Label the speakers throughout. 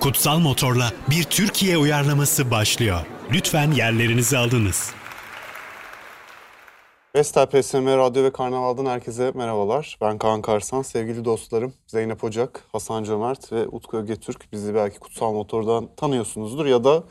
Speaker 1: Kutsal Motor'la bir Türkiye uyarlaması başlıyor. Lütfen yerlerinizi alınız.
Speaker 2: Vestel PSM Radyo ve Karnaval'dan herkese merhabalar. Ben Kaan Karsan, sevgili dostlarım Zeynep Ocak, Hasan Cömert ve Utku Öge Türk. Bizi belki Kutsal Motor'dan tanıyorsunuzdur ya da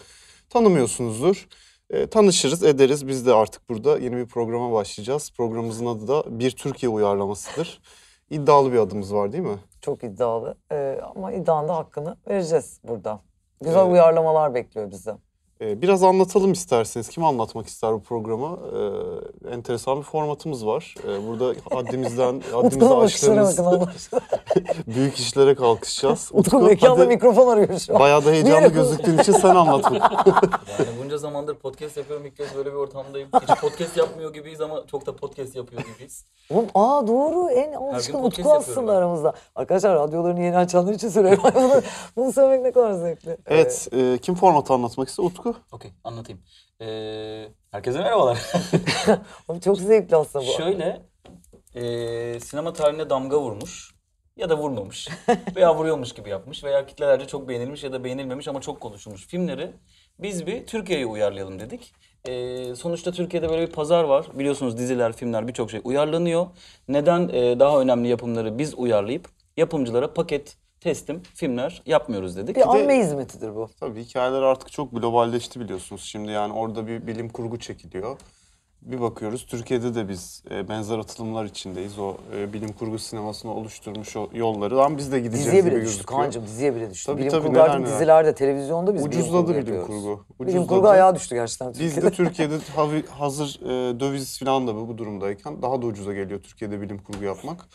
Speaker 2: tanımıyorsunuzdur. E, tanışırız, ederiz. Biz de artık burada yeni bir programa başlayacağız. Programımızın adı da Bir Türkiye uyarlamasıdır. İddialı bir adımız var değil mi?
Speaker 3: Çok iddialı Ee, ama iddianın da hakkını vereceğiz burada. Güzel
Speaker 2: Evet.
Speaker 3: uyarlamalar bekliyor bizi.
Speaker 2: E, biraz anlatalım isterseniz. Kim anlatmak ister bu programı? E, enteresan bir formatımız var. E, burada haddimizden, haddimizi
Speaker 3: Utku'nun bakışlara
Speaker 2: aştığımız
Speaker 3: bakın Allah aşkına.
Speaker 2: büyük işlere kalkışacağız.
Speaker 3: Utku mekanda
Speaker 2: hadi.
Speaker 3: mikrofon arıyor şu an.
Speaker 2: Bayağı da heyecanlı
Speaker 3: Diğer-
Speaker 2: gözüktüğün için sen anlat. bunu.
Speaker 4: Yani bunca zamandır podcast yapıyorum ilk kez böyle bir ortamdayım. Hiç podcast yapmıyor gibiyiz ama çok da podcast yapıyor gibiyiz.
Speaker 3: Oğlum, aa doğru en
Speaker 4: gün
Speaker 3: alışkın
Speaker 4: podcast
Speaker 3: Utku aslında
Speaker 4: yapıyorum ben.
Speaker 3: aramızda. Arkadaşlar radyolarını yeni açanlar için söylüyorum. bunu, bunu söylemek ne kadar zevkli.
Speaker 2: evet, e, kim formatı anlatmak ister? Utku.
Speaker 4: Okey anlatayım. Ee, herkese merhabalar.
Speaker 3: Ee, oğlum çok zevkli aslında bu.
Speaker 4: Şöyle ee, sinema tarihine damga vurmuş ya da vurmamış veya vuruyormuş gibi yapmış veya kitlelerce çok beğenilmiş ya da beğenilmemiş ama çok konuşulmuş filmleri biz bir Türkiye'ye uyarlayalım dedik. Ee, sonuçta Türkiye'de böyle bir pazar var. Biliyorsunuz diziler, filmler birçok şey uyarlanıyor. Neden ee, daha önemli yapımları biz uyarlayıp yapımcılara paket teslim filmler yapmıyoruz dedik.
Speaker 3: bir anma hizmetidir bu.
Speaker 2: Tabii hikayeler artık çok globalleşti biliyorsunuz. Şimdi yani orada bir bilim kurgu çekiliyor. Bir bakıyoruz Türkiye'de de biz e, benzer atılımlar içindeyiz. O e, bilim kurgu sinemasını oluşturmuş o yollardan biz de gideceğiz
Speaker 3: Diziye
Speaker 2: gibi
Speaker 3: bile düştü
Speaker 2: gözüküyor.
Speaker 3: Kaan'cığım diziye bile düştü.
Speaker 2: Tabii,
Speaker 3: bilim
Speaker 2: tabii,
Speaker 3: kurgu artık
Speaker 2: neler neler.
Speaker 3: dizilerde, televizyonda biz
Speaker 2: Ucuzladı bilim
Speaker 3: yapıyoruz.
Speaker 2: kurgu.
Speaker 3: Bilim kurgu
Speaker 2: Ucuzladı.
Speaker 3: ayağa düştü gerçekten
Speaker 2: Biz
Speaker 3: Türkiye'de.
Speaker 2: de Türkiye'de havi- hazır e, döviz falan da bu bu durumdayken daha da ucuza geliyor Türkiye'de bilim kurgu yapmak.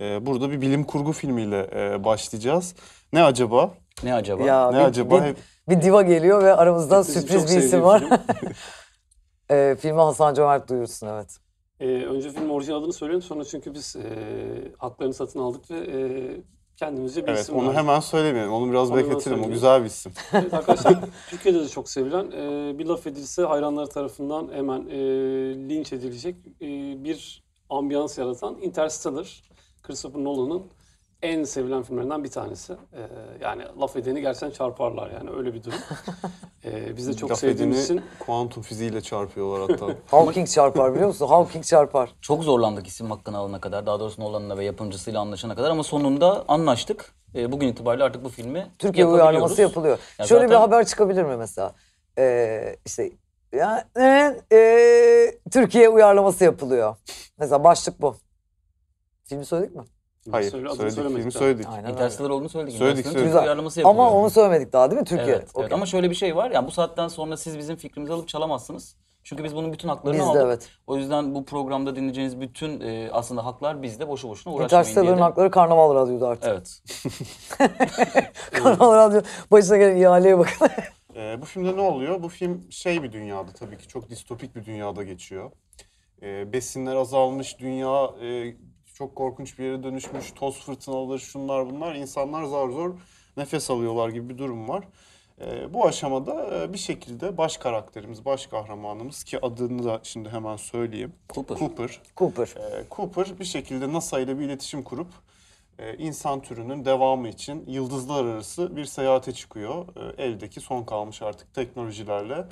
Speaker 2: E, burada bir bilim kurgu filmiyle e, başlayacağız. Ne acaba?
Speaker 4: Ne acaba?
Speaker 3: Ya,
Speaker 2: Ne
Speaker 3: bir,
Speaker 2: acaba?
Speaker 3: Bir,
Speaker 2: Hep-
Speaker 3: bir diva geliyor ve aramızdan sürpriz
Speaker 2: Çok
Speaker 3: bir isim
Speaker 2: sevdiğim
Speaker 3: var.
Speaker 2: film.
Speaker 3: Ee, filmi Hasan Cömert duyursun evet.
Speaker 5: Ee, önce filmin orijinal adını söyleyelim sonra çünkü biz e, haklarını satın aldık ve e, kendimize bir
Speaker 2: Evet,
Speaker 5: isim
Speaker 2: onu
Speaker 5: verdik.
Speaker 2: hemen söylemeyelim. Onu biraz
Speaker 5: Onu biraz
Speaker 2: bekletelim. O
Speaker 5: söylemeyelim.
Speaker 2: güzel bir isim.
Speaker 5: Evet, arkadaşlar Türkiye'de de çok sevilen e, bir laf edilse hayranları tarafından hemen e, linç edilecek e, bir ambiyans yaratan Interstellar Christopher Nolan'ın en sevilen filmlerinden bir tanesi. E, yani laf edeni gerçekten çarparlar yani öyle bir durum. E, biz de çok
Speaker 2: Laf
Speaker 5: sevdiğimiz
Speaker 2: edeni
Speaker 5: için
Speaker 2: kuantum fiziğiyle çarpıyorlar hatta.
Speaker 3: Hawking çarpar biliyor musun? Hawking çarpar.
Speaker 4: Çok zorlandık isim hakkını alana kadar. Daha doğrusu Nolan'la ve yapımcısıyla anlaşana kadar ama sonunda anlaştık. Ee, bugün itibariyle artık bu filmi
Speaker 3: Türkiye
Speaker 4: yapabiliyoruz.
Speaker 3: uyarlaması yapılıyor.
Speaker 4: Ya
Speaker 3: Şöyle bir
Speaker 4: zaten-
Speaker 3: haber çıkabilir mi mesela? Ee, işte ya, e, e, Türkiye uyarlaması yapılıyor. Mesela başlık bu. Filmi söyledik mi?
Speaker 2: Hayır,
Speaker 5: Söyle- adını
Speaker 2: söyledik.
Speaker 5: söylemedik
Speaker 2: Filmi
Speaker 5: daha.
Speaker 2: söyledik.
Speaker 3: Aynen öyle.
Speaker 4: Interstellar olduğunu söyledik.
Speaker 2: Söyledik,
Speaker 4: Interstellar'ın
Speaker 2: söyledik.
Speaker 4: Türkiye
Speaker 3: Güzel.
Speaker 4: uyarlaması yapılıyor.
Speaker 3: Ama onu söylemedik daha değil mi Türkiye?
Speaker 4: Evet, evet.
Speaker 3: Okey.
Speaker 4: Ama şöyle bir şey var. Yani bu saatten sonra siz bizim fikrimizi alıp çalamazsınız. Çünkü biz bunun bütün haklarını
Speaker 3: Biz de
Speaker 4: aldık.
Speaker 3: evet.
Speaker 4: O yüzden bu programda dinleyeceğiniz bütün e, aslında haklar bizde. Boşu boşuna uğraşmayın diye.
Speaker 3: Interstellar'ın
Speaker 4: de-
Speaker 3: E, hakları Karnaval Radyo'da artık.
Speaker 4: Evet.
Speaker 3: Karnaval Radyo başına gelen ihaleye bakın.
Speaker 2: Ee, bu filmde ne oluyor? Bu film şey bir dünyada tabii ki çok distopik bir dünyada geçiyor. Ee, besinler azalmış, dünya e, çok korkunç bir yere dönüşmüş, toz fırtınaları şunlar bunlar. İnsanlar zar zor nefes alıyorlar gibi bir durum var. Ee, bu aşamada e, bir şekilde baş karakterimiz, baş kahramanımız ki adını da şimdi hemen söyleyeyim.
Speaker 4: Cooper.
Speaker 2: Cooper.
Speaker 3: Cooper.
Speaker 2: Ee, Cooper bir şekilde NASA ile bir iletişim kurup e, insan türünün devamı için yıldızlar arası bir seyahate çıkıyor. E, Eldeki son kalmış artık teknolojilerle.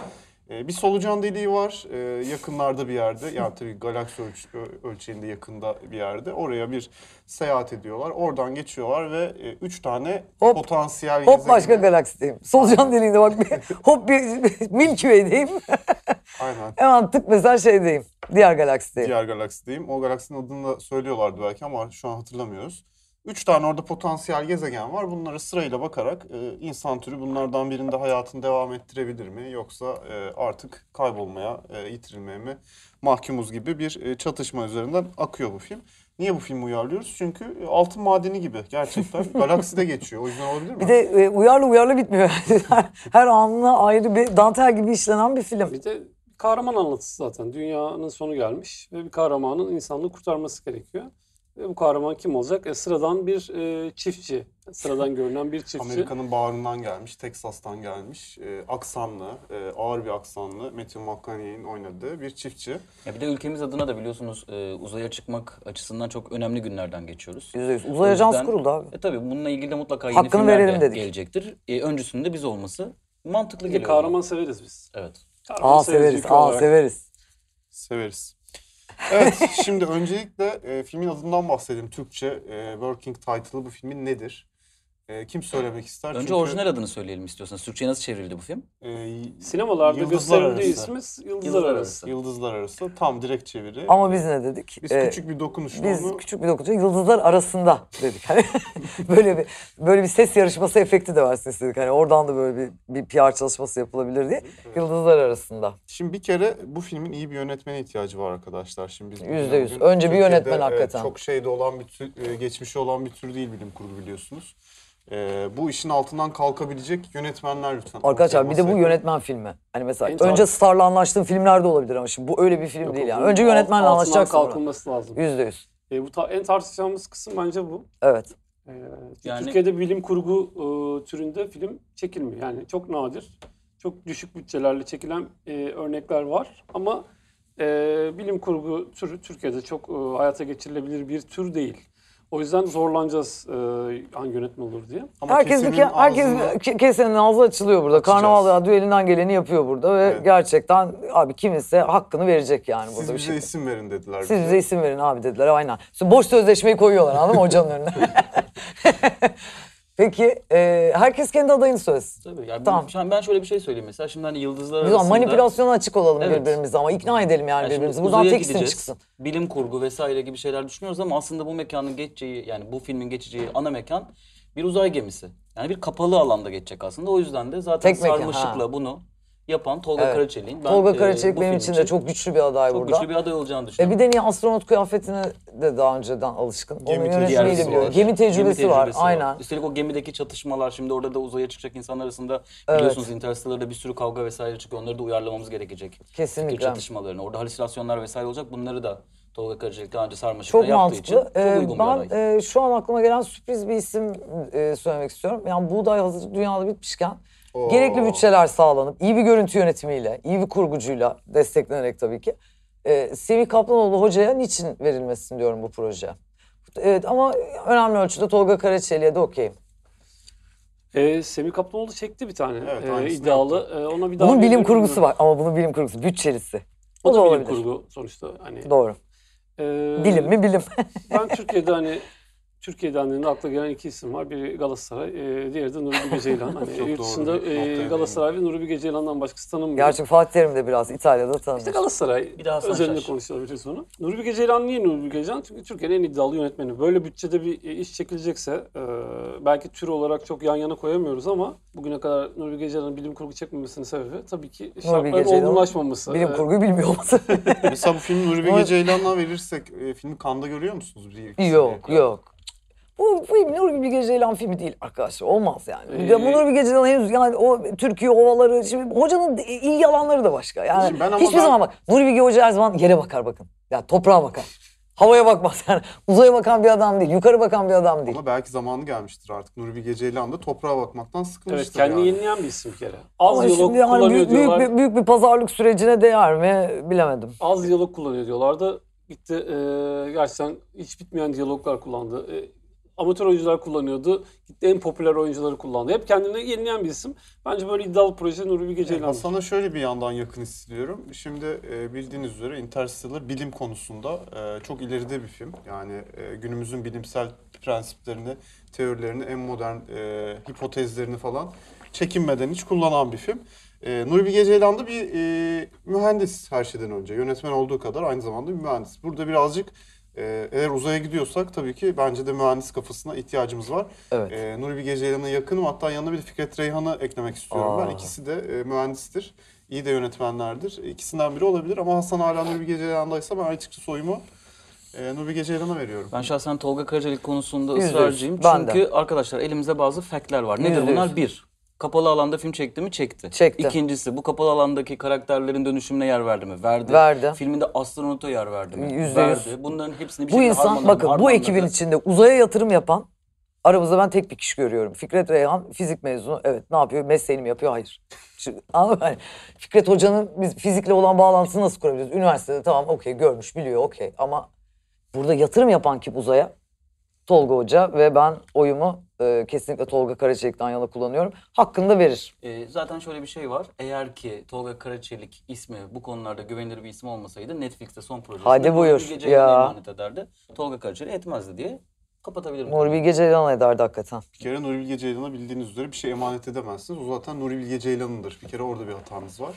Speaker 2: E, Bir solucan deliği var e, yakınlarda bir yerde. Yani tabii galaksi ölç- ö- ölçeğinde yakında bir yerde. Oraya bir seyahat ediyorlar. Oradan geçiyorlar ve e, üç tane
Speaker 3: Hop.
Speaker 2: potansiyel
Speaker 3: Hop başka
Speaker 2: gezegene-
Speaker 3: galaksideyim. Solucan deliğinde bak bir hop bir bir Milky Way'deyim.
Speaker 2: Aynen.
Speaker 3: Hemen tık mesela şeydeyim. Diğer galaksideyim.
Speaker 2: Diğer galaksideyim. O galaksinin adını da söylüyorlardı belki ama şu an hatırlamıyoruz. Üç tane orada potansiyel gezegen var. Bunlara sırayla bakarak e, insan türü bunlardan birinde hayatını devam ettirebilir mi? Yoksa e, artık kaybolmaya, e, yitirilmeye mi mahkumuz gibi bir e, çatışma üzerinden akıyor bu film. Niye bu filmi uyarlıyoruz? Çünkü e, altın madeni gibi gerçekten galakside geçiyor. O yüzden olabilir mi?
Speaker 3: Bir de e, uyarlı uyarlı bitmiyor. her, her anına ayrı bir dantel gibi işlenen bir film.
Speaker 5: Bir de kahraman anlatısı zaten. Dünyanın sonu gelmiş ve bir kahramanın insanlığı kurtarması gerekiyor. Ve bu kahraman kim olacak? E, sıradan bir e, çiftçi. sıradan görünen bir çiftçi.
Speaker 2: Amerika'nın bağrından gelmiş, Teksas'tan gelmiş, e, aksanlı, e, ağır bir aksanlı Matthew McConaughey'in oynadığı bir çiftçi.
Speaker 4: Ya bir de ülkemiz adına da biliyorsunuz e, uzaya çıkmak açısından çok önemli günlerden geçiyoruz.
Speaker 3: %100.
Speaker 4: O
Speaker 3: Uzay Ajansı
Speaker 4: yüzden-
Speaker 3: kuruldu abi.
Speaker 4: E tabii bununla ilgili de mutlaka yeni
Speaker 3: Hakkını
Speaker 4: filmler
Speaker 3: verelim
Speaker 4: de
Speaker 3: dedik.
Speaker 4: gelecektir. E, öncüsünde biz olması mantıklı
Speaker 5: Bir
Speaker 4: geliyor.
Speaker 5: kahraman severiz biz.
Speaker 4: bana. Evet.
Speaker 5: Kahraman
Speaker 3: Aa severiz,
Speaker 5: ülke
Speaker 3: aa
Speaker 5: olarak.
Speaker 3: severiz.
Speaker 2: Severiz. Evet, şimdi öncelikle e, filmin adından bahsedelim. Türkçe e, Working Title'ı bu filmin nedir? E, kim söylemek ister?
Speaker 4: Önce
Speaker 2: Çünkü,
Speaker 4: orijinal adını söyleyelim istiyorsanız. Türkçe'ye nasıl çevrildi bu film?
Speaker 2: e,
Speaker 5: Sinemalarda
Speaker 2: Yıldızlar
Speaker 5: gösterildiği
Speaker 2: Arası.
Speaker 5: ismi Yıldızlar,
Speaker 4: Yıldızlar
Speaker 5: Arası.
Speaker 4: Arası.
Speaker 2: Yıldızlar Arası tam direkt çeviri.
Speaker 3: Ama biz ne dedik?
Speaker 2: Biz
Speaker 3: Ee,
Speaker 2: küçük bir dokunuşla
Speaker 3: biz
Speaker 2: onu
Speaker 3: küçük bir dokunuş. Yıldızlar arasında dedik. Hani böyle bir böyle bir ses yarışması efekti de versin istedik. Hani oradan da böyle bir, bir PR çalışması yapılabilir diye. Yıldızlar arasında.
Speaker 2: Şimdi bir kere bu filmin iyi bir yönetmene ihtiyacı var arkadaşlar. Şimdi biz
Speaker 3: Yüzde
Speaker 2: bugün-
Speaker 3: yüz. Önce bir
Speaker 2: Türkiye'de,
Speaker 3: yönetmen
Speaker 2: e,
Speaker 3: hakikaten.
Speaker 2: Çok şeyde olan bir tür, e, geçmişi olan bir tür değil bilim kurgu biliyorsunuz. E, bu işin altından kalkabilecek yönetmenler lütfen.
Speaker 3: Arkadaşlar bir de bu
Speaker 2: ortaya
Speaker 3: yönetmen filmi. Hani mesela
Speaker 5: En
Speaker 3: önce starla anlaştığın filmler de olabilir ama şimdi bu öyle bir film
Speaker 5: Yok,
Speaker 3: değil yani.
Speaker 5: bunun
Speaker 3: Önce
Speaker 5: alt-
Speaker 3: yönetmenle
Speaker 5: altından
Speaker 3: anlaşacaksın.
Speaker 5: kalkılması lazım.
Speaker 3: Yüzde yüz.
Speaker 5: E, bu ta- en tartışacağımız kısım bence bu.
Speaker 3: Evet.
Speaker 5: Ee,
Speaker 4: Yani-
Speaker 5: Türkiye'de bilim kurgu e, türünde film çekilmiyor. Yani çok nadir, çok düşük bütçelerle çekilen e, örnekler var. Ama e, bilim kurgu türü Türkiye'de çok e, hayata geçirilebilir bir tür değil. O yüzden zorlanacağız e, hangi yönetmen olur diye.
Speaker 2: Ama
Speaker 3: herkes bir
Speaker 2: kesenin
Speaker 3: ke- herkes
Speaker 2: ağzını-
Speaker 3: ke- kesenin ağzı açılıyor burada.
Speaker 2: Açacağız.
Speaker 3: Karnaval Radyo elinden geleni yapıyor burada ve
Speaker 2: Evet.
Speaker 3: gerçekten abi kimse hakkını verecek yani burada
Speaker 2: Siz
Speaker 3: bir
Speaker 2: bize
Speaker 3: şey.
Speaker 2: isim verin dediler.
Speaker 3: Siz bize isim verin abi dediler aynen. Şimdi boş sözleşmeyi koyuyorlar anladın mı hocanın önüne? Peki e, herkes kendi adayını söylesin.
Speaker 4: Tabii. Yani
Speaker 3: Tamam.
Speaker 4: tamam. ben şöyle bir şey söyleyeyim mesela. Şimdi hani yıldızlar
Speaker 3: Biz ama
Speaker 4: arasında...
Speaker 3: manipülasyona açık olalım
Speaker 4: Evet.
Speaker 3: birbirimize ama ikna edelim yani,
Speaker 4: Yani şimdi
Speaker 3: birbirimizi. Buradan
Speaker 4: uzaya
Speaker 3: tek isim
Speaker 4: gideceğiz.
Speaker 3: çıksın.
Speaker 4: Bilim kurgu vesaire gibi şeyler düşünüyoruz ama aslında bu mekanın geçeceği yani bu filmin geçeceği ana mekan bir uzay gemisi. Yani bir kapalı alanda geçecek aslında. O yüzden de zaten
Speaker 3: Tek mekan,
Speaker 4: sarmaşıkla
Speaker 3: ha.
Speaker 4: bunu yapan Tolga
Speaker 3: Evet.
Speaker 4: Karaçelik'in. ben,
Speaker 3: Tolga
Speaker 4: e,
Speaker 3: Karaçelik
Speaker 4: bu
Speaker 3: benim
Speaker 4: film
Speaker 3: için de çok güçlü bir aday
Speaker 4: çok
Speaker 3: burada.
Speaker 4: güçlü bir aday olacağını
Speaker 3: E
Speaker 4: düşünüyorum.
Speaker 3: bir de niye astronot kıyafetine de daha önceden alışkın.
Speaker 2: Gemi
Speaker 3: Onun
Speaker 2: tecrübesi
Speaker 3: yönetmeni
Speaker 2: var.
Speaker 3: biliyor. Gemi tecrübesi,
Speaker 4: Gemi
Speaker 3: var. Aynen.
Speaker 4: Üstelik o gemideki çatışmalar şimdi orada da uzaya çıkacak insanlar arasında
Speaker 3: Evet.
Speaker 4: biliyorsunuz Interstellar'da bir sürü kavga vesaire çıkıyor. Onları da uyarlamamız gerekecek.
Speaker 3: Kesinlikle.
Speaker 4: Fikir çatışmalarını. Orada halüsinasyonlar vesaire olacak. Bunları da Tolga Karaçelik daha önce sarmaşıkta
Speaker 3: Çok
Speaker 4: yaptığı için
Speaker 3: mantıklı.
Speaker 4: çok
Speaker 3: Ee,
Speaker 4: uygun bir aday.
Speaker 3: ben e, şu an aklıma gelen sürpriz bir isim e, söylemek istiyorum. Yani buğday hazır dünyada bitmişken
Speaker 2: Oo.
Speaker 3: gerekli bütçeler sağlanıp iyi bir görüntü yönetimiyle, iyi bir kurgucuyla desteklenerek tabii ki e, Semih Kaplanoğlu hocaya niçin verilmesin diyorum bu proje. Evet ama önemli ölçüde Tolga Karaçeli'ye de okeyim.
Speaker 5: E, Semih Kaplanoğlu çekti bir tane
Speaker 2: Evet,
Speaker 5: e,
Speaker 2: aynısını
Speaker 5: iddialı. E, ona bir daha
Speaker 3: Bunun bilim
Speaker 5: verelim
Speaker 3: kurgusu
Speaker 5: mi?
Speaker 3: var ama bunun bilim kurgusu bütçelisi. O,
Speaker 5: O,
Speaker 3: da
Speaker 5: da bilim
Speaker 3: olabilir.
Speaker 5: kurgu sonuçta. Hani,
Speaker 3: Doğru.
Speaker 5: e,
Speaker 3: Bilim mi bilim.
Speaker 5: Ben Türkiye'de hani Türkiye'de annenin akla gelen iki isim var. Biri Galatasaray, e, diğeri de Nuri Bilge Ceylan. Hani
Speaker 2: Çok
Speaker 5: yurt
Speaker 2: doğru
Speaker 5: dışında
Speaker 2: bir noktaya
Speaker 5: e,
Speaker 2: değindin.
Speaker 5: Galatasaray ve Nuri Bilge Ceylan'dan başkası tanınmıyor.
Speaker 3: Gerçi Fatih Terim de biraz İtalya'da tanınır.
Speaker 5: İşte Galatasaray
Speaker 4: Bir daha Hasan
Speaker 5: özelinde
Speaker 4: Şaş.
Speaker 5: konuşabiliriz onu. Nuri Bilge Ceylan niye Nuri Bilge Ceylan? Çünkü Türkiye'nin en iddialı yönetmeni. Böyle bütçede bir e, iş çekilecekse e, belki tür olarak çok yan yana koyamıyoruz ama bugüne kadar Nuri Bilge Ceylan'ın bilim kurgu çekmemesinin sebebi tabii ki şartların
Speaker 3: Ceylan
Speaker 5: olgunlaşmaması.
Speaker 3: bilim
Speaker 5: E,
Speaker 3: kurguyu bilmiyor olması.
Speaker 2: Mesela bu filmi Nuri
Speaker 3: Ama-
Speaker 2: Bilge Ceylan'la verirsek e, filmi Kanda görüyor musunuz? Bir,
Speaker 5: Şey,
Speaker 2: iki
Speaker 3: Yok
Speaker 2: sene?
Speaker 3: yok. Bu film Nuri Bilge Ceylan filmi değil arkadaşlar. Olmaz yani. Bir de bu
Speaker 5: Ee,
Speaker 3: Nuri Bilge Ceylan henüz yani o Türkiye ovaları şimdi hocanın ilgi alanları da başka. Yani
Speaker 2: Şimdi ben ama
Speaker 3: hiçbir
Speaker 2: ben-
Speaker 3: zaman bak Nuri Bilge Hoca her zaman yere bakar bakın. Ya toprağa bakar. Havaya bakmaz yani. Uzaya bakan bir adam değil. Yukarı bakan bir adam değil.
Speaker 2: Ama belki zamanı gelmiştir artık. Nuri Bilge Ceylan da toprağa bakmaktan
Speaker 5: Evet,
Speaker 2: sıkılmıştır
Speaker 5: kendini
Speaker 2: yani.
Speaker 5: yenileyen bir isim bir kere. Az
Speaker 3: Ama
Speaker 5: diyalog
Speaker 3: şimdi yani
Speaker 5: kullanıyor
Speaker 3: büyük, büyük,
Speaker 5: diyorlar.
Speaker 3: bir- büyük bir pazarlık sürecine değer mi bilemedim.
Speaker 5: az diyalog kullanıyor diyorlardı. Gitti eee gerçekten hiç bitmeyen diyaloglar kullandı. E, amatör oyuncular kullanıyordu. Gitti en popüler oyuncuları kullandı. Hep kendine yenileyen bir isim. Bence böyle iddialı proje Nuri Bilge Ceylan.
Speaker 2: Ama sana şöyle bir yandan yakın hissediyorum. Şimdi e, bildiğiniz üzere Interstellar bilim konusunda e, çok ileride bir film. Yani e, günümüzün bilimsel prensiplerini, teorilerini, en modern e, hipotezlerini falan çekinmeden hiç kullanan bir film. E, Nuri Bilge Ceylan da bir e, mühendis her şeyden önce. Yönetmen olduğu kadar aynı zamanda bir mühendis. Burada birazcık e, eğer uzaya gidiyorsak tabii ki bence de mühendis kafasına ihtiyacımız var.
Speaker 3: Evet.
Speaker 2: E, Nuri Bilge Ceylan'a yakınım. Hatta yanına bir de Fikret Reyhan'ı eklemek istiyorum
Speaker 3: Aa.
Speaker 2: ben. İkisi de e, mühendistir. İyi de yönetmenlerdir. İkisinden biri olabilir ama Hasan hala Nuri Bilge Ceylan'daysa ben açıkçası oyumu e, Nuri Bilge Ceylan'a veriyorum.
Speaker 4: Ben şahsen Tolga Karacelik konusunda
Speaker 3: Yüzde yüz.
Speaker 4: ısrarcıyım.
Speaker 3: Ben de.
Speaker 4: Çünkü arkadaşlar elimizde bazı factler var. Nedir
Speaker 3: Yüzde yüz.
Speaker 4: bunlar? Bir, kapalı alanda film çekti mi? Çekti.
Speaker 3: Çekti.
Speaker 4: İkincisi, bu kapalı alandaki karakterlerin dönüşümüne yer verdi mi? Verdi.
Speaker 3: Verdi.
Speaker 4: Filminde astronota yer verdi mi?
Speaker 3: Yüzde yüz.
Speaker 4: verdi. Bunların hepsini bir
Speaker 3: Bu
Speaker 4: şekilde
Speaker 3: insan
Speaker 4: harmanladı,
Speaker 3: bakın bu
Speaker 4: harmanladı.
Speaker 3: ekibin içinde uzaya yatırım yapan Aramızda ben tek bir kişi görüyorum. Fikret Reyhan fizik mezunu. Evet ne yapıyor? Mesleğini mi yapıyor? Hayır. Şimdi, anladın mı? Yani Fikret Hoca'nın biz fizikle olan bağlantısını nasıl kurabiliriz? Üniversitede tamam okey görmüş biliyor okey ama burada yatırım yapan kim uzaya? Tolga Hoca ve ben oyumu e, kesinlikle Tolga Karaçelik'ten yana kullanıyorum. Hakkını da verir.
Speaker 4: Ee, zaten şöyle bir şey var. Eğer ki Tolga Karaçelik ismi bu konularda güvenilir bir isim olmasaydı Netflix'te son projesinde
Speaker 3: Hadi
Speaker 4: Nuri
Speaker 3: buyur
Speaker 4: Bilge
Speaker 3: ya.
Speaker 4: Ceylan'a emanet ederdi. Tolga Karaçelik etmezdi diye kapatabilirim.
Speaker 3: Nuri Bilge Ceylan ederdi hakikaten.
Speaker 2: Bir kere Nuri Bilge Ceylan'a bildiğiniz üzere bir şey emanet edemezsiniz. O zaten Nuri Bilge Ceylan'ındır. Bir kere orada bir hatanız var.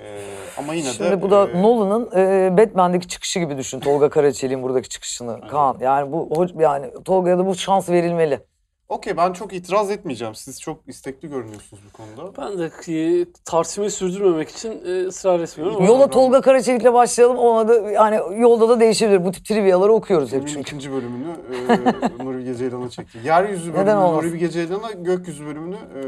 Speaker 2: Ee, ama yine de...
Speaker 3: Şimdi bu da
Speaker 2: e,
Speaker 3: Nolan'ın e, Batman'deki çıkışı gibi düşün. Tolga Karaçelik'in buradaki çıkışını. Kaan yani bu ho- yani Tolga'ya da bu şans verilmeli.
Speaker 2: Okey ben çok itiraz etmeyeceğim. Siz çok istekli görünüyorsunuz bu konuda.
Speaker 5: Ben de e, tartışmayı sürdürmemek için e, ısrar etmiyorum ama
Speaker 3: Yola Tolga Karaçelik'le başlayalım. Ona da yani yolda da değişebilir. Bu tip triviaları okuyoruz hep
Speaker 2: Filmin
Speaker 3: çünkü.
Speaker 2: ikinci bölümünü e, Nuri Bilge Ceylan'a çekti. Yeryüzü
Speaker 3: Neden
Speaker 2: bölümünü
Speaker 3: olmasın?
Speaker 2: Nuri Bilge Ceylan'a, gökyüzü bölümünü e,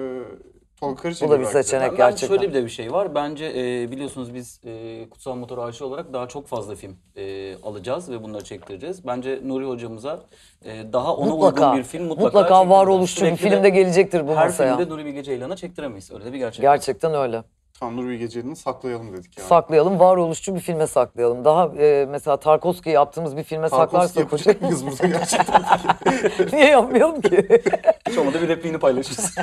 Speaker 2: Tolga Karaçelik'e
Speaker 3: Bu da bir
Speaker 2: bıraktı.
Speaker 3: seçenek
Speaker 4: Ben- ben
Speaker 3: gerçekten.
Speaker 4: şöyle bir de bir şey var. Bence e, biliyorsunuz biz e, Kutsal Motor AŞ olarak daha çok fazla film e, alacağız ve bunları çektireceğiz. Bence Nuri hocamıza e, daha ona
Speaker 3: mutlaka,
Speaker 4: uygun bir film mutlaka
Speaker 3: mutlaka
Speaker 4: çektireceğiz.
Speaker 3: varoluşçu bir
Speaker 4: Sürekli de
Speaker 3: film de gelecektir bu
Speaker 4: Her
Speaker 3: masaya.
Speaker 4: filmde Nuri Bilge Ceylan'a çektiremeyiz. Öyle de bir gerçek.
Speaker 3: Gerçekten öyle.
Speaker 2: Tam Nuri Bilge Ceylan'ı saklayalım dedik yani.
Speaker 3: Saklayalım, varoluşçu bir filme saklayalım. Daha e, mesela Tarkovski'yi yaptığımız bir filme
Speaker 2: Tarkovski
Speaker 3: saklarsak hoca
Speaker 2: yapacak mıyız burada gerçekten?
Speaker 3: niye yapmayalım ki?
Speaker 4: Hiç olmadı bir repliğini paylaşırız.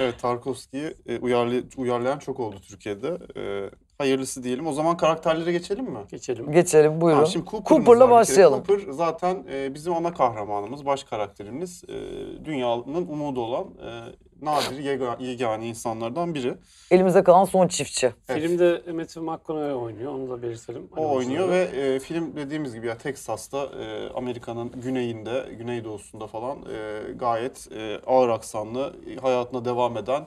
Speaker 2: evet Tarkovski'yi e, uyarlay- uyarlayan çok oldu Türkiye'de. E, hayırlısı diyelim. O zaman karakterlere geçelim mi?
Speaker 5: geçelim.
Speaker 3: Geçelim buyurun.
Speaker 2: Tamam, şimdi Cooper'ımız var
Speaker 3: Cooper'la
Speaker 2: bir kere.
Speaker 3: başlayalım.
Speaker 2: Cooper zaten e, bizim ana kahramanımız, baş karakterimiz. E, dünyanın umudu olan e, nadir, yega- yegane insanlardan biri.
Speaker 3: Elimize kalan son çiftçi.
Speaker 2: Evet.
Speaker 5: Filmde Matthew McConaughey oynuyor. Onu da belirtelim. Hani
Speaker 2: O oynuyor ve e, film dediğimiz gibi ya Texas'ta e, Amerika'nın güneyinde, güneydoğusunda falan e, gayet e, ağır aksanlı, e, hayatına devam eden,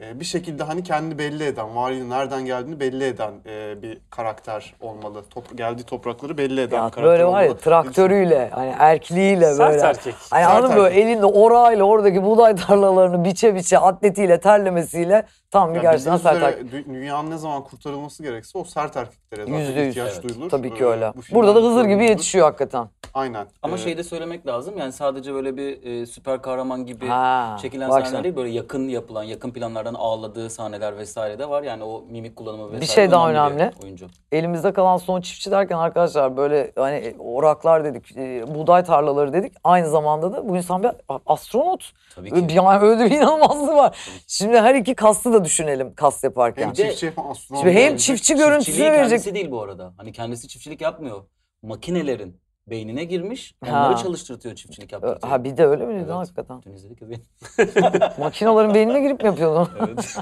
Speaker 2: e, bir şekilde hani kendini belli eden, varlığını nereden geldiğini belli eden e, bir karakter olmalı. Top, geldiği toprakları belli eden
Speaker 3: Ya
Speaker 2: bir karakter
Speaker 3: böyle var ya
Speaker 2: olmalı.
Speaker 3: traktörüyle, hani erkliğiyle
Speaker 5: Sert
Speaker 3: böyle.
Speaker 5: erkek.
Speaker 3: Hani
Speaker 2: Sert
Speaker 3: anladın mı? Böyle
Speaker 2: erkek.
Speaker 3: elinde orayla oradaki buğday tarlalarını biçe biçe atletiyle terlemesiyle tam bir
Speaker 2: Ya
Speaker 3: gerçekten
Speaker 2: bildiğiniz
Speaker 3: sert
Speaker 2: üzere
Speaker 3: erkek.
Speaker 2: dü- Dünyanın ne zaman kurtarılması gerekse o sert erkeklere zaten
Speaker 3: Yüzde yüz.
Speaker 2: ihtiyaç
Speaker 4: Evet.
Speaker 2: duyulur.
Speaker 3: Tabii ki
Speaker 2: Ee,
Speaker 3: öyle.
Speaker 2: bu filmlerde
Speaker 3: Burada da Hızır gibi
Speaker 2: görüyoruz.
Speaker 3: yetişiyor hakikaten.
Speaker 2: Aynen.
Speaker 4: Ama şey-
Speaker 2: Ee,
Speaker 4: şeyi de söylemek lazım. Yani sadece böyle bir e, süper kahraman gibi
Speaker 3: Ha,
Speaker 4: çekilen
Speaker 3: bak sen.
Speaker 4: sahneler değil. Böyle yakın yapılan, yakın planlardan ağladığı sahneler vesaire de var. Yani o mimik kullanımı vesaire.
Speaker 3: şey daha
Speaker 4: bir
Speaker 3: önemli.
Speaker 4: Oyuncu.
Speaker 3: Elimizde kalan son çiftçi derken arkadaşlar böyle hani oraklar dedik, e, buğday tarlaları dedik. Aynı zamanda da bu insan bir astronot.
Speaker 4: Tabii ki.
Speaker 3: Ö- Yani öyle bir inanılmazlığı var. Şimdi her iki kastı da düşünelim kast yaparken.
Speaker 2: hem
Speaker 4: Bir de-
Speaker 2: çiftçi hem astronom.
Speaker 3: Şimdi hem
Speaker 2: olabilecek.
Speaker 3: çiftçi görüntüsünü
Speaker 4: Çiftçiliği
Speaker 3: verecek.
Speaker 4: kendisi değil bu arada. Hani kendisi çiftçilik yapmıyor. Makinelerin beynine girmiş. Onları
Speaker 3: Ha.
Speaker 4: çalıştırtıyor çiftçilik
Speaker 3: Ö-
Speaker 4: yaptırtıyor.
Speaker 3: Ha bir de öyle mi dedin
Speaker 4: Evet.
Speaker 3: hakikaten?
Speaker 4: Dün izledik ya bir-
Speaker 3: Makinaların beynine girip mi yapıyordun?
Speaker 4: Evet.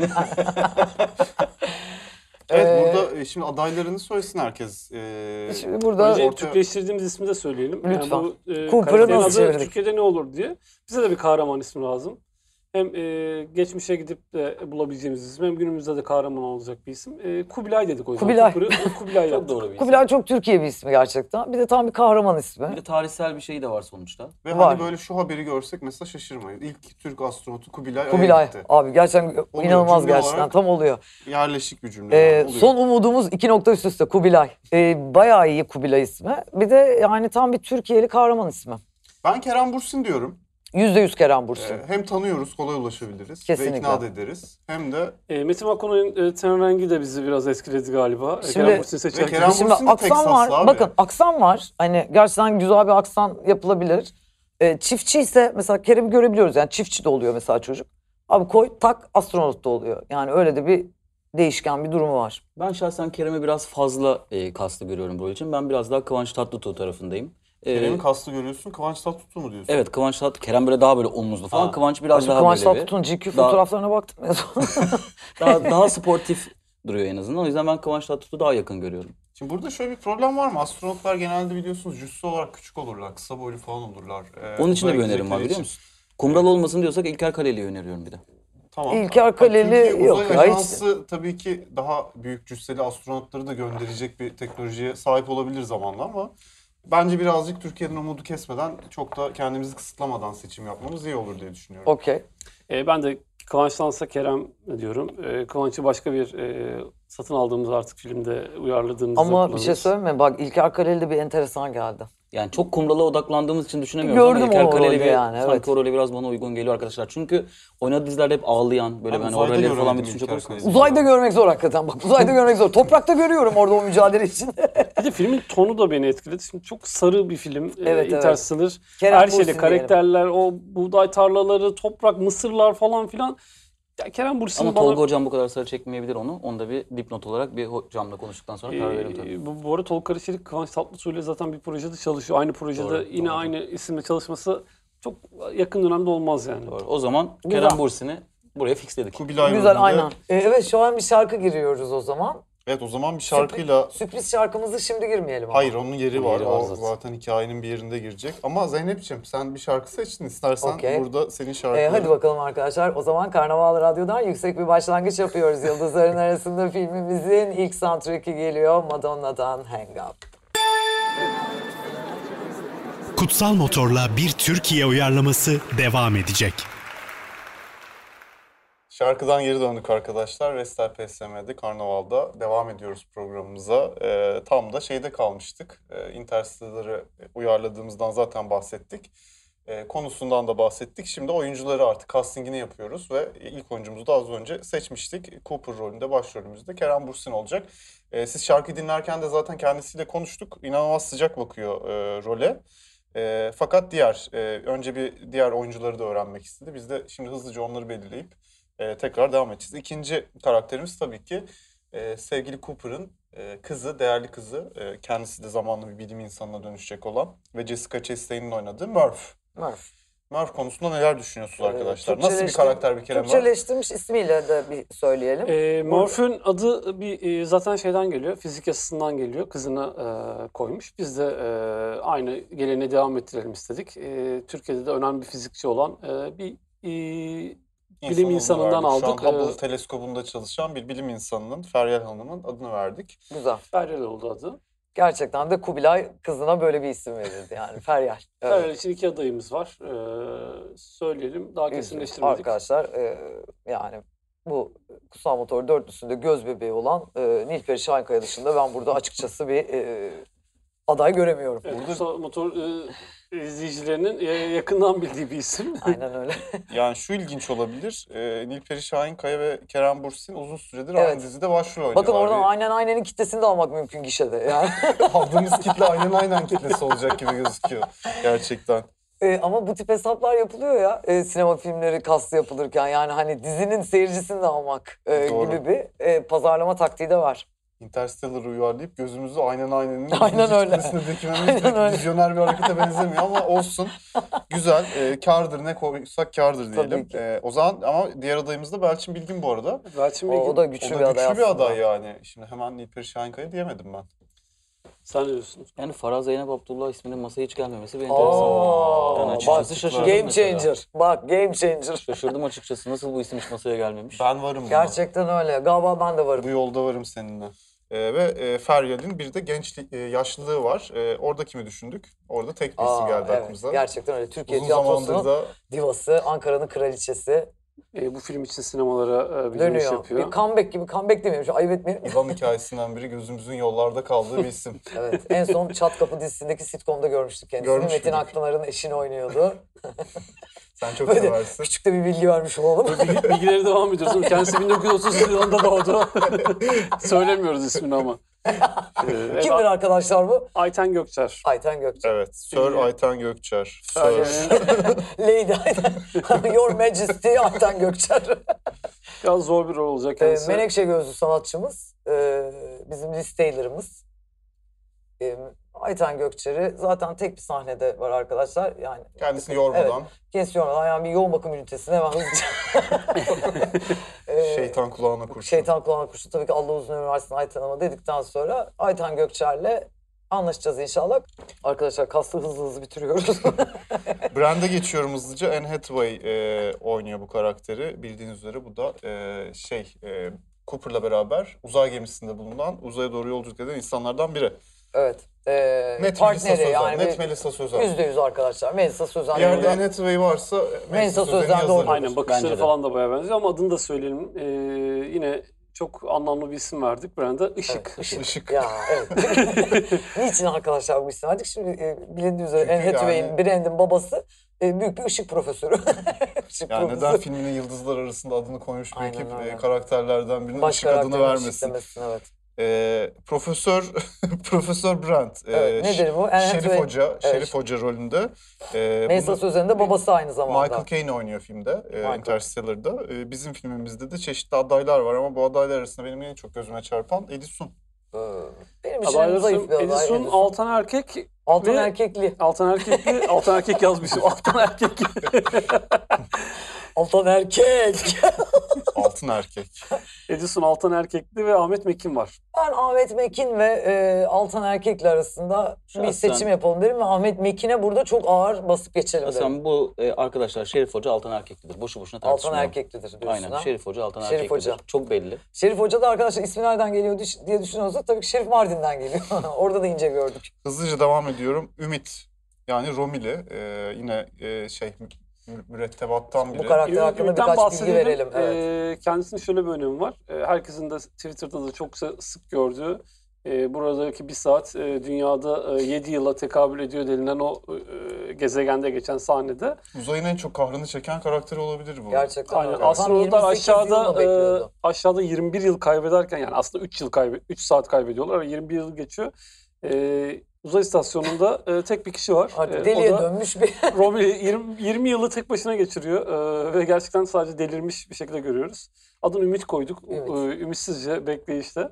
Speaker 2: Evet
Speaker 3: Ee,
Speaker 2: burada e, şimdi adaylarını söylesin herkes. Ee,
Speaker 3: Şimdi burada
Speaker 5: Önce
Speaker 2: Orta-
Speaker 5: Türkleştirdiğimiz ismi de söyleyelim.
Speaker 3: Lütfen.
Speaker 5: bu, e,
Speaker 3: Cooper'ı
Speaker 5: karakterin
Speaker 3: nasıl
Speaker 5: adı
Speaker 3: çevirdik?
Speaker 5: Türkiye'de ne olur diye. Bize de bir kahraman ismi lazım. Hem e, geçmişe gidip de bulabileceğimiz isim hem günümüzde de kahraman olacak bir isim. E, Kubilay dedik o yüzden.
Speaker 3: Kubilay.
Speaker 5: Cooper'ı Kubilay
Speaker 4: Çok
Speaker 5: yaptık.
Speaker 4: doğru bir isim.
Speaker 3: Kubilay çok Türkiye bir ismi gerçekten. Bir de tam bir kahraman ismi.
Speaker 4: Bir de tarihsel bir şey de var sonuçta.
Speaker 2: ve
Speaker 3: var.
Speaker 2: hani böyle şu haberi görsek mesela şaşırmayın. İlk Türk astronotu Kubilay, Ay'a
Speaker 3: Kubilay
Speaker 2: gitti.
Speaker 3: abi gerçekten
Speaker 2: Oluyor,
Speaker 3: inanılmaz
Speaker 2: cümle
Speaker 3: gerçekten
Speaker 2: olarak.
Speaker 3: tam oluyor.
Speaker 2: Yerleşik bir cümle.
Speaker 3: Ee,
Speaker 2: yani, oluyor.
Speaker 3: son umudumuz iki nokta üst üste Kubilay. Ee, bayağı iyi Kubilay ismi. Bir de yani tam bir Türkiye'li kahraman ismi.
Speaker 2: Ben Kerem Bursin diyorum.
Speaker 3: Yüzde yüz Kerem Bursin.
Speaker 2: Ee, hem tanıyoruz, kolay ulaşabiliriz
Speaker 3: Kesinlikle.
Speaker 2: ve ikna da ederiz. Hem de
Speaker 5: E, Metin McConaughey'in e, ten rengi de bizi biraz etkiledi galiba. E,
Speaker 3: Şimdi-
Speaker 5: Kerem Bursin
Speaker 2: Ve
Speaker 5: seçerken.
Speaker 2: Kerem
Speaker 3: Şimdi
Speaker 2: Bursin de
Speaker 3: aksan
Speaker 2: Teksaslı
Speaker 3: var.
Speaker 2: abi.
Speaker 3: Bakın aksan var. Hani gerçekten güzel bir aksan yapılabilir. Ee, çiftçi ise mesela Kerem'i görebiliyoruz. Yani çiftçi de oluyor mesela çocuk. Abi koy tak astronot da oluyor. Yani öyle de bir değişken bir durumu var.
Speaker 4: Ben şahsen Kerem'i biraz fazla e, kaslı görüyorum rol için. Ben biraz daha Kıvanç Tatlıtuğ tarafındayım. E,
Speaker 2: Kerem'in kastı görüyorsun, Kıvanç Tatlıtuğ mu diyorsun?
Speaker 4: Evet Kıvanç Tatlıtuğ, Kerem böyle daha böyle omuzlu falan.
Speaker 3: Ha.
Speaker 4: Kıvanç biraz daha
Speaker 3: Kıvanç
Speaker 4: böyle bir-
Speaker 3: Tatlıtuğ'un GQ
Speaker 4: daha-
Speaker 3: fotoğraflarına baktım ya sonra.
Speaker 4: daha, daha sportif duruyor en azından. O yüzden ben Kıvanç Tatlıtuğ'u daha yakın görüyorum.
Speaker 2: Şimdi burada şöyle bir problem var mı? Astronotlar genelde biliyorsunuz cüssü olarak küçük olurlar, kısa boylu falan olurlar. Ee,
Speaker 4: Onun için de
Speaker 2: uzaya
Speaker 4: bir önerim var
Speaker 2: gidecekleri
Speaker 4: biliyor
Speaker 2: için.
Speaker 4: musun? Kumral olmasın diyorsak İlker Kaleli'yi öneriyorum bir de.
Speaker 2: Tamam.
Speaker 3: İlker Kaleli
Speaker 2: Türkiye Uzay
Speaker 3: yok ya, hiç-
Speaker 2: Ajansı tabii ki daha büyük cüsseli astronotları da gönderecek bir teknolojiye sahip olabilir zamanla ama bence birazcık Türkiye'nin umudu kesmeden çok da kendimizi kısıtlamadan seçim yapmamız iyi olur diye düşünüyorum.
Speaker 3: Okey.
Speaker 5: E, ben de Kıvanç'tansa Kerem diyorum. E, Kıvanç'ı başka bir e, satın aldığımız artık filmde uyarladığımızda
Speaker 3: Ama bir şey
Speaker 5: kullanırız.
Speaker 3: söyleme bak İlker Kaleli de bir enteresan geldi.
Speaker 4: Yani çok Kumral'a odaklandığımız için düşünemiyorum
Speaker 3: Gördüm
Speaker 4: ama İlker
Speaker 3: o
Speaker 4: Kaleli
Speaker 3: rolü
Speaker 4: ve
Speaker 3: yani,
Speaker 4: sanki
Speaker 3: evet.
Speaker 4: o rolü biraz bana uygun geliyor arkadaşlar. Çünkü oynadığı dizilerde hep ağlayan, böyle
Speaker 2: Ben
Speaker 4: ben hani
Speaker 2: uzayda
Speaker 4: oralleri falan bir
Speaker 2: göremedim
Speaker 4: düşünce
Speaker 2: İlker
Speaker 4: koysanız.
Speaker 2: Kaleli.
Speaker 3: Uzayda görmek zor hakikaten bak. Uzayda görmek zor. Toprakta görüyorum orada o mücadele içinde.
Speaker 5: Bir de filmin tonu da beni etkiledi. Şimdi çok sarı bir film. Ee,
Speaker 3: evet.
Speaker 5: Interstellar.
Speaker 3: Kerem
Speaker 5: Her şeyle
Speaker 3: Bürsin
Speaker 5: karakterler, o buğday tarlaları, toprak, mısırlar falan filan. Ya Kerem Bursin
Speaker 4: Ama
Speaker 5: bana...
Speaker 4: Tolga hocam bu kadar sarı çekmeyebilir onu. Onu da bir dipnot olarak bir hocamla konuştuktan sonra karar veririm tabii.
Speaker 5: Ee, bu, bu arada Tolga Karışçelik Kıvanç Tatlıtuğ ile zaten bir projede çalışıyor. Aynı projede
Speaker 4: Doğru,
Speaker 5: yine
Speaker 4: doğru.
Speaker 5: aynı isimle çalışması çok yakın dönemde olmaz yani.
Speaker 4: Doğru. O zaman
Speaker 3: Güzel.
Speaker 4: Kerem Bursin'i buraya fixledik.
Speaker 2: Kubilay
Speaker 3: Güzel
Speaker 2: rolünde-
Speaker 3: aynen. Ee, evet şu an bir şarkı giriyoruz o zaman.
Speaker 2: Evet o zaman bir şarkıyla
Speaker 3: Sürpriz şarkımızı şimdi girmeyelim ama.
Speaker 2: Hayır onun yeri
Speaker 4: Onun
Speaker 2: var.
Speaker 4: yeri var
Speaker 2: o
Speaker 4: zaten.
Speaker 2: zaten. hikayenin bir yerinde girecek. Ama Zeynep'ciğim sen bir şarkı seçtin. İstersen
Speaker 3: Okey.
Speaker 2: burada senin şarkın.
Speaker 3: Ee, hadi bakalım arkadaşlar. O zaman Karnaval Radyo'dan yüksek bir başlangıç yapıyoruz. Yıldızların arasında filmimizin ilk soundtrack'i geliyor. Madonna'dan Hang Up.
Speaker 1: Kutsal Motor'la bir Türkiye uyarlaması devam edecek.
Speaker 2: Şarkıdan geri döndük arkadaşlar. Vestel PSM'de Karnaval'da devam ediyoruz programımıza. Ee, tam da şeyde kalmıştık. Ee, Interstellar'ı uyarladığımızdan zaten bahsettik. Ee, konusundan da bahsettik. Şimdi oyuncuları artık castingini yapıyoruz ve ilk oyuncumuzu da az önce seçmiştik. Cooper rolünde başrolümüzde Kerem Bursin olacak. Ee, siz şarkı dinlerken de zaten kendisiyle konuştuk. İnanılmaz sıcak bakıyor e, role. Ee, fakat diğer, e, önce bir diğer oyuncuları da öğrenmek istedi. Biz de şimdi hızlıca onları belirleyip e, tekrar devam edeceğiz. İkinci karakterimiz tabii ki e, sevgili Cooper'ın e, kızı, değerli kızı, e, kendisi de zamanla bir bilim insanına dönüşecek olan ve Jessica Chastain'in oynadığı Murph.
Speaker 3: Murph.
Speaker 2: Murph konusunda neler düşünüyorsunuz
Speaker 3: Ee,
Speaker 2: arkadaşlar? Nasıl bir
Speaker 3: Türkçeleşti-
Speaker 2: karakter bir kere Murph?
Speaker 3: Türkçeleştirmiş ismiyle de bir söyleyelim.
Speaker 5: Ee, Morph'ün adı bir e, zaten şeyden geliyor, fizik yasasından geliyor. Kızına e, koymuş. Biz de e, aynı geleneği devam ettirelim istedik. E, Türkiye'de de önemli bir fizikçi olan e, bir e, bilim
Speaker 2: İnsanını
Speaker 5: insanından
Speaker 2: verdik. Şu
Speaker 5: aldık.
Speaker 2: an Hubble
Speaker 5: Ee,
Speaker 2: teleskobunda çalışan bir bilim insanının, Feryal Hanım'ın adını verdik.
Speaker 3: Güzel.
Speaker 5: Feryal oldu adı.
Speaker 3: Gerçekten de Kubilay kızına böyle bir isim verildi yani Feryal. Evet.
Speaker 5: Feryal için iki adayımız var. Ee, söyleyelim. Daha
Speaker 3: Üzgünüm
Speaker 5: kesinleştirmedik.
Speaker 3: Arkadaşlar e, yani bu kutsal motor dörtlüsünde göz bebeği olan e, Nilperi Şahinkaya dışında ben burada açıkçası bir e, aday göremiyorum.
Speaker 5: Evet, Kutsal motor e, izleyicilerinin e, yakından bildiği bir isim.
Speaker 3: Aynen öyle.
Speaker 2: Yani şu ilginç olabilir. E, Nilperi Şahinkaya ve Kerem Bursin uzun süredir
Speaker 3: Evet.
Speaker 2: aynı dizide başrol oynuyorlar.
Speaker 3: Bakın oradan
Speaker 2: Bir-
Speaker 3: aynen aynenin kitlesini de almak mümkün gişede. Yani.
Speaker 2: Aldığımız kitle aynen aynen kitlesi olacak gibi gözüküyor gerçekten.
Speaker 3: E, ama bu tip hesaplar yapılıyor ya e, sinema filmleri kastı yapılırken yani hani dizinin seyircisini de almak e,
Speaker 2: Doğru.
Speaker 3: gibi bir e, pazarlama taktiği de var.
Speaker 2: Interstellar'ı uyarlayıp gözümüzü aynen aynenin
Speaker 3: Aynen
Speaker 2: ikinci
Speaker 3: öyle.
Speaker 2: kitlesine dökmemiz
Speaker 3: Aynen
Speaker 2: pek
Speaker 3: öyle.
Speaker 2: vizyoner bir harekete benzemiyor ama olsun. Güzel. E, kardır ne koysak kardır
Speaker 3: Tabii
Speaker 2: diyelim.
Speaker 3: ki.
Speaker 2: E, o zaman ama diğer adayımız da Belçin Bilgin bu arada.
Speaker 5: Belçin
Speaker 3: O,
Speaker 5: Bilgin.
Speaker 3: o da güçlü
Speaker 2: o da
Speaker 3: bir aday
Speaker 2: güçlü bir
Speaker 3: aslında.
Speaker 2: aday yani. Şimdi hemen Nilperi Şahinkaya diyemedim ben.
Speaker 5: Sen ne diyorsun?
Speaker 4: Yani Farah Zeynep Abdullah isminin masaya hiç gelmemesi beni
Speaker 3: Aa,
Speaker 4: enteresan. Ben açıkçası
Speaker 2: bak,
Speaker 4: şaşırdım
Speaker 3: Game
Speaker 4: mesela.
Speaker 3: changer. Bak game changer.
Speaker 4: Şaşırdım açıkçası. Nasıl bu isim hiç masaya gelmemiş?
Speaker 2: Ben varım buna.
Speaker 3: Gerçekten öyle. Galiba ben de varım.
Speaker 2: Bu yolda varım seninle. E, ve e, Feryal'in bir de gençlik, e, yaşlılığı var. E, orada kimi düşündük? Orada tek bir isim
Speaker 3: Aa,
Speaker 2: geldi
Speaker 3: evet.
Speaker 2: aklımıza.
Speaker 3: Gerçekten öyle. Türkiye
Speaker 2: Uzun zamandır
Speaker 3: tiyatrosunun
Speaker 2: da
Speaker 3: divası, Ankara'nın kraliçesi
Speaker 5: E, bu film için sinemalara e, bir dönüş
Speaker 3: dönüyor.
Speaker 5: yapıyor.
Speaker 3: Bir comeback gibi comeback demiyorum. Şu ayıp etmeyelim.
Speaker 2: İvan hikayesinden biri gözümüzün yollarda kaldığı bir isim.
Speaker 3: evet. En son Çat Kapı dizisindeki sitcom'da görmüştük kendisini.
Speaker 2: Görmüş
Speaker 3: Metin
Speaker 2: müydük?
Speaker 3: Akpınar'ın eşini oynuyordu.
Speaker 2: Sen çok
Speaker 3: Böyle
Speaker 2: seversin.
Speaker 3: küçük de bir bilgi vermiş olalım.
Speaker 5: Bilgi- Bilgileri devam ediyoruz. Değil mi? Kendisi 1930 yılında doğdu. Söylemiyoruz ismini ama. Ee,
Speaker 3: Kimdir arkadaşlar bu?
Speaker 5: Ayten Gökçer. Ee,
Speaker 3: Ayten Gökçe.
Speaker 2: Evet.
Speaker 3: Ee,
Speaker 2: Sir Ayten Gökçer. Sir.
Speaker 5: Yani
Speaker 3: Lady Ayten. Your Majesty Ayten Gökçer.
Speaker 5: biraz zor bir rol olacak
Speaker 3: Ee,
Speaker 5: kendisi.
Speaker 3: Menekşe gözlü sanatçımız, e, bizim Liz Taylor'ımız. E, Ayten Gökçer'i zaten tek bir sahnede var arkadaşlar. Yani
Speaker 2: Kendisini yormadan
Speaker 3: kesiyor ama yani bir yoğun bakım ünitesine hemen hızlıca. Ee,
Speaker 2: şeytan kulağına kurşun.
Speaker 3: Şeytan kulağına kurşun. Tabii ki Allah uzun ömür versin Ayten ama dedikten sonra Ayten Gökçer'le anlaşacağız inşallah. Arkadaşlar kastı hızlı hızlı bitiriyoruz.
Speaker 2: Brand'e geçiyorum hızlıca. Anne Hathaway e, oynuyor bu karakteri. Bildiğiniz üzere bu da e, şey e, Cooper'la beraber uzay gemisinde bulunan, uzaya doğru yolculuk eden insanlardan biri.
Speaker 3: evet. Ee,
Speaker 2: Net Melisa
Speaker 3: partneri
Speaker 2: Sözen.
Speaker 3: yani
Speaker 2: Net
Speaker 3: bir-
Speaker 2: Melisa Sözen.
Speaker 3: yüzde yüz arkadaşlar. Melisa Sözen.
Speaker 2: Bir yerde hani-
Speaker 3: burada.
Speaker 2: Anne Hathaway varsa e, Melisa
Speaker 3: Melisa
Speaker 2: Sözen'i
Speaker 3: Sözen de
Speaker 2: yazarım.
Speaker 3: orada.
Speaker 5: Aynen bakışları
Speaker 4: Bence de.
Speaker 5: falan da bayağı benziyor ama adını da söyleyelim. Ee, yine çok anlamlı bir isim verdik. Brand'a Işık. Işık.
Speaker 3: Ya evet. Niçin arkadaşlar bu isim verdik? Şimdi e, bilindiği üzere
Speaker 2: Çünkü
Speaker 3: Anne Hathaway'in,
Speaker 2: yani-
Speaker 3: Brand'in babası e, büyük bir ışık profesörü. ışık
Speaker 2: Yani neden
Speaker 3: profesörü.
Speaker 2: filminin yıldızlar arasında adını koymuş bir
Speaker 3: Aynen
Speaker 2: ekip e,
Speaker 3: öyle.
Speaker 2: karakterlerden birinin
Speaker 3: Baş
Speaker 2: ışık adını
Speaker 3: karakterin ışık
Speaker 2: vermesin.
Speaker 3: demesin, evet.
Speaker 2: Ee, Profesör Profesör Brandt. e,
Speaker 3: Evet, nedir bu? Anne
Speaker 2: Şerif
Speaker 3: Hathaway-
Speaker 2: Hoca, Şerif
Speaker 3: Şerif-
Speaker 2: Hoca rolünde. Ee,
Speaker 3: Mesa
Speaker 2: bunu-
Speaker 3: Sözen'de babası aynı zamanda.
Speaker 2: Michael Caine oynuyor filmde, e,
Speaker 3: Michael.
Speaker 2: Interstellar'da. E, bizim filmimizde de çeşitli adaylar var ama bu adaylar arasında benim en çok gözüme çarpan Edison.
Speaker 3: Ee, Benim için en
Speaker 5: Adaylar
Speaker 3: zayıf bir
Speaker 5: arasında
Speaker 3: aday.
Speaker 5: Edison, Altan Erkek,
Speaker 3: Altın
Speaker 5: ve-
Speaker 3: erkekli.
Speaker 5: Altan Erkekli, Altan Erkek yazmışım. Altan Erkekli.
Speaker 3: Altan erkek.
Speaker 2: Altın erkek.
Speaker 5: Edison, Altan Erkekli ve Ahmet Mekin var.
Speaker 3: ben Ahmet Mekin ve e, Altan Erkekli arasında bir
Speaker 4: Şahsen-
Speaker 3: seçim yapalım derim ve Ahmet Mekin'e burada çok ağır basıp geçelim derim.
Speaker 4: Aslında bu e, arkadaşlar Şerif Hoca Altan Erkeklidir. Boşu boşuna
Speaker 3: Altan
Speaker 4: tartışmayalım.
Speaker 3: Erkeklidir diyorsun
Speaker 4: Aynen.
Speaker 3: ha?
Speaker 4: Şerif Hoca Altan
Speaker 3: Şerif
Speaker 4: Erkeklidir.
Speaker 3: Hoca.
Speaker 4: Çok belli.
Speaker 3: Şerif Hoca da arkadaşlar ismi nereden geliyor düş- diye düşünüyorsa tabii ki Şerif Mardin'den geliyor. Orada da ince gördük.
Speaker 2: Hızlıca devam ediyorum. Ümit yani Romili e, yine e, şey mü- mürettebattan biri.
Speaker 3: Bu karakter
Speaker 5: Ümit-
Speaker 3: hakkında
Speaker 5: Ümit'ten
Speaker 3: birkaç bilgi
Speaker 5: bahsedelim.
Speaker 3: verelim. Evet.
Speaker 5: Ee, Kendisinin şöyle bir önemi var. Ee, Herkesin de Twitter'da da çok sı- sık gördüğü e, buradaki bir saat e, dünyada 7 yıla tekabül ediyor denilen o e, gezegende geçen sahnede.
Speaker 2: Uzayın en çok kahrını çeken karakteri olabilir bu.
Speaker 3: Gerçekten
Speaker 5: Aynen.
Speaker 3: öyle.
Speaker 5: Astronotlar
Speaker 3: Tam 28 yılını
Speaker 5: aşağıda e,
Speaker 3: bekliyordu.
Speaker 5: aşağıda 21 yıl kaybederken yani aslında 3 yıl kaybe 3 saat kaybediyorlar ama 21 yıl geçiyor. E, uzay istasyonunda e, tek bir kişi var. E,
Speaker 3: Artık
Speaker 5: o
Speaker 3: deliye
Speaker 5: da-
Speaker 3: dönmüş bir
Speaker 5: Robbie 20, 20 yılı tek başına geçiriyor eee, ve gerçekten sadece delirmiş bir şekilde görüyoruz. Adını Ümit koyduk.
Speaker 3: Evet.
Speaker 5: Eee, ümitsizce bekleyişte.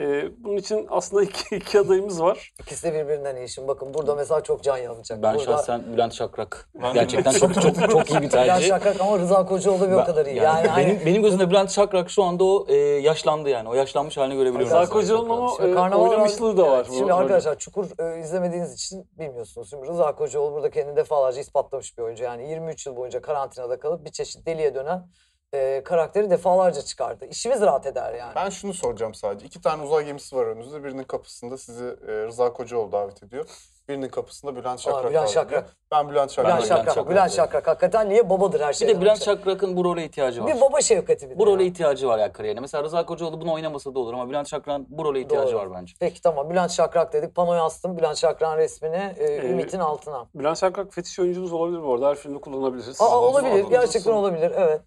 Speaker 5: Eee, bunun için aslında iki, iki adayımız var.
Speaker 3: ikisi de birbirinden iyi. Şimdi bakın burada mesela çok can yanacak.
Speaker 4: Ben
Speaker 3: burada...
Speaker 4: şahsen Bülent Şakrak.
Speaker 2: Ben de
Speaker 4: Gerçekten çok çok çok iyi bir
Speaker 3: Bilal
Speaker 4: tercih.
Speaker 3: Şakrak ama Rıza Kocaoğlu bir o
Speaker 4: Ben-
Speaker 3: kadar iyi.
Speaker 4: yani
Speaker 3: Yani, hani-
Speaker 4: benim, benim gözümde Bülent Şakrak şu anda o e, yaşlandı yani. O yaşlanmış halini görebiliyorum.
Speaker 5: Rıza Kocaoğlu'nun
Speaker 4: Şakrak'ın.
Speaker 5: ama-
Speaker 3: Şimdi
Speaker 5: e,
Speaker 3: Karnaval
Speaker 5: oynamışlığı da var
Speaker 3: Evet,
Speaker 5: bu
Speaker 3: Şimdi
Speaker 5: rolde.
Speaker 3: arkadaşlar Çukur e, izlemediğiniz için bilmiyorsunuz. Şimdi Rıza Kocaoğlu burada kendini defalarca ispatlamış bir oyuncu. Yani 23 yıl boyunca karantinada kalıp bir çeşit deliye dönen e, karakteri defalarca çıkardı. İşimiz rahat eder yani.
Speaker 2: Ben şunu soracağım sadece. İki tane uzay gemisi var önünüzde. Birinin kapısında sizi e, Rıza Kocaoğlu davet ediyor. Birinin kapısında Bülent Şakrak
Speaker 3: Bülent
Speaker 2: davet
Speaker 3: Şakrak.
Speaker 2: ediyor. Ben Bülent Şakrak.
Speaker 3: Bülent
Speaker 4: Bülent
Speaker 3: Şakrak.
Speaker 4: Şakrak.
Speaker 3: Bülent Şakrak. Hakikaten niye babadır her
Speaker 4: Bir
Speaker 3: şeyden?
Speaker 4: de Bülent
Speaker 3: önce.
Speaker 4: Şakrak'ın bu role ihtiyacı var.
Speaker 3: Bir baba şefkati bir de
Speaker 4: Bu role
Speaker 3: ya.
Speaker 4: ihtiyacı var ya kariyerine. Mesela Rıza Kocaoğlu bunu oynamasa da olur ama Bülent Şakrak'ın bu role ihtiyacı
Speaker 3: Doğru.
Speaker 4: var bence.
Speaker 3: Peki tamam Bülent Şakrak dedik. Panoya astım Bülent Şakrak'ın resmini e, Ümit'in altına.
Speaker 5: Bülent Şakrak fetiş oyuncumuz olabilir bu arada. Her filmde kullanabiliriz.
Speaker 3: Aa
Speaker 2: olmaz,
Speaker 3: olabilir.
Speaker 2: olmaz.
Speaker 3: Gerçekten olabilir. Evet.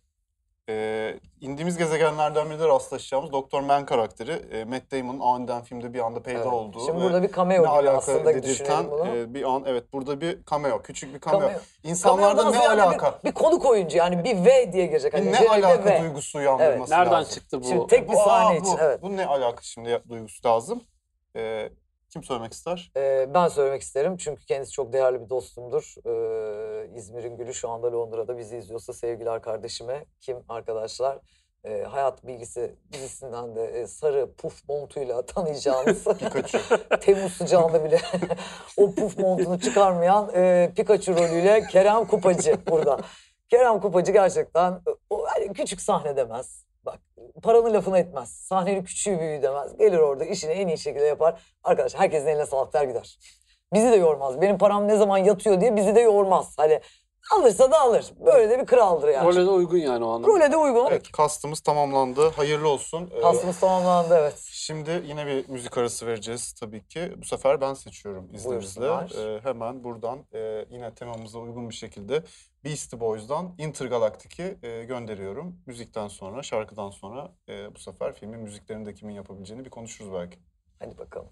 Speaker 2: Ee, indiğimiz gezegenlerden birinde rastlaşacağımız Doktor Man karakteri e, Matt Damon'ın aniden filmde bir anda peyda
Speaker 3: evet.
Speaker 2: olduğu
Speaker 3: Şimdi
Speaker 2: ve
Speaker 3: burada bir cameo
Speaker 2: ne
Speaker 3: gibi
Speaker 2: alaka
Speaker 3: aslında düşünelim
Speaker 2: dedirten
Speaker 3: bunu.
Speaker 2: e, bir an evet burada bir cameo küçük bir cameo.
Speaker 3: Cameo.
Speaker 2: İnsanlarda
Speaker 3: Kameradan
Speaker 2: ne
Speaker 3: ziyade
Speaker 2: alaka?
Speaker 3: Bir, bir konuk oyuncu yani bir V diye gelecek.
Speaker 2: Bir
Speaker 3: Hani
Speaker 2: ne
Speaker 3: Jerry de
Speaker 2: alaka
Speaker 3: V.
Speaker 2: duygusu uyandırması
Speaker 5: Nereden
Speaker 2: lazım.
Speaker 5: çıktı bu?
Speaker 3: Şimdi tek bir
Speaker 2: Bu, aa,
Speaker 3: sahne
Speaker 2: bu,
Speaker 3: için evet.
Speaker 2: bu ne alaka şimdi ya- duygusu lazım. Ee, kim söylemek ister?
Speaker 3: Ee, ben söylemek isterim çünkü kendisi çok değerli bir dostumdur. Ee, İzmir'in gülü şu anda Londra'da bizi izliyorsa sevgiler kardeşime. Kim arkadaşlar? Ee, hayat bilgisi dizisinden de e, sarı puf montuyla tanıyacağınız
Speaker 2: Pikachu.
Speaker 3: Temmuz sıcağında bile o puf montunu çıkarmayan e, Pikachu rolüyle Kerem Kupacı burada. Kerem Kupacı gerçekten e, o, hani küçük sahne demez. Bak paranın lafını etmez. Sahnenin küçüğü büyüğü demez. Gelir orada işini en iyi şekilde yapar. Arkadaş herkesin eline sağlık der gider. Bizi de yormaz. Benim param ne zaman yatıyor diye bizi de yormaz. Hani alırsa da alır. Böyle de bir kraldır yani.
Speaker 5: Role de uygun yani o anlamda.
Speaker 3: Role de uygun.
Speaker 2: Evet kastımız tamamlandı. Hayırlı olsun. Ee,
Speaker 3: Kastımız tamamlandı evet.
Speaker 2: Şimdi yine bir müzik arası vereceğiz tabii ki. Bu sefer ben seçiyorum izninizle.
Speaker 3: Buyursunlar.
Speaker 2: Ee, hemen buradan e, yine temamıza uygun bir şekilde Beastie Boys'dan Intergalactic'i e, gönderiyorum. Müzikten sonra, şarkıdan sonra e, bu sefer filmin müziklerini de kimin yapabileceğini bir konuşuruz belki.
Speaker 3: Hadi bakalım.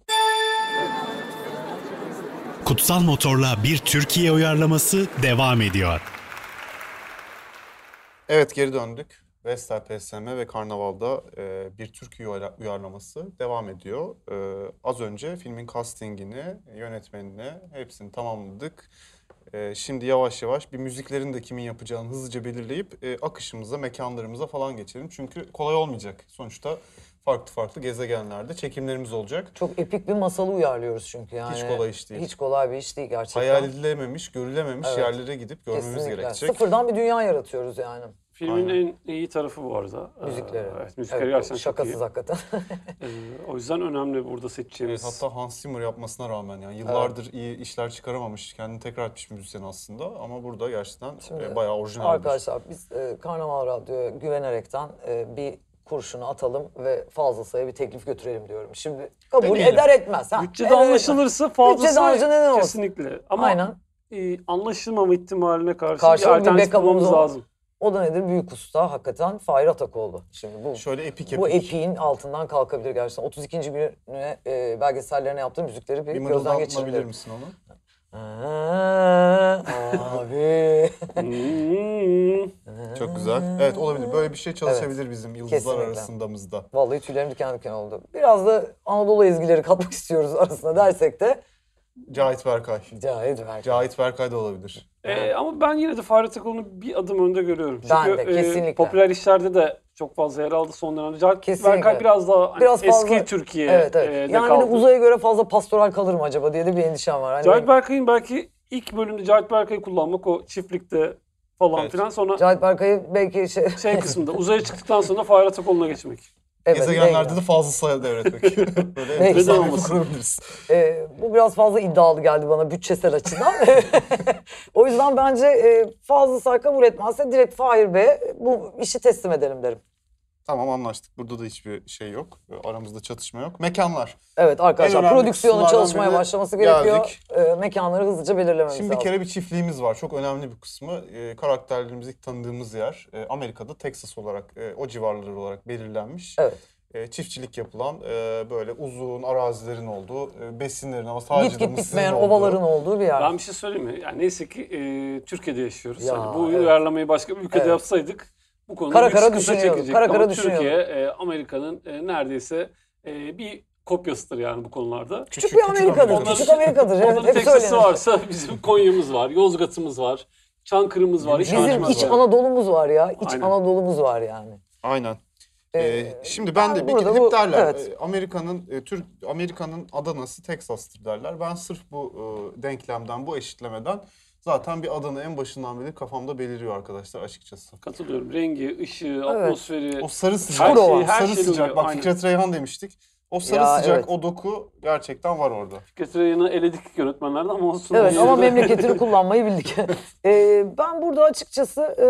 Speaker 1: Kutsal Motor'la bir Türkiye uyarlaması devam ediyor.
Speaker 2: Evet geri döndük. Vestel PSM ve Karnaval'da e, bir türkü uyar- uyarlaması devam ediyor. E, az önce filmin castingini, yönetmenini hepsini tamamladık. E, şimdi yavaş yavaş bir müziklerin de kimin yapacağını hızlıca belirleyip e, akışımıza, mekanlarımıza falan geçelim. Çünkü kolay olmayacak. Sonuçta farklı farklı gezegenlerde çekimlerimiz olacak.
Speaker 3: Çok epik bir masalı uyarlıyoruz çünkü yani.
Speaker 2: kolay iş değil.
Speaker 3: Hiç kolay bir iş değil gerçekten.
Speaker 2: Hayal edilememiş, görülememiş yerlere gidip görmemiz
Speaker 3: Kesinlikle.
Speaker 2: gerekecek.
Speaker 3: Sıfırdan bir dünya yaratıyoruz yani
Speaker 5: Filmin
Speaker 2: Aynen.
Speaker 5: en iyi tarafı bu arada. Ee,
Speaker 3: müzikleri.
Speaker 5: Evet, müzikleri
Speaker 3: Evet,
Speaker 5: gerçekten
Speaker 3: Şakasız
Speaker 5: çok iyi.
Speaker 3: hakikaten.
Speaker 5: Ee, o yüzden önemli burada
Speaker 2: Evet,
Speaker 5: seçeceğimiz.
Speaker 2: hatta Hans Zimmer yapmasına rağmen yani yıllardır iyi işler çıkaramamış, kendini tekrar etmiş bir müzisyen aslında ama burada gerçekten
Speaker 3: Şimdi
Speaker 2: e, bayağı orijinal bir-
Speaker 3: Arkadaşlar biz e, Karnaval Radyo'ya güvenerekten e, bir kurşunu atalım ve fazlasaya bir teklif götürelim diyorum. Şimdi kabul
Speaker 2: Deneyelim.
Speaker 3: eder etmez. Ha, e,
Speaker 5: Bütçede
Speaker 3: eder etmez.
Speaker 5: anlaşılırsa
Speaker 3: Bütçede
Speaker 5: fazlası
Speaker 3: anlaşılan ne olsun?
Speaker 5: kesinlikle. Ama
Speaker 3: Aynen.
Speaker 5: e, anlaşılmama ihtimaline karşı,
Speaker 3: Karşı bir
Speaker 5: bir alternatif
Speaker 3: backup'ımız
Speaker 5: bulmamız
Speaker 3: ol-
Speaker 5: lazım.
Speaker 3: O da nedir? Büyük usta hakikaten Fahir Atakoğlu. Şimdi bu
Speaker 2: Şöyle epik
Speaker 3: bu
Speaker 2: epik.
Speaker 3: epiğin altından kalkabilir gerçekten. 32. gününe e, belgesellerine yaptığı müzikleri bir,
Speaker 2: Bir
Speaker 3: gözden
Speaker 2: mırıldanabilir
Speaker 3: geçirebilirim.
Speaker 2: misin onu?
Speaker 3: Aa, Abi.
Speaker 5: Hmm.
Speaker 2: Çok güzel. Evet olabilir. Böyle bir şey çalışabilir bizim yıldızlar
Speaker 3: Kesinlikle.
Speaker 2: arasındamızda.
Speaker 3: Vallahi tüylerim diken diken oldu. Biraz da Anadolu ezgileri katmak istiyoruz arasına dersek de
Speaker 2: Cahit Berkay.
Speaker 3: Cahit Berk.
Speaker 2: Cahit Berkay da olabilir.
Speaker 5: E, ama ben yine de Fahri Takıl'ını bir adım önde görüyorum.
Speaker 3: Ben
Speaker 5: Çünkü e,
Speaker 3: de, kesinlikle.
Speaker 5: popüler işlerde de çok fazla yer aldı son dönemde. Cahit
Speaker 3: Kesinlikle.
Speaker 5: Berkay biraz daha hani
Speaker 3: Biraz fazla-
Speaker 5: eski Türkiye
Speaker 3: Evet evet.
Speaker 5: e, de
Speaker 3: yani hani
Speaker 5: kaldı.
Speaker 3: uzaya göre fazla pastoral kalır mı acaba diye de bir endişem var. Hani
Speaker 5: Cahit Berkay'ın belki ilk bölümde Cahit Berkay'ı kullanmak o çiftlikte falan
Speaker 2: Evet.
Speaker 5: filan sonra
Speaker 3: Cahit Berkay'ı belki şey...
Speaker 5: şey kısmında uzaya çıktıktan sonra Fahri Atakoğlu'na geçmek.
Speaker 3: Evet,
Speaker 2: Gezegenlerde
Speaker 3: belki.
Speaker 2: de fazla sayıda devretmek. Böyle
Speaker 3: Belki.
Speaker 2: enteresan bir
Speaker 5: Olmasın.
Speaker 2: kurabiliriz.
Speaker 3: Ee, bu biraz fazla iddialı geldi bana bütçesel açıdan. o yüzden bence e, fazla sarkam üretmezse direkt Fahir Bey'e bu işi teslim edelim derim.
Speaker 2: Tamam anlaştık. Burada da hiçbir şey yok. Aramızda çatışma yok. Mekanlar.
Speaker 3: Evet
Speaker 2: En
Speaker 3: arkadaşlar
Speaker 2: önemli
Speaker 3: prodüksiyonun
Speaker 2: kısımlardan
Speaker 3: çalışmaya
Speaker 2: birine
Speaker 3: başlaması gerekiyor.
Speaker 2: geldik.
Speaker 3: Ee, mekanları hızlıca belirlememiz
Speaker 2: Şimdi bir
Speaker 3: lazım.
Speaker 2: kere bir çiftliğimiz var. Çok önemli bir kısmı. Ee, karakterlerimizi ilk tanıdığımız yer. e, Amerika'da Texas olarak, e, o civarları olarak belirlenmiş.
Speaker 3: Evet.
Speaker 2: E, çiftçilik yapılan, e, böyle uzun arazilerin olduğu, e, besinlerin ama sadece
Speaker 3: Git git bitmeyen ovaların olduğu bir yer.
Speaker 5: Ben bir şey söyleyeyim mi? Yani neyse ki e, Türkiye'de yaşıyoruz.
Speaker 3: Ya,
Speaker 5: Hani bu
Speaker 3: evet.
Speaker 5: uyarlamayı başka bir ülkede
Speaker 3: Evet.
Speaker 5: yapsaydık bu konuda
Speaker 3: Kara
Speaker 5: büyük
Speaker 3: kara
Speaker 5: sıkıntı
Speaker 3: düşünüyorduk,
Speaker 5: çekecektik.
Speaker 3: kara kara
Speaker 5: Ama Türkiye e, Amerika'nın e, neredeyse e, bir kopyasıdır yani bu konularda.
Speaker 3: küçük, bir Amerika'dır.
Speaker 5: Amerika.
Speaker 3: Küçük Amerika'dır. Evet,
Speaker 5: Onların
Speaker 3: hep
Speaker 5: Texas'ı
Speaker 3: söylenir.
Speaker 5: varsa bizim Konya'mız var, Yozgat'ımız var, Çankırı'mız var,
Speaker 2: Bizim
Speaker 3: Bizim
Speaker 5: İstanbul'umuz
Speaker 3: iç
Speaker 5: var.
Speaker 3: Anadolu'muz var ya. İç
Speaker 5: Aynen.
Speaker 3: Anadolu'muz var yani.
Speaker 2: Aynen.
Speaker 3: Ee,
Speaker 2: Ee, şimdi ben de
Speaker 3: ben
Speaker 2: bir
Speaker 3: burada
Speaker 2: gidip
Speaker 3: bu-
Speaker 2: derler.
Speaker 3: evet.
Speaker 2: e, Amerika'nın e, Türk Amerika'nın Adana'sı Texas'tır derler. Ben sırf bu e, denklemden, bu eşitlemeden zaten bir Adana en başından beri kafamda beliriyor arkadaşlar açıkçası.
Speaker 5: Katılıyorum. Rengi, ışığı, atmosferi.
Speaker 2: O sarı sıcak,
Speaker 5: E, Her
Speaker 2: o
Speaker 5: şey- her
Speaker 2: sarı
Speaker 5: şey
Speaker 2: sıcak.
Speaker 5: duyuyor,
Speaker 2: Bak
Speaker 5: aynen.
Speaker 2: Fikret Reyhan demiştik. O sarı
Speaker 3: Ya,
Speaker 2: sıcak,
Speaker 3: evet.
Speaker 2: o doku gerçekten var orada.
Speaker 5: Fikret Reyhan'ı eledik yönetmenlerden ama olsun.
Speaker 3: Evet
Speaker 5: Yine
Speaker 3: ama
Speaker 5: de-
Speaker 3: memleketini kullanmayı bildik. Ee, ben burada açıkçası e,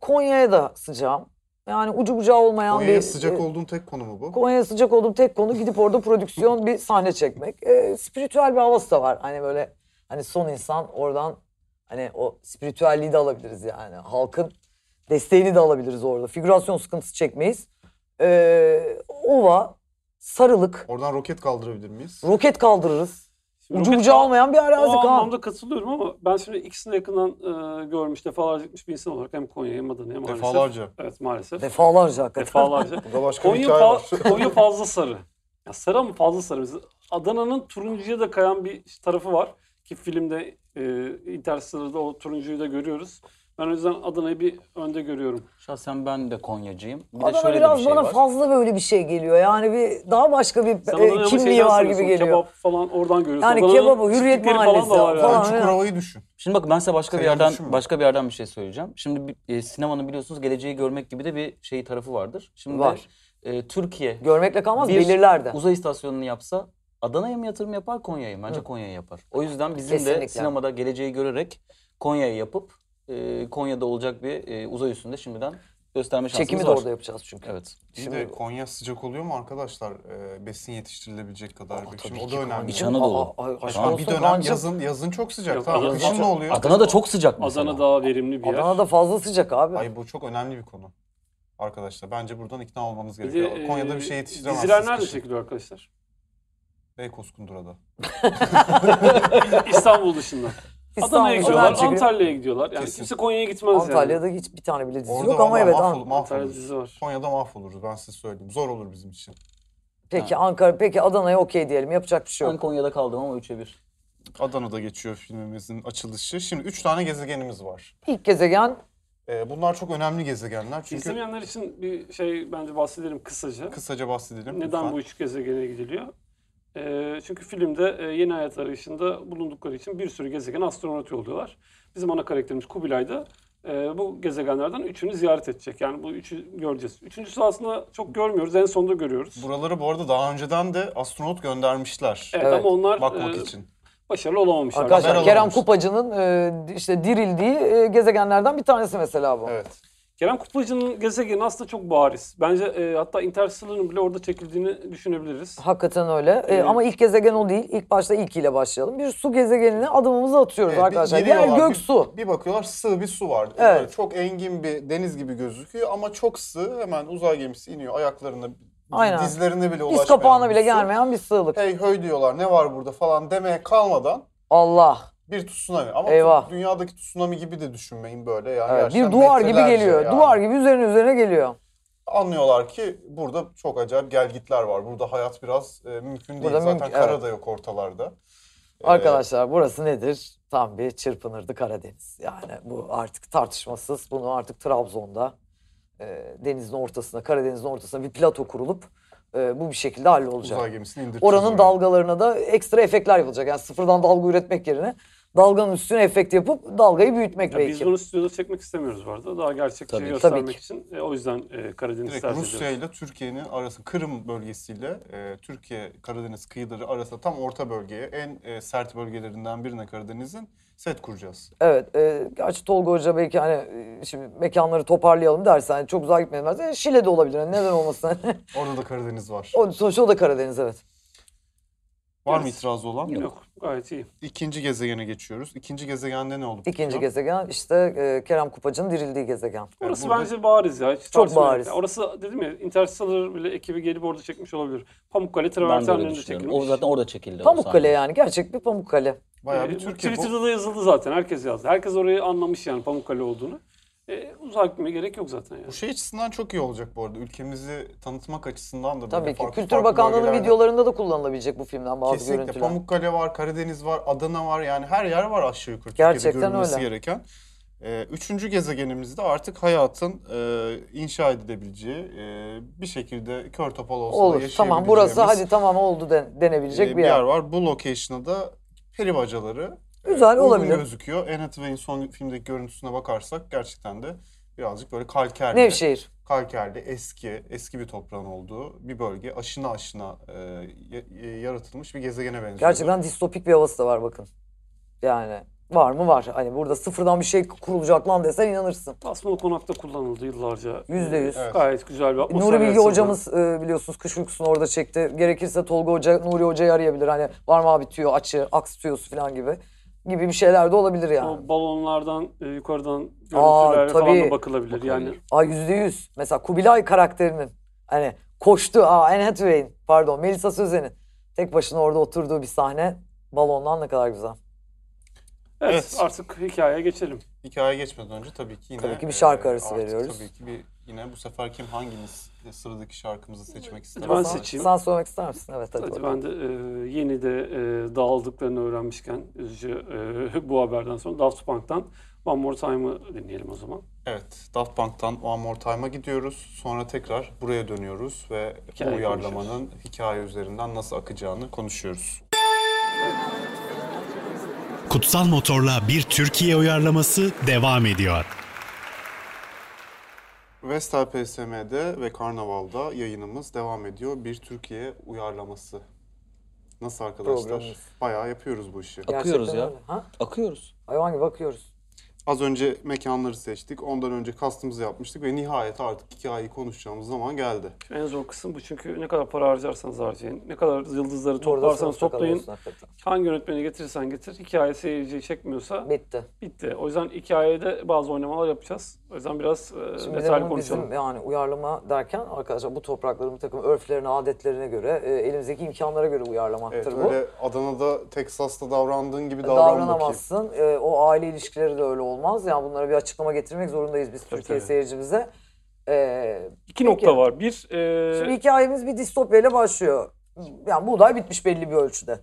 Speaker 3: Konya'ya da sıcağım. Yani ucu bucağı olmayan bir...
Speaker 2: Konya'ya sıcak
Speaker 3: e,
Speaker 2: olduğun tek konu mu bu?
Speaker 3: Konya'ya sıcak olduğum tek konu gidip orada prodüksiyon bir sahne çekmek. Ee, spiritüel bir havası da var. Hani böyle hani son insan oradan hani o spiritüelliği de alabiliriz yani. Halkın desteğini de alabiliriz orada. Figürasyon sıkıntısı çekmeyiz. Ee, ova, sarılık,
Speaker 2: Oradan roket kaldırabilir miyiz?
Speaker 3: roket kaldırırız.
Speaker 5: Şimdi
Speaker 3: Ucu
Speaker 5: roket
Speaker 3: bucağı
Speaker 5: daha-
Speaker 3: olmayan bir arazi
Speaker 5: O
Speaker 3: kan.
Speaker 5: anlamda katılıyorum ama ben şimdi ikisini yakından e, görmüş, defalarca gitmiş bir insan olarak hem Konya'ya hem Adana'ya maalesef.
Speaker 2: Defalarca.
Speaker 5: Evet maalesef.
Speaker 3: Defalarca hakikaten.
Speaker 5: Defalarca.
Speaker 2: Burada başka bir
Speaker 5: Konya,
Speaker 2: hikaye var.
Speaker 5: fa- Konya fazla sarı. Ya sarı ama fazla sarı. Biz- Adana'nın turuncuya da kayan bir tarafı var. Ki filmde e, Interstellar'da o turuncuyu da görüyoruz. Ben o yüzden Adana'yı bir önde görüyorum.
Speaker 4: Şahsen ben de Konyacıyım. Bir de
Speaker 3: Adana
Speaker 4: şöyle de
Speaker 3: biraz
Speaker 4: bir şey
Speaker 3: bana
Speaker 4: var.
Speaker 3: fazla böyle bir şey geliyor. Yani bir daha başka bir
Speaker 5: Sen
Speaker 3: e,
Speaker 5: Adana'ya ama
Speaker 3: kimliği
Speaker 5: şeyden
Speaker 3: var gibi
Speaker 5: sanıyorsun,
Speaker 3: geliyor.
Speaker 5: Kebap falan oradan görüyorsun.
Speaker 3: Yani
Speaker 5: Adana'nın
Speaker 3: kebabı, Hürriyet
Speaker 5: çiftlikleri
Speaker 3: Mahallesi
Speaker 5: falan. Da var
Speaker 3: falan.
Speaker 5: yani.
Speaker 3: Aa,
Speaker 2: Çukurova'yı düşün.
Speaker 4: Şimdi bak ben size başka bir
Speaker 2: Seyahat
Speaker 4: yerden
Speaker 2: düşünme.
Speaker 4: başka bir yerden bir şey söyleyeceğim. Şimdi bir- e, sinemanın biliyorsunuz geleceği görmek gibi de bir şey tarafı vardır. Şimdi
Speaker 3: Var.
Speaker 4: e, Türkiye
Speaker 3: Görmekle kalmaz
Speaker 4: bir
Speaker 3: belirler de.
Speaker 4: uzay istasyonunu yapsa Adana'ya mı yatırım yapar Konya'ya mı? Bence Konya'ya yapar. O yüzden bizim
Speaker 3: Kesinlikle.
Speaker 4: de sinemada geleceği görerek Konya'yı yapıp e, Konya'da olacak bir e, uzay üstünde şimdiden gösterme şansımız
Speaker 3: Çekimi de
Speaker 4: var.
Speaker 3: orada yapacağız çünkü.
Speaker 4: Evet.
Speaker 2: Bir de Konya sıcak oluyor mu arkadaşlar? Ee, besin yetiştirilebilecek kadar. bir Şimdi
Speaker 3: Tabii
Speaker 2: o
Speaker 3: ki
Speaker 2: da önemli.
Speaker 4: İç Anadolu.
Speaker 3: Aa, ay, aşk
Speaker 4: Şu an
Speaker 2: bir
Speaker 3: olsun
Speaker 2: dönem
Speaker 3: Kaan'cığım.
Speaker 2: yazın yazın çok sıcak.
Speaker 5: Yok,
Speaker 2: tamam
Speaker 5: yazın
Speaker 2: kışın
Speaker 5: çok-
Speaker 2: ne oluyor?
Speaker 4: Adana'da çok sıcak mesela.
Speaker 5: Adana daha verimli bir yer.
Speaker 3: Adana'da fazla sıcak abi.
Speaker 2: Ay bu çok önemli bir konu. Arkadaşlar bence buradan ikna olmanız
Speaker 5: Bir de,
Speaker 2: gerekiyor. Konya'da
Speaker 5: e,
Speaker 2: bir şey yetiştiremezsiniz.
Speaker 5: Diziler nerede
Speaker 2: kışın.
Speaker 5: çekiliyor arkadaşlar?
Speaker 2: Beykoz Kundura'da.
Speaker 5: İstanbul dışında. Adana'ya gidiyorlar,
Speaker 3: Adana'ya çekiliyor.
Speaker 5: Antalya'ya gidiyorlar. Yani
Speaker 2: Kesin.
Speaker 5: kimse Konya'ya gitmez yani.
Speaker 3: Antalya'da hiç bir tane bile dizi
Speaker 2: Orada
Speaker 3: yok ama
Speaker 2: vallahi
Speaker 3: evet. An-
Speaker 2: mahvol-
Speaker 5: Antalya'da
Speaker 2: mahvoluruz.
Speaker 5: dizi var.
Speaker 2: Konya'da mahvoluruz ben size söyleyeyim. Zor olur bizim için.
Speaker 3: Peki Ankara, peki Adana'ya okey diyelim. Yapacak bir şey
Speaker 4: Ben
Speaker 3: yok.
Speaker 4: Konya'da kaldım ama 3'e 1.
Speaker 2: Adana'da geçiyor filmimizin açılışı. Şimdi üç tane gezegenimiz var.
Speaker 3: İlk gezegen
Speaker 2: Ee, bunlar çok önemli gezegenler. Çünkü
Speaker 5: İzlemeyenler için bir şey bence bahsedelim kısaca.
Speaker 2: kısaca bahsedelim.
Speaker 5: Neden
Speaker 2: lütfen.
Speaker 5: bu üç gezegene gidiliyor? Ee, çünkü filmde e, yeni hayat arayışında bulundukları için bir sürü gezegen astronot yolluyorlar. Bizim ana karakterimiz Kubilay da e, bu gezegenlerden üçünü ziyaret edecek. Yani bu üçü göreceğiz. Üçüncüsü aslında çok görmüyoruz. En sonda görüyoruz.
Speaker 2: Buraları bu arada daha önceden de astronot göndermişler.
Speaker 5: Evet,
Speaker 3: Evet.
Speaker 5: ama onlar
Speaker 2: Bakmak
Speaker 5: e,
Speaker 2: için.
Speaker 5: başarılı olamamışlar.
Speaker 3: arkadaşlar
Speaker 2: haber
Speaker 3: Kerem
Speaker 2: alamamıştım.
Speaker 3: Kupacı'nın e, işte dirildiği e, gezegenlerden bir tanesi mesela bu.
Speaker 2: Evet.
Speaker 5: Kerem Kutluca'nın gezegeni aslında çok bariz. Bence e, hatta Interstellar'ın bile orada çekildiğini düşünebiliriz.
Speaker 3: Hakikaten öyle. Ee, ama ilk gezegen o değil. İlk başta ilkiyle başlayalım. Bir su gezegenine adımımızı atıyoruz
Speaker 2: Evet, bir
Speaker 3: arkadaşlar.
Speaker 2: giriyorlar,
Speaker 3: Yer
Speaker 2: bir-
Speaker 3: gök su.
Speaker 2: Bir bakıyorlar sığ bir su var.
Speaker 3: Evet.
Speaker 2: Böyle çok engin bir deniz gibi gözüküyor ama çok sığ. Hemen uzay gemisi iniyor ayaklarına,
Speaker 3: Aynen.
Speaker 2: dizlerine bile ulaşmayan.
Speaker 3: Biz kapağına
Speaker 2: bir
Speaker 3: bile
Speaker 2: su.
Speaker 3: gelmeyen bir sığlık.
Speaker 2: Hey höy diyorlar ne var burada falan demeye kalmadan
Speaker 3: Allah.
Speaker 2: bir tsunami. Ama
Speaker 3: Eyvah.
Speaker 2: tu- dünyadaki tsunami gibi de düşünmeyin böyle. Yani
Speaker 3: Evet, bir
Speaker 2: gerçekten
Speaker 3: duvar gibi
Speaker 2: metrelerce
Speaker 3: geliyor.
Speaker 2: şey yani.
Speaker 3: Duvar gibi üzerine üzerine geliyor.
Speaker 2: Anlıyorlar ki burada çok acayip gelgitler var. Burada hayat biraz e, mümkün değil.
Speaker 3: Burada
Speaker 2: Zaten
Speaker 3: mümkün-
Speaker 2: kara
Speaker 3: evet.
Speaker 2: da yok ortalarda. Ee,
Speaker 3: Arkadaşlar burası nedir? Tam bir çırpınırdı Karadeniz. Yani bu artık tartışmasız. Bunu artık Trabzon'da e, denizin ortasına, Karadeniz'in ortasına bir plato kurulup e, bu bir şekilde hallolacak.
Speaker 2: uzay gemisini indireceğiz.
Speaker 3: Oranın
Speaker 2: oraya.
Speaker 3: dalgalarına da ekstra efektler yapılacak. Yani sıfırdan dalga üretmek yerine dalganın üstüne efekt yapıp dalgayı büyütmek
Speaker 5: Ya
Speaker 3: belki.
Speaker 5: biz bunu stüdyoda çekmek istemiyoruz bu arada. Daha gerçekçi
Speaker 4: Tabii ki.
Speaker 5: göstermek
Speaker 3: Tabii ki.
Speaker 5: için. E, o yüzden e, Karadeniz
Speaker 2: Direkt
Speaker 5: tercih
Speaker 2: Rusya
Speaker 5: ediyoruz.
Speaker 2: ile Türkiye'nin arası Kırım bölgesiyle e, Türkiye Karadeniz kıyıları arasında tam orta bölgeye en e, sert bölgelerinden birine Karadeniz'in set kuracağız.
Speaker 3: Evet. E, gerçi Tolga Hoca belki hani e, şimdi mekanları toparlayalım dersen hani çok uzağa gitmeyelim dersen e, Şile de olabilir. Yani neden olmasın? Hani
Speaker 2: Orada da Karadeniz var.
Speaker 3: o, sonuçta o da Karadeniz evet.
Speaker 2: Var mı
Speaker 5: Evet.
Speaker 2: itirazı olan?
Speaker 5: Yok gayet iyi.
Speaker 2: İkinci gezegene geçiyoruz. İkinci gezegende ne oldu?
Speaker 3: İkinci
Speaker 2: peki?
Speaker 3: gezegen işte e, Kerem Kupacı'nın dirildiği gezegen.
Speaker 2: Yani
Speaker 5: Orası
Speaker 2: burada-
Speaker 5: bence bariz ya. Hiç
Speaker 3: Çok
Speaker 5: tartışma yok.
Speaker 3: bariz.
Speaker 5: Ya Orası dedim ya Interstellar bile ekibi gelip orada çekmiş olabilir. Pamukkale
Speaker 4: Ben de öyle
Speaker 5: travertenlerinde
Speaker 4: düşünüyorum.
Speaker 5: çekilmiş.
Speaker 4: O zaten orada çekildi. o
Speaker 3: Pamukkale
Speaker 4: sahne.
Speaker 3: yani gerçek bir Pamukkale.
Speaker 2: Bayağı
Speaker 5: Ee,
Speaker 2: bir Türkiye. Bu,
Speaker 5: Twitter'da da yazıldı zaten. Herkes yazdı. Herkes orayı anlamış yani Pamukkale olduğunu. E, uzağa gitmeye gerek yok zaten yani.
Speaker 2: bu şey açısından çok iyi olacak bu arada. Ülkemizi tanıtmak açısından da böyle
Speaker 3: Tabii ki.
Speaker 2: farklı-
Speaker 3: Kültür
Speaker 2: farklı
Speaker 3: Bakanlığı'nın
Speaker 2: bölgelerde-
Speaker 3: videolarında da kullanılabilecek bu filmden bazı
Speaker 2: Kesinlikle
Speaker 3: görüntüler.
Speaker 2: Pamukkale var, Karadeniz var, Adana var. Yani her yer var aşağı yukarı
Speaker 3: Gerçekten
Speaker 2: Türkiye'de görülmesi
Speaker 3: öyle.
Speaker 2: gereken. Ee, üçüncü gezegenimizde artık hayatın e, inşa edilebileceği e, bir şekilde kör topal olsa da
Speaker 3: Olur. Tamam burası
Speaker 2: yaşayabileceğimiz,
Speaker 3: hadi tamam oldu den- denebilecek
Speaker 2: e,
Speaker 3: bir yer.
Speaker 2: var. Bu location'a da peri bacaları e,
Speaker 3: Güzel
Speaker 2: uygun
Speaker 3: olabilir.
Speaker 2: gözüküyor. Anne Hathaway'in son filmdeki görüntüsüne bakarsak gerçekten de birazcık böyle kalkerli.
Speaker 3: Nevşehir.
Speaker 2: Kalkerli eski, eski bir toprağın olduğu bir bölge. Aşına aşına e, y- y- yaratılmış bir gezegene benziyor.
Speaker 3: Gerçekten distopik bir havası da var bakın. Yani var mı var. Hani burada sıfırdan bir şey kurulacak lan desen inanırsın.
Speaker 5: Tasmalı konakta kullanıldı yıllarca.
Speaker 3: Yüzde yüz.
Speaker 2: Evet.
Speaker 5: Gayet güzel bir atmosfer.
Speaker 3: Nuri Bilge
Speaker 5: yaratıldı.
Speaker 3: hocamız e, biliyorsunuz kış uykusunu orada çekti. Gerekirse Tolga Hoca Nuri Hoca'yı arayabilir. Hani var mı abi tüyo açı, aks tüyosu falan gibi. Gibi bir şeyler de olabilir yani.
Speaker 5: O balonlardan e, yukarıdan
Speaker 3: Aa,
Speaker 5: görüntüler falan
Speaker 3: tabii.
Speaker 5: da bakılabilir. Yani
Speaker 3: Aa yüzde yüz. Mesela Kubilay karakterinin hani koştu. Aa Anne Hathaway'in pardon Melisa Sözen'in tek başına orada oturduğu bir sahne balondan ne kadar güzel.
Speaker 5: evet,
Speaker 2: Evet.
Speaker 5: artık hikayeye geçelim.
Speaker 2: Hikayeye geçmeden önce tabii ki yine... e,
Speaker 3: Tabii ki bir şarkı arası
Speaker 2: artık
Speaker 3: veriyoruz.
Speaker 2: Tabii ki bir yine bu sefer kim hangimiz e, sıradaki şarkımızı seçmek ister?
Speaker 5: Ben
Speaker 3: sen,
Speaker 5: seçeyim.
Speaker 3: Sen söylemek ister misin? Evet hadi,
Speaker 5: Hadi
Speaker 3: bakalım.
Speaker 5: ben de e, yeni de e, dağıldıklarını öğrenmişken üzücü e, bu haberden sonra Daft Punk'tan One More Time'ı dinleyelim o zaman.
Speaker 2: Evet, Daft Punk'tan One More Time'a gidiyoruz. Sonra tekrar buraya dönüyoruz ve bu
Speaker 5: Hikayeyi
Speaker 2: uyarlamanın hikaye üzerinden nasıl akacağını konuşuyoruz.
Speaker 1: Kutsal Motor'la bir Türkiye uyarlaması devam ediyor.
Speaker 2: Vestel PSM'de ve Karnaval'da yayınımız devam ediyor. Bir Türkiye uyarlaması. Nasıl arkadaşlar?
Speaker 3: Programımız.
Speaker 2: Bayağı yapıyoruz bu işi.
Speaker 4: Akıyoruz
Speaker 3: Gerçekten
Speaker 4: ya.
Speaker 3: öyle. Ha?
Speaker 4: Akıyoruz.
Speaker 3: Hayvan gibi akıyoruz.
Speaker 2: Az önce mekanları seçtik. Ondan önce kastımızı yapmıştık ve nihayet artık hikayeyi konuşacağımız zaman geldi.
Speaker 5: Şimdi en zor kısım bu çünkü ne kadar para harcarsanız harcayın, ne kadar yıldızları
Speaker 3: Burada
Speaker 5: toplarsanız
Speaker 3: sonsuza kadar
Speaker 5: toplayın,
Speaker 3: olsun hakikaten.
Speaker 5: hangi yönetmeni getirirsen getir, hikaye seyirciyi çekmiyorsa
Speaker 3: Bitti.
Speaker 5: bitti. O yüzden hikayede bazı oynamalar yapacağız. O yüzden biraz e,
Speaker 3: Şimdi bir de
Speaker 5: detaylı
Speaker 3: bunun
Speaker 5: konuşalım.
Speaker 3: bizim yani uyarlama derken arkadaşlar bu toprakların bir takım örflerine, adetlerine göre, e, elimizdeki imkanlara göre
Speaker 2: Evet,
Speaker 3: uyarlamaktır bu. E,
Speaker 2: öyle Adana'da, Texas'ta davrandığın gibi davran bakayım.
Speaker 3: davranamazsın. Ee, o aile ilişkileri de öyle olmaz. Yani bunlara bir açıklama getirmek zorundayız biz Türkiye
Speaker 5: tabii.
Speaker 3: seyircimize. Ee,
Speaker 5: İki
Speaker 3: Peki.
Speaker 5: nokta var. Bir, e,
Speaker 3: şimdi hikayemiz bir distopyayla başlıyor. Yani buğday bitmiş belli bir ölçüde.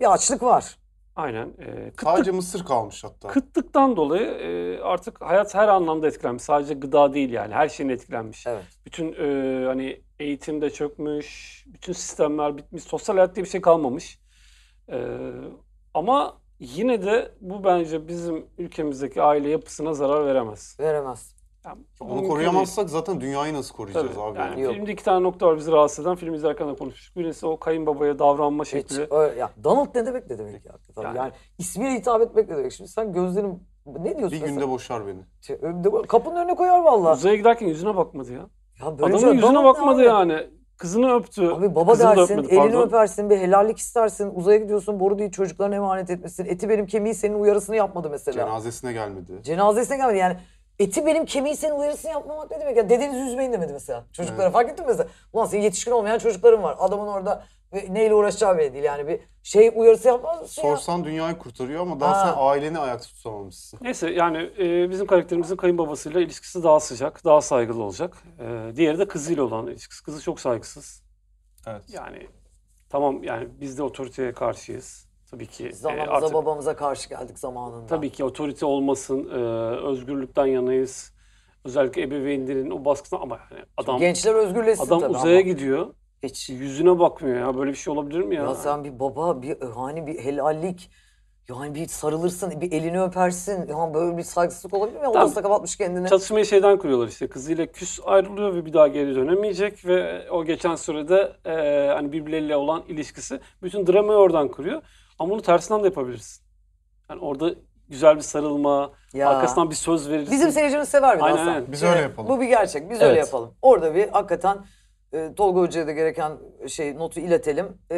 Speaker 3: Bir açlık var.
Speaker 5: aynen e, kıtlık
Speaker 2: Sadece mısır kalmış hatta.
Speaker 5: Kıtlıktan dolayı e, artık hayat her anlamda etkilenmiş. Sadece gıda değil yani her şeyin etkilenmiş.
Speaker 3: Evet.
Speaker 5: Bütün e, hani eğitim de çökmüş, bütün sistemler bitmiş, sosyal hayat diye bir şey kalmamış. E, ama yine de bu bence bizim ülkemizdeki aile yapısına zarar veremez.
Speaker 3: Veremez.
Speaker 5: Yani bu
Speaker 2: Onu
Speaker 5: mümkün değil.
Speaker 2: koruyamazsak zaten dünyayı nasıl
Speaker 5: Tabii.
Speaker 2: koruyacağız abi?
Speaker 5: Yani
Speaker 2: Yani?
Speaker 3: Yok.
Speaker 5: filmde iki tane nokta var bizi rahatsız eden. Film izlerken de konuşmuştuk. Birisi o kayınbabaya davranma
Speaker 3: Hiç
Speaker 5: şekli.
Speaker 3: öyle- ya Donald ne demek ne demek ya? Tabii
Speaker 5: Yani-
Speaker 3: yani. ismiyle hitap etmek ne demek? Şimdi sen gözlerin Ne diyorsun?
Speaker 2: Bir günde boşar beni.
Speaker 3: günde... Şey, Kapının önüne koyar vallahi.
Speaker 5: Uzaya giderken yüzüne bakmadı ya.
Speaker 3: Ya böyle
Speaker 5: Adamın
Speaker 3: şey-
Speaker 5: yüzüne
Speaker 3: Adam-
Speaker 5: bakmadı
Speaker 3: Abi-
Speaker 5: yani. Kızını öptü.
Speaker 3: Abi baba
Speaker 5: Kızını da
Speaker 3: dersin,
Speaker 5: öpmedi,
Speaker 3: elini
Speaker 5: pardon.
Speaker 3: öpersin, bir helallik istersin, uzaya gidiyorsun, boru değil çocuklarına emanet etmişsin. Eti benim kemiği senin uyarısını yapmadı mesela.
Speaker 2: Cenazesine gelmedi.
Speaker 3: Cenazesine gelmedi yani. Eti benim kemiği senin uyarısını yapmamak ne demek ya? Dedenizi üzmeyin demedi mesela çocuklara.
Speaker 2: Evet.
Speaker 3: Fark ettin mi mesela? Ulan senin yetişkin olmayan çocukların var. Adamın orada ve neyle uğraşacağı belli değil yani. Bir şey uyarısı yapmaz mısın ya?
Speaker 2: Sorsan dünyayı kurtarıyor ama daha
Speaker 3: Ha.
Speaker 2: sen aileni ayakta tutamamışsın.
Speaker 5: Neyse yani e, bizim karakterimizin kayınbabasıyla ilişkisi daha sıcak, daha saygılı olacak. E, diğeri de kızıyla olan ilişkisi. Kızı çok saygısız.
Speaker 2: Evet.
Speaker 5: Yani tamam yani biz de otoriteye karşıyız. Tabii ki e,
Speaker 3: Zamanımıza
Speaker 5: artık
Speaker 3: babamıza karşı geldik zamanında.
Speaker 5: tabii ki otorite olmasın, e, özgürlükten yanayız. Özellikle ebeveynlerin o baskısına ama yani adam
Speaker 3: Gençler özgürleşsin
Speaker 5: adam
Speaker 3: tabii
Speaker 5: uzaya
Speaker 3: ama.
Speaker 5: gidiyor.
Speaker 3: Hiç.
Speaker 5: Yüzüne bakmıyor ya. Böyle bir şey olabilir mi ya?
Speaker 3: Ya sen bir baba, bir hani bir helallik, yani bir sarılırsın, bir elini öpersin. Ya böyle bir saygısızlık olabilir mi?
Speaker 5: Tamam.
Speaker 3: Odasına kapatmış kendini.
Speaker 5: Çatışmayı şeyden kuruyorlar işte kızıyla küs ayrılıyor ve bir daha geri dönemeyecek ve o geçen sürede e, hani birbirleriyle olan ilişkisi bütün dramayı oradan kuruyor. Ama bunu tersinden de yapabilirsin. Yani orada güzel bir sarılma,
Speaker 3: Ya.
Speaker 5: arkasından bir söz verirsin.
Speaker 3: Bizim seyircimiz sever bir de
Speaker 5: Aynen,
Speaker 3: Hasan.
Speaker 5: aynen.
Speaker 2: Biz
Speaker 3: Şimdi
Speaker 2: öyle yapalım.
Speaker 3: Bu bir gerçek. Biz
Speaker 4: Evet.
Speaker 3: öyle yapalım. Orada bir hakikaten e, Tolga Hoca'ya da gereken şey notu iletelim. E,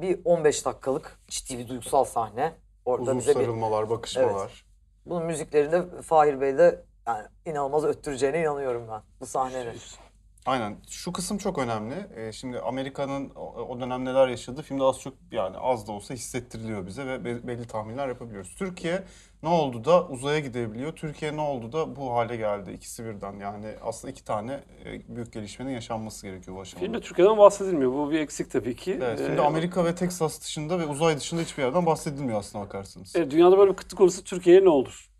Speaker 3: bir 15 dakikalık ciddi bir duygusal sahne. Orada
Speaker 2: Uzun
Speaker 3: bize bir
Speaker 2: sarılmalar, bakışmalar.
Speaker 3: bunun müziklerinde Fahir Bey de yani inanılmaz öttüreceğine inanıyorum ben bu sahnenin.
Speaker 2: Şey, Aynen. Şu kısım çok önemli. Ee, şimdi Amerika'nın o- o dönem neler yaşadığı filmde az çok yani az da olsa hissettiriliyor bize ve be- belli tahminler yapabiliyoruz. Türkiye ne oldu da uzaya gidebiliyor? Türkiye ne oldu da bu hale geldi? İkisi birden yani aslında iki tane e, büyük gelişmenin yaşanması gerekiyor bu aşamada.
Speaker 5: Filmde Türkiye'den bahsedilmiyor. Bu bir eksik tabii ki.
Speaker 2: Evet,
Speaker 5: Ee,
Speaker 2: şimdi Amerika ve Texas dışında ve uzay dışında hiçbir yerden bahsedilmiyor aslına bakarsanız.
Speaker 5: e, dünyada böyle bir kıtlık olursa Türkiye'ye ne olur?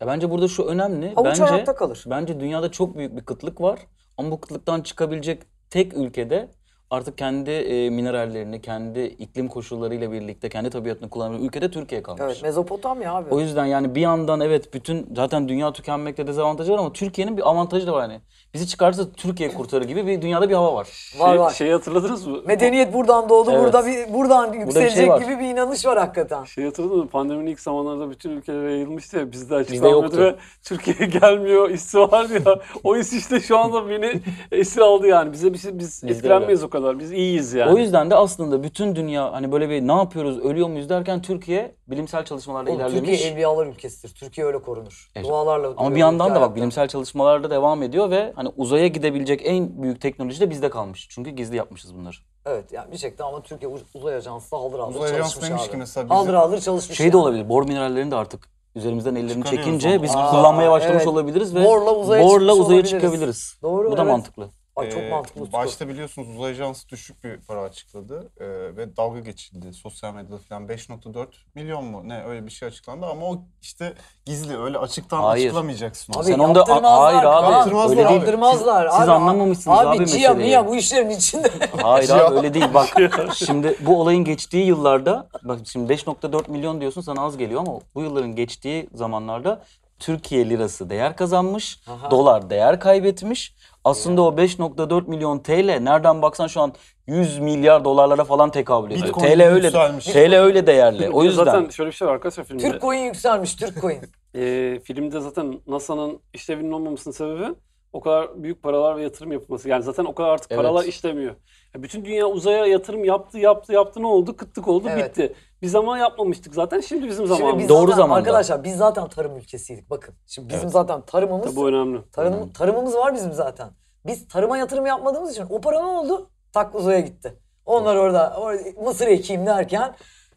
Speaker 4: Ya bence burada şu önemli.
Speaker 3: Avuç
Speaker 4: bence
Speaker 3: hayatta kalır.
Speaker 4: Bence dünyada çok büyük bir kıtlık var. Ama bu kıtlıktan çıkabilecek tek ülkede artık kendi e, minerallerini, kendi iklim koşullarıyla birlikte kendi tabiatını kullanan ülkede Türkiye kalmış.
Speaker 3: Evet Mezopotamya abi.
Speaker 4: O yüzden yani bir yandan evet bütün zaten dünya tükenmekte dezavantajı var ama Türkiye'nin bir avantajı da var yani. Bizi çıkarsa Türkiye kurtarır gibi bir dünyada bir hava var.
Speaker 3: var
Speaker 5: Şey-
Speaker 3: var.
Speaker 5: Şeyi hatırladınız mı?
Speaker 3: Medeniyet buradan doğdu,
Speaker 4: Evet. şey
Speaker 3: burada bir, buradan yükselecek
Speaker 4: var.
Speaker 3: gibi bir inanış var hakikaten.
Speaker 5: Şey hatırladın mı? Pandeminin ilk zamanlarda bütün ülkelere yayılmıştı ya bizde
Speaker 4: yoktu.
Speaker 5: açıklanmıyordu ve Türkiye'ye gelmiyor hissi vardı ya. O his işte şu anda beni esir aldı yani. Bize bir şey, biz
Speaker 4: öyle.
Speaker 5: etkilenmeyiz o kadar. Biz iyiyiz yani.
Speaker 4: O yüzden de aslında bütün dünya hani böyle bir ne yapıyoruz, ölüyor muyuz derken Türkiye bilimsel çalışmalarda
Speaker 3: Oğlum,
Speaker 4: ilerlemiş.
Speaker 3: Türkiye evliyalar ülkesidir. Türkiye öyle korunur.
Speaker 4: Evet.
Speaker 3: Dualarla
Speaker 4: Ama bir
Speaker 3: duruyor
Speaker 4: yandan da
Speaker 3: hayatta.
Speaker 4: bak bilimsel çalışmalarda devam ediyor ve hani uzaya gidebilecek en büyük teknoloji de bizde kalmış. Çünkü gizli yapmışız bunları. Şey
Speaker 3: Evet yani bir şekilde ama Türkiye uz- uzay ajansı da haldır haldır
Speaker 2: Uzay ajansı
Speaker 3: çalışmış
Speaker 2: demiş
Speaker 3: abi.
Speaker 2: ki mesela bizim-
Speaker 3: Haldır haldır çalışmış.
Speaker 4: Şey de olabilir. Bor minerallerini de artık üzerimizden ellerini
Speaker 2: Çıkarıyoruz
Speaker 4: çekince
Speaker 2: onu.
Speaker 4: biz
Speaker 3: Aa,
Speaker 4: kullanmaya başlamış
Speaker 3: evet.
Speaker 4: olabiliriz ve
Speaker 3: Borla uzaya
Speaker 4: borla
Speaker 3: çıkmış
Speaker 4: uzaya
Speaker 3: olabiliriz.
Speaker 4: çıkabiliriz.
Speaker 3: Doğru,
Speaker 4: Bu da
Speaker 3: evet.
Speaker 4: mantıklı.
Speaker 3: Ay, çok
Speaker 2: Ee,
Speaker 3: mantıklı. Utku.
Speaker 2: Başta biliyorsunuz uzay ajansı düşük bir para açıkladı ee, ve dalga geçildi sosyal medyada falan 5.4 milyon mu ne öyle bir şey açıklandı ama o işte gizli öyle açıktan
Speaker 4: Hayır.
Speaker 2: açıklamayacaksın onu.
Speaker 3: Abi
Speaker 4: Sen onda-
Speaker 3: yaptırmazlar
Speaker 4: Hayır abi,
Speaker 3: Kaan.
Speaker 2: yaptırmazlar
Speaker 3: Öyle
Speaker 2: abi.
Speaker 3: değil. Yaptırmazlar.
Speaker 4: Siz- siz
Speaker 3: abi,
Speaker 4: anlamamışsınız abi
Speaker 3: Abi Cia
Speaker 4: meseleyi.
Speaker 3: Mia bu işlerin içinde.
Speaker 4: Hayır abi öyle değil. Bak şimdi bu olayın geçtiği yıllarda bak şimdi 5.4 milyon diyorsun sana az geliyor ama bu yılların geçtiği zamanlarda Türkiye lirası değer kazanmış,
Speaker 3: Aha.
Speaker 4: dolar değer kaybetmiş. Aslında o 5.4 milyon TL nereden baksan şu an 100 milyar dolarlara falan tekabül ediyor.
Speaker 2: Bitcoin
Speaker 4: TL öyle
Speaker 2: yükselmiş.
Speaker 4: TL öyle değerli. O yüzden
Speaker 5: Zaten şöyle bir şey var arkadaşlar filmde.
Speaker 3: Türk coin yükselmiş Türk coin.
Speaker 5: Ee, filmde zaten NASA'nın işlevinin olmamasının sebebi o kadar büyük paralar ve yatırım yapılması. Yani zaten o kadar artık
Speaker 4: Evet.
Speaker 5: paralar işlemiyor. Ya bütün dünya uzaya yatırım yaptı, yaptı, yaptı ne oldu? Kıtlık oldu,
Speaker 3: Evet.
Speaker 5: bitti. Biz ama yapmamıştık zaten. Şimdi bizim
Speaker 3: Şimdi
Speaker 5: zamanımız.
Speaker 3: biz
Speaker 4: Doğru
Speaker 3: zaten,
Speaker 4: zamanda.
Speaker 3: Arkadaşlar biz zaten tarım ülkesiydik bakın. Şimdi bizim zaten tarımımız
Speaker 5: Tabii bu önemli.
Speaker 3: Tarım, tarımımız var bizim zaten. Biz tarıma yatırım yapmadığımız için o para ne oldu? Tak uzaya gitti. Onlar orada, or- mısır ekeyim derken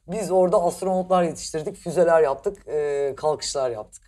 Speaker 3: biz orada astronotlar yetiştirdik, füzeler yaptık, e, kalkışlar yaptık.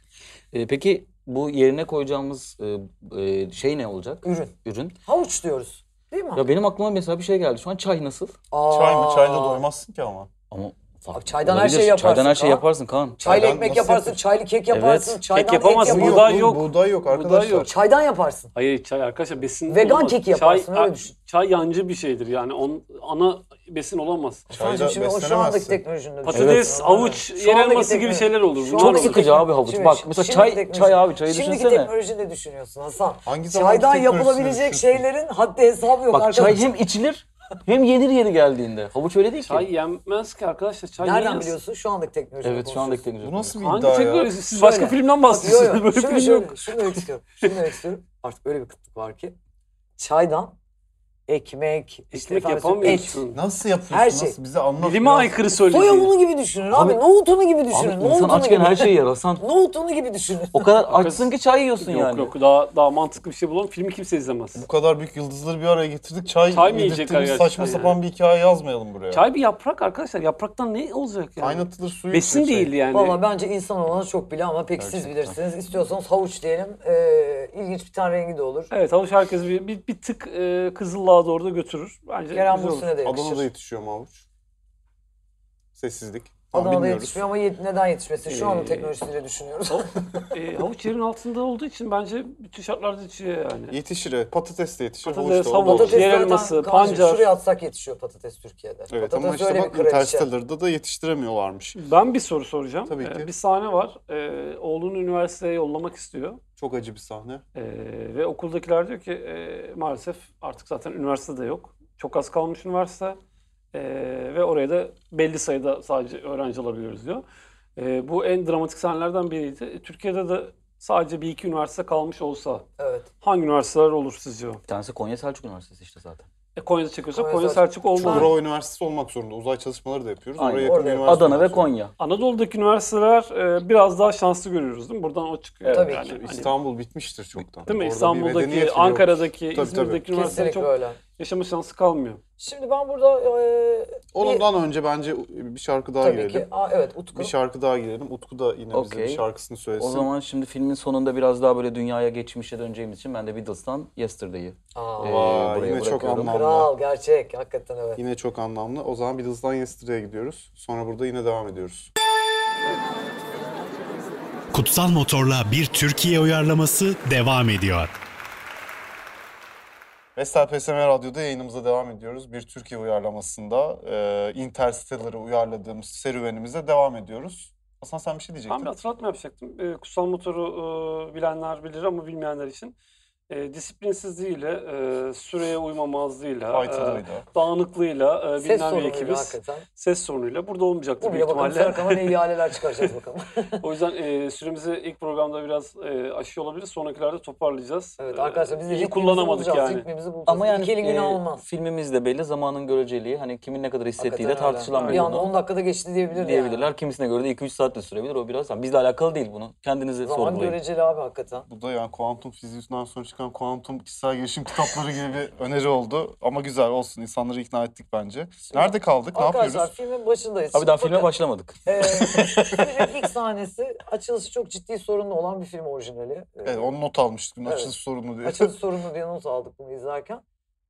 Speaker 4: e, peki bu yerine koyacağımız e, e, şey ne olacak?
Speaker 3: Ürün.
Speaker 4: Ürün.
Speaker 3: Havuç diyoruz. Değil mi?
Speaker 4: Ya benim aklıma mesela bir şey geldi. Şu an çay nasıl?
Speaker 3: Aa,
Speaker 2: Çay mı? Çayla doymazsın ki ama.
Speaker 4: Ama farklı
Speaker 3: çaydan her
Speaker 4: olabilir.
Speaker 3: şeyi yaparsın
Speaker 4: Çaydan her şey şeyi
Speaker 3: Kaan.
Speaker 4: yaparsın Kaan.
Speaker 3: Çayla
Speaker 2: Çaydan
Speaker 3: ekmek
Speaker 2: nasıl
Speaker 3: yaparsın,
Speaker 2: yapıyorsun?
Speaker 3: çaylı kek yaparsın,
Speaker 4: Evet.
Speaker 3: çaydan
Speaker 5: Kek yapamazsın,
Speaker 3: et yaparsın.
Speaker 5: buğday yok.
Speaker 2: Buğday yok arkadaşlar.
Speaker 5: Buğday yok.
Speaker 3: Çaydan yaparsın.
Speaker 5: Hayır çay arkadaşlar besin
Speaker 3: Vegan
Speaker 5: olamaz.
Speaker 3: keki yaparsın,
Speaker 5: çay,
Speaker 3: öyle düşün.
Speaker 5: Çay yancı bir şeydir yani on, ana besin olamaz.
Speaker 2: Çayla
Speaker 3: Hasan'cığım şimdi o şu andaki
Speaker 2: beslenemezsin.
Speaker 3: teknolojinin
Speaker 5: Patates, avuç, yer elması gibi şeyler olur. Çok
Speaker 4: sıkıcı abi havuç. Bak, mesela çay- çay abi, çayı
Speaker 3: Şimdiki
Speaker 4: düşünsene.
Speaker 3: teknolojide düşünüyorsun Hasan.
Speaker 2: Hangi zamanki
Speaker 3: Çaydan
Speaker 2: teknolojisini
Speaker 3: yapılabilecek
Speaker 2: düşünüyorsun?
Speaker 3: şeylerin haddi hesabı yok
Speaker 4: Bak çay
Speaker 3: arkadaşlar.
Speaker 4: hem içilir Hem yenir yeri geldiğinde. Havuç öyle değil ki.
Speaker 5: Çay yenmez ki arkadaşlar. Çay
Speaker 3: Nereden
Speaker 5: yenmez.
Speaker 3: biliyorsun? Şu andaki teknoloji.
Speaker 4: Evet şu andaki teknoloji.
Speaker 2: Bu nasıl bir
Speaker 5: Hangi
Speaker 2: iddia ya?
Speaker 5: teknoloji? Siz başka
Speaker 3: Şöyle.
Speaker 5: filmden
Speaker 3: Yok
Speaker 5: bahsediyorsunuz.
Speaker 3: yok.
Speaker 5: Böyle
Speaker 4: şey
Speaker 3: Şöyle
Speaker 5: film
Speaker 3: şöyle.
Speaker 5: yok.
Speaker 3: Şunu demek istiyorum. Şunu demek istiyorum. Artık öyle bir kıtlık var ki. Çaydan ekmek, işte
Speaker 5: Ekmek
Speaker 3: efendim, et.
Speaker 5: yapamıyorsun.
Speaker 2: Nasıl yapıyorsun?
Speaker 3: Her şey.
Speaker 2: Nasıl? Bize anlat.
Speaker 5: Bilime
Speaker 2: biraz.
Speaker 5: aykırı söylediğin.
Speaker 3: Soya unu gibi düşünün abi.
Speaker 4: Abi-
Speaker 3: Nohut unu gibi düşünün.
Speaker 4: Abi
Speaker 3: nohut
Speaker 4: insan
Speaker 3: unu
Speaker 4: açken
Speaker 3: gibi.
Speaker 4: her şeyi yer Hasan.
Speaker 3: Nohut unu gibi düşünün.
Speaker 4: O kadar
Speaker 5: Hakikaten.
Speaker 4: açsın ki çay yiyorsun
Speaker 5: Yok
Speaker 4: yani.
Speaker 5: yok daha daha mantıklı bir şey bulalım. Filmi kimse izlemez.
Speaker 2: Bu kadar büyük yıldızları bir araya getirdik. Çay,
Speaker 5: Çay
Speaker 2: çay
Speaker 5: mı yiyecekler gerçekten
Speaker 2: saçma
Speaker 5: yani?
Speaker 2: sapan bir hikaye yazmayalım buraya.
Speaker 5: Çay bir yaprak arkadaşlar. Yapraktan ne olacak yani?
Speaker 2: Kaynatılır suyu. şey.
Speaker 5: Besin
Speaker 2: içiyor çay.
Speaker 5: değil yani.
Speaker 3: Valla bence insan olana çok bile ama pek siz
Speaker 2: Gerçekten.
Speaker 3: bilirsiniz. İstiyorsanız havuç diyelim. Ee, ilginç bir tane rengi de olur.
Speaker 5: Evet havuç herkes bir, bir, bir tık e, kızıllığa doğru da götürür. Bence
Speaker 3: Gelen
Speaker 5: güzel olur.
Speaker 3: Bursun'a da
Speaker 2: Adana'da
Speaker 3: yakışır.
Speaker 2: yetişiyor mu havuç? Sessizlik. Tam
Speaker 3: Adana'da
Speaker 2: bilmiyoruz.
Speaker 3: yetişmiyor ama yet- neden yetişmesin? Şu anın
Speaker 5: Ee,
Speaker 3: teknolojisiyle düşünüyoruz.
Speaker 5: E, havuç yerin altında olduğu için bence bütün şartlarda yetişiyor yani.
Speaker 2: Yetişir evet. Patates de yetişir.
Speaker 5: Patates,
Speaker 2: havuç da olur.
Speaker 5: havuç.
Speaker 2: Patates.
Speaker 5: yer
Speaker 3: zaten
Speaker 5: elması,
Speaker 3: Kaan'cığım,
Speaker 5: pancar.
Speaker 3: Şuraya atsak yetişiyor patates Türkiye'de.
Speaker 2: Evet
Speaker 3: patates
Speaker 2: ama işte
Speaker 3: öyle
Speaker 2: bak
Speaker 3: bir kraliçe.
Speaker 2: Interstellar'da da yetiştiremiyorlarmış.
Speaker 5: Ben bir soru soracağım.
Speaker 2: Tabii
Speaker 5: E,
Speaker 2: ki.
Speaker 5: bir sahne var. E, oğlunu üniversiteye yollamak istiyor.
Speaker 2: Çok acı bir sahne.
Speaker 5: E, ve okuldakiler diyor ki e, maalesef artık zaten üniversitede yok. Çok az kalmış üniversite. E, ve oraya da belli sayıda sadece öğrenci alabiliyoruz diyor. E, bu en dramatik sahnelerden biriydi. E, Türkiye'de de sadece bir iki üniversite kalmış olsa
Speaker 3: Evet.
Speaker 5: hangi üniversiteler olur sizce? o?
Speaker 4: Bir tanesi Konya Selçuk Üniversitesi işte zaten.
Speaker 5: E, Konya'da çekiyorsa
Speaker 3: Konya
Speaker 5: Konya
Speaker 3: Selçuk.
Speaker 5: Selçuk olmalı.
Speaker 2: Çukurova Üniversitesi olmak zorunda. Uzay çalışmaları da yapıyoruz.
Speaker 4: Aynen,
Speaker 2: Oraya yakın
Speaker 3: orada.
Speaker 2: üniversite
Speaker 4: Adana ve
Speaker 2: olacak.
Speaker 4: Konya.
Speaker 5: Anadolu'daki üniversiteler e, biraz daha şanslı görüyoruz değil mi? Buradan o çıkıyor.
Speaker 3: Tabii
Speaker 5: yani.
Speaker 3: ki.
Speaker 5: Hani-
Speaker 2: İstanbul bitmiştir çoktan.
Speaker 5: değil mi?
Speaker 2: Orada bir medeniyet bile
Speaker 5: İstanbul'daki,
Speaker 2: yok.
Speaker 5: Ankara'daki,
Speaker 2: Tabii,
Speaker 5: İzmir'deki üniversiteler
Speaker 3: Kesinlikle
Speaker 5: çok
Speaker 3: öyle.
Speaker 5: yaşama şansı kalmıyor.
Speaker 3: Şimdi ben burada e, bir-
Speaker 2: Onundan önce bence bir şarkı daha
Speaker 3: tabii
Speaker 2: girelim.
Speaker 3: ki Aa, evet Utku.
Speaker 2: Bir şey- şarkı daha girelim. Utku da yine bize
Speaker 4: Okey.
Speaker 2: bir şarkısını söylesin.
Speaker 4: O zaman şimdi filmin sonunda biraz daha böyle dünyaya geçmişe döneceğimiz için ben de Beatles'tan Yesterday'i
Speaker 3: Aa,
Speaker 4: Ee,
Speaker 2: Vay,
Speaker 4: buraya
Speaker 2: yine çok
Speaker 4: bırakıyorum.
Speaker 2: anlamlı.
Speaker 3: kral gerçek hakikaten evet.
Speaker 2: Yine çok anlamlı. O zaman Beatles'dan Yesterday'e gidiyoruz. Sonra burada yine devam ediyoruz.
Speaker 1: Kutsal Motor'la bir Türkiye uyarlaması devam ediyor.
Speaker 2: Vestel PSM Radyo'da yayınımıza devam ediyoruz. Bir Türkiye uyarlamasında e, Interstellar'ı uyarladığımız serüvenimize devam ediyoruz. Hasan sen bir şey
Speaker 5: Ben
Speaker 2: diyecektin.
Speaker 5: bir hatırlatma yapacaktım. E, kutsal motoru e, bilenler bilir ama bilmeyenler için e, disiplinsizliğiyle, e, süreye uymamazlığıyla, e,
Speaker 2: Fight'lıydı.
Speaker 5: dağınıklığıyla e,
Speaker 3: Ses
Speaker 5: bilinen bir
Speaker 3: sorunuyla
Speaker 5: ekibiz.
Speaker 3: hakikaten.
Speaker 5: Ses sorunuyla. Burada
Speaker 3: Bu
Speaker 5: olmayacaktı
Speaker 3: bile
Speaker 5: büyük
Speaker 3: bakalım
Speaker 5: ihtimalle.
Speaker 3: sonra kanal iyi haleler çıkaracağız bakalım.
Speaker 5: O yüzden e, süremizi ilk programda biraz e, aşıyor olabilir. Sonrakilerde toparlayacağız.
Speaker 3: Evet
Speaker 5: E,
Speaker 3: arkadaşlar biz de
Speaker 5: iyi
Speaker 3: ritmimizi
Speaker 5: kullanamadık
Speaker 3: bulacağız,
Speaker 5: yani.
Speaker 3: Ritmimizi bulacağız.
Speaker 4: Ama Ee, yani
Speaker 3: İki elin
Speaker 4: e,
Speaker 3: günah olmaz.
Speaker 4: filmimiz de belli, zamanın göreceliği. Hani kimin ne kadar hissettiği de
Speaker 3: Hakikaten öyle.
Speaker 4: tartışılan bir
Speaker 3: Bir anda
Speaker 4: konu.
Speaker 3: 10 dakikada geçti diyebilir
Speaker 4: Diyebilirler. Kimisine göre de 2-3 saat de sürebilir. O biraz bizle alakalı değil bunu. Kendinize
Speaker 3: Yani. Zaman
Speaker 4: sorgulayın.
Speaker 3: göreceli abi hakikaten.
Speaker 2: Bu da yani kuantum fiziğinden sonra çıkan kuantum kişisel gelişim kitapları gibi bir öneri oldu. Ama güzel olsun. insanları ikna ettik bence. Nerede kaldık? Ne
Speaker 3: Arkadaşlar
Speaker 2: yapıyoruz?
Speaker 3: filmin başındayız.
Speaker 4: Abi daha
Speaker 3: Şimdi
Speaker 4: filme
Speaker 3: bakın,
Speaker 4: başlamadık.
Speaker 3: e, filmin ilk sahnesi açılışı çok ciddi sorunlu olan bir film orijinali. E,
Speaker 2: Evet, onu not almıştık. Bunun
Speaker 3: Evet.
Speaker 2: açılış sorunu diye.
Speaker 3: Açılış sorunlu diye not aldık bunu izlerken.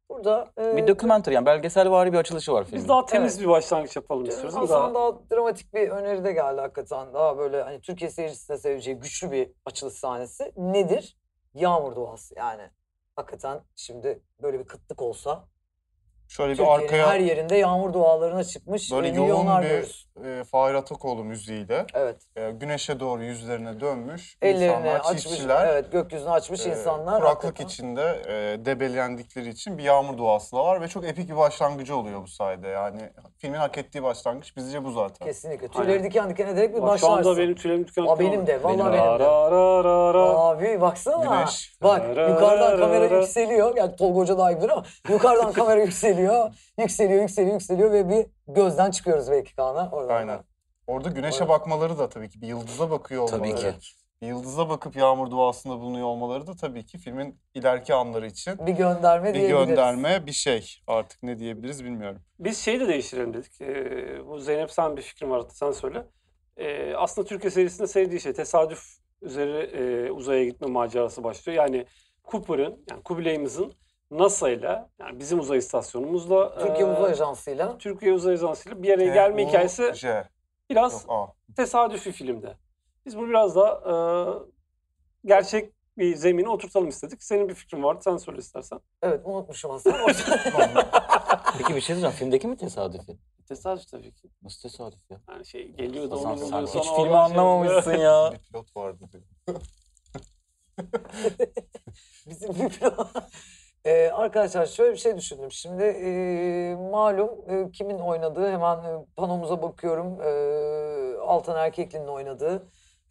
Speaker 3: Burada e,
Speaker 4: Bir dokumenter yani belgeselvari bir açılışı var
Speaker 5: Biz
Speaker 4: filmin.
Speaker 5: daha temiz bir başlangıç
Speaker 3: Ee,
Speaker 5: yapalım istiyoruz.
Speaker 3: Aslında
Speaker 5: Daha-
Speaker 3: daha... dramatik bir öneri de geldi hakikaten. Daha böyle hani Türkiye seyircisine seveceği güçlü bir açılış sahnesi nedir? Yağmur duası yani. Hakikaten şimdi böyle bir kıtlık olsa
Speaker 2: Şöyle bir
Speaker 3: Türkiye'nin her
Speaker 2: arkaya
Speaker 3: yerinde yağmur dualarına çıkmış
Speaker 2: böyle
Speaker 3: böyle
Speaker 2: yoğun
Speaker 3: milyonlar
Speaker 2: bir
Speaker 3: görürüz.
Speaker 2: e, Fahir Atakoğlu müziğiyle
Speaker 3: Evet.
Speaker 2: e, güneşe doğru yüzlerine dönmüş
Speaker 3: Ellerini
Speaker 2: insanlar,
Speaker 3: açmış,
Speaker 2: çiftçiler
Speaker 3: evet gökyüzünü açmış
Speaker 2: e,
Speaker 3: insanlar.
Speaker 2: kuraklık
Speaker 3: hakikaten.
Speaker 2: içinde e, debelendikleri için bir yağmur duası da var ve çok epik bir başlangıcı oluyor bu sayede. Yani filmin hak ettiği başlangıç bizce bu zaten.
Speaker 3: Kesinlikle. Tüyleri diken diken ederek bir
Speaker 5: Bak, şu
Speaker 3: başlarsın.
Speaker 5: anda benim tüylerim diken diken
Speaker 3: Aa, benim
Speaker 5: oldu.
Speaker 3: de, vallahi
Speaker 4: Benim de.
Speaker 5: Ra, ra, ra, ra, ra.
Speaker 3: Abi baksana.
Speaker 2: Güneş.
Speaker 3: Bak
Speaker 5: Ra, ra,
Speaker 3: yukarıdan
Speaker 5: ra,
Speaker 3: kamera
Speaker 5: ra.
Speaker 3: yükseliyor. Yani Tolga Hoca daha iyi bilir ama yukarıdan kamera yükseliyor. Yükseliyor, yükseliyor, yükseliyor ve bir gözden çıkıyoruz belki Kaan'a. Oradan
Speaker 2: Aynen.
Speaker 3: da.
Speaker 2: Orada güneşe bakmaları da tabii ki bir yıldıza bakıyor olmaları.
Speaker 4: Tabii ki.
Speaker 2: Bir yıldıza bakıp yağmur duasında bulunuyor olmaları da tabii ki filmin ileriki anları için
Speaker 3: Bir gönderme
Speaker 2: bir
Speaker 3: diyebiliriz.
Speaker 2: gönderme, bir şey. Artık ne diyebiliriz bilmiyorum.
Speaker 5: Biz şeyi de değiştirelim dedik. Ee, bu Zeynep sen bir fikrin var sen söyle. Ee, aslında Türkiye serisinde sevdiği şey tesadüf üzere e, uzaya gitme macerası başlıyor. Yani Cooper'ın yani Kubilay'ımızın NASA ile yani bizim uzay istasyonumuzla
Speaker 3: Türkiye
Speaker 5: e,
Speaker 3: Uzay
Speaker 2: Ee,
Speaker 3: Ajansı'yla.
Speaker 5: Türkiye Uzay Ajansı'yla bir araya gelme hikayesi
Speaker 4: şey
Speaker 2: J. Yok,
Speaker 5: biraz
Speaker 2: A.
Speaker 5: tesadüfi filmde. Biz bunu biraz daha e, gerçek bir zemine oturtalım istedik. Senin bir fikrin vardı sen söyle istersen.
Speaker 3: Evet unutmuşum aslında.
Speaker 4: Peki bir şey diyeceğim. Filmdeki mi tesadüfi?
Speaker 5: Tesadüf tabii ki.
Speaker 4: Nasıl tesadüf ya?
Speaker 5: Yani şey geliyor da
Speaker 4: Hasan
Speaker 5: onu
Speaker 4: sen
Speaker 5: buluyor
Speaker 4: hiç
Speaker 5: sonra
Speaker 4: filmi
Speaker 5: oradan şey-
Speaker 4: anlamamışsın ya.
Speaker 2: bir pilot vardı. diyor.
Speaker 3: Bizim bir pilot. Ee, arkadaşlar şöyle bir şey düşündüm. Şimdi ee, malum ee, kimin oynadığı hemen ee, panomuza bakıyorum. Ee, Altan Erkekli'nin oynadığı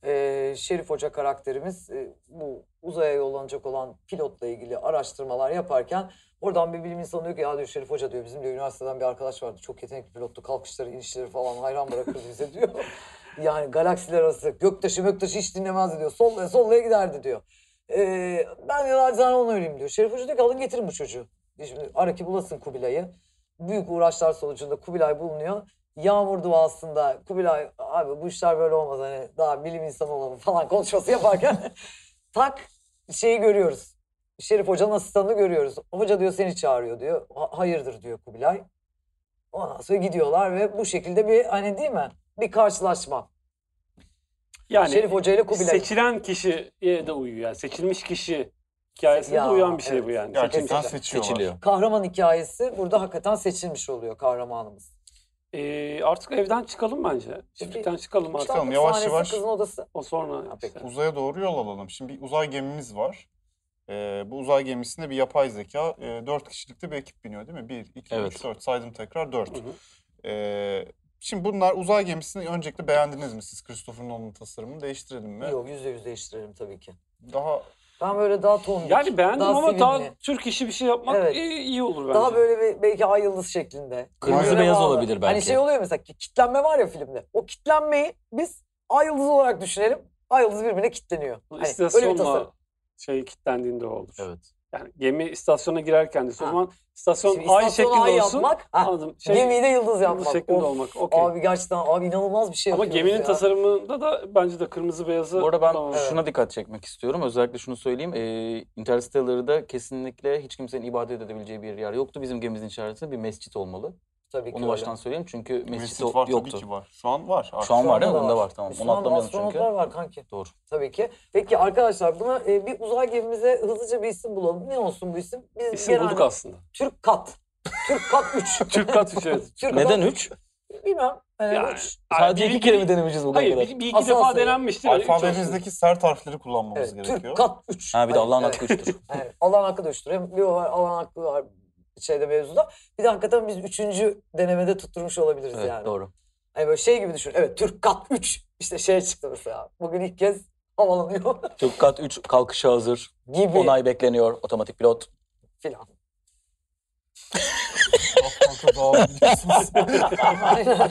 Speaker 3: ee, Şerif Hoca karakterimiz ee, bu uzaya yollanacak olan pilotla ilgili araştırmalar yaparken oradan bir bilim insanı diyor ki ya diyor Şerif Hoca diyor bizim diyor üniversiteden bir arkadaş vardı çok yetenekli pilottu kalkışları inişleri falan hayran bırakırdı bize diyor. Yani galaksiler arası göktaşı göktaşı hiç dinlemezdi diyor. Sollaya sollaya giderdi diyor. Ee, ben de nacizane onu öleyim diyor. Şerif Hoca diyor ki alın getirin bu çocuğu. E Şimdi ara ki bulasın Kubilay'ı. Büyük uğraşlar sonucunda Kubilay bulunuyor. Yağmur duasında Kubilay abi bu işler böyle olmaz hani daha bilim insanı olalım falan konuşması yaparken tak şeyi görüyoruz. Şerif Hoca'nın asistanını görüyoruz. Hoca diyor seni çağırıyor diyor. "Ha- hayırdır diyor Kubilay. Ondan sonra gidiyorlar ve bu şekilde bir hani değil mi? Bir karşılaşma.
Speaker 5: Yani
Speaker 3: Şerif Hoca ile Kubilay.
Speaker 5: seçilen kişiye de uyuyor. Yani seçilmiş kişi hikayesine
Speaker 3: Ya,
Speaker 5: de uyan bir şey
Speaker 3: evet.
Speaker 5: bu yani. Seçilmiş.
Speaker 2: Gerçekten
Speaker 3: Seçim-
Speaker 2: seçiyorlar.
Speaker 4: Seçiliyor.
Speaker 3: Kahraman hikayesi burada hakikaten seçilmiş oluyor kahramanımız.
Speaker 5: Ee, artık evden çıkalım bence. Çiftlikten çıkalım artık.
Speaker 2: Tamam,
Speaker 3: Kitaplık
Speaker 2: yavaş
Speaker 3: sahnesi,
Speaker 2: yavaş.
Speaker 3: Kızın odası.
Speaker 5: O sonra
Speaker 3: Ha, peki.
Speaker 5: işte.
Speaker 2: Uzaya doğru yol alalım. Şimdi bir uzay gemimiz var. Ee, bu uzay gemisinde bir yapay zeka. E, 4 kişilikte bir ekip biniyor değil mi? 1, 2,
Speaker 4: Evet.
Speaker 2: 3, 4 saydım tekrar 4.
Speaker 5: Hı hı.
Speaker 2: şimdi bunlar uzay gemisini öncelikle beğendiniz mi siz? Christopher Nolan'ın tasarımını değiştirelim mi?
Speaker 3: Yok yüzde yüz değiştirelim tabii ki.
Speaker 2: Daha
Speaker 3: Ben böyle daha tombik.
Speaker 5: Yani beğendim
Speaker 3: daha
Speaker 5: ama
Speaker 3: sevimli,
Speaker 5: daha Türk işi bir şey yapmak
Speaker 3: Evet.
Speaker 5: iyi, iyi olur bence.
Speaker 3: Daha böyle bir, belki ay yıldız şeklinde.
Speaker 4: Kırmızı
Speaker 3: Birbirine
Speaker 4: beyaz
Speaker 3: bağlı.
Speaker 4: olabilir
Speaker 3: Hani
Speaker 4: belki.
Speaker 3: şey oluyor mesela ki- kitlenme var ya filmde. O kitlenmeyi biz ay yıldız olarak düşünelim. Ay yıldız birbirine kitleniyor.
Speaker 5: Bu
Speaker 3: Hani öyle bir tasarım.
Speaker 5: İstasyonla şey kilitlendiğinde o olur.
Speaker 4: Evet.
Speaker 5: Yani gemi istasyona girerken de o
Speaker 3: Ha.
Speaker 5: zaman istasyon
Speaker 3: Şimdi
Speaker 5: ay şeklinde
Speaker 3: istasyonu ay
Speaker 5: olsun.
Speaker 3: yapmak, ha,
Speaker 5: Anladım. Şey,
Speaker 3: Gemiyi de yıldız
Speaker 5: yıldız
Speaker 3: yapmak.
Speaker 5: şeklinde
Speaker 3: Of,
Speaker 5: olmak. Okey.
Speaker 3: Abi gerçekten abi inanılmaz bir şey
Speaker 5: Ama
Speaker 3: yapıyoruz
Speaker 5: geminin
Speaker 3: ya.
Speaker 5: tasarımında da bence de kırmızı beyazı
Speaker 4: Bu arada ben
Speaker 5: kullanmamak.
Speaker 4: şuna dikkat çekmek istiyorum. Özellikle şunu söyleyeyim. Ee, Interstellar'ı da kesinlikle hiç kimsenin ibadet edebileceği bir yer yoktu. Bizim gemimizin içerisinde bir mescit olmalı.
Speaker 3: Tabii ki
Speaker 4: Onu
Speaker 3: öyle.
Speaker 4: baştan söyleyeyim çünkü mescit,
Speaker 2: mescit
Speaker 4: o-
Speaker 2: var
Speaker 4: yoktu.
Speaker 2: tabii ki var. Şu an var. artık.
Speaker 4: Şu an var
Speaker 3: Şu
Speaker 4: değil mi?
Speaker 3: anda
Speaker 4: Onda var tamam. Onu
Speaker 3: Müslüman
Speaker 4: atlamayalım çünkü.
Speaker 3: astronotlar var kanki.
Speaker 4: Doğru.
Speaker 3: Tabii ki. Peki arkadaşlar buna e, bir uzay gemimize hızlıca bir isim bulalım. Ne olsun bu isim? Biz
Speaker 5: İsim bulduk aslında.
Speaker 3: Türk Kat. Türk Kat 3.
Speaker 5: Türk kat üçü. evet.
Speaker 4: Neden 3?
Speaker 3: Bilmem. Ee,
Speaker 5: Yani,
Speaker 3: üç.
Speaker 4: Sadece
Speaker 5: bir-
Speaker 4: iki kere mi denemeyeceğiz bugüne
Speaker 5: Hayır
Speaker 4: kadar?
Speaker 5: bir, bir iki
Speaker 3: Asıl
Speaker 5: defa
Speaker 3: asıl.
Speaker 5: denenmiştir. Yani üç olsun.
Speaker 2: Alfabemizdeki sert harfleri kullanmamız
Speaker 3: Evet,
Speaker 2: gerekiyor.
Speaker 3: Türk Kat 3.
Speaker 4: Ha bir de Allah'ın hakkı üçtür.
Speaker 3: Evet, Allah'ın hakkı da üçtür. Hem bir o var Allah'ın hakkı var şeyde mevzuda. Bir de hakikaten biz üçüncü denemede tutturmuş olabiliriz
Speaker 4: Evet
Speaker 3: yani.
Speaker 4: doğru.
Speaker 3: Hani böyle şey gibi düşün. Evet Türk Kat 3. İşte şey çıktı mesela. Bugün ilk kez havalanıyor
Speaker 4: Türk kat 3 kalkışa hazır.
Speaker 3: gibi
Speaker 4: Onay bekleniyor. Otomatik pilot.
Speaker 3: filan.
Speaker 2: Kalka dağılabiliyorsunuz.
Speaker 3: Aynen.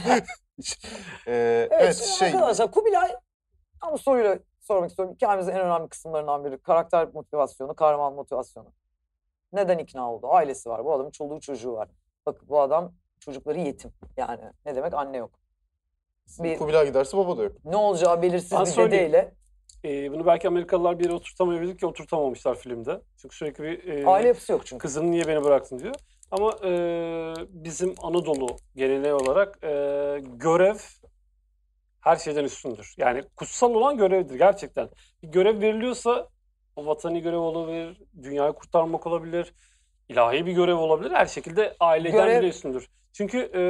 Speaker 2: Ee,
Speaker 3: Evet,
Speaker 2: evet
Speaker 3: şimdi
Speaker 2: şey
Speaker 3: arkadaşlar Kubilay ama soruyla sormak istiyorum. Hikayemizin en önemli kısımlarından biri karakter motivasyonu, kahraman motivasyonu. Neden ikna oldu? Ailesi var. Bu adamın çoluğu çocuğu var. Bak bu adam çocukları yetim. Yani ne demek anne yok. Bir,
Speaker 2: Kubilay giderse baba da yok.
Speaker 3: ne olacağı belirsiz
Speaker 5: Ben
Speaker 3: bir
Speaker 5: söyleyeyim.
Speaker 3: dedeyle
Speaker 5: Ee, bunu belki Amerikalılar bir yere oturtamayabilir ki oturtamamışlar filmde. Çünkü sürekli bir
Speaker 2: Ee,
Speaker 5: e,
Speaker 3: aile yapısı yok çünkü.
Speaker 5: kızını niye beni bıraktın diyor. Ama e, bizim Anadolu geleneği olarak e, görev her şeyden üstündür. Yani kutsal olan görevdir gerçekten. Bir görev veriliyorsa o vatani görev olabilir, dünyayı kurtarmak olabilir, ilahi bir görev olabilir. Her şekilde aileden
Speaker 3: Görev-
Speaker 5: bile üstündür. Çünkü e,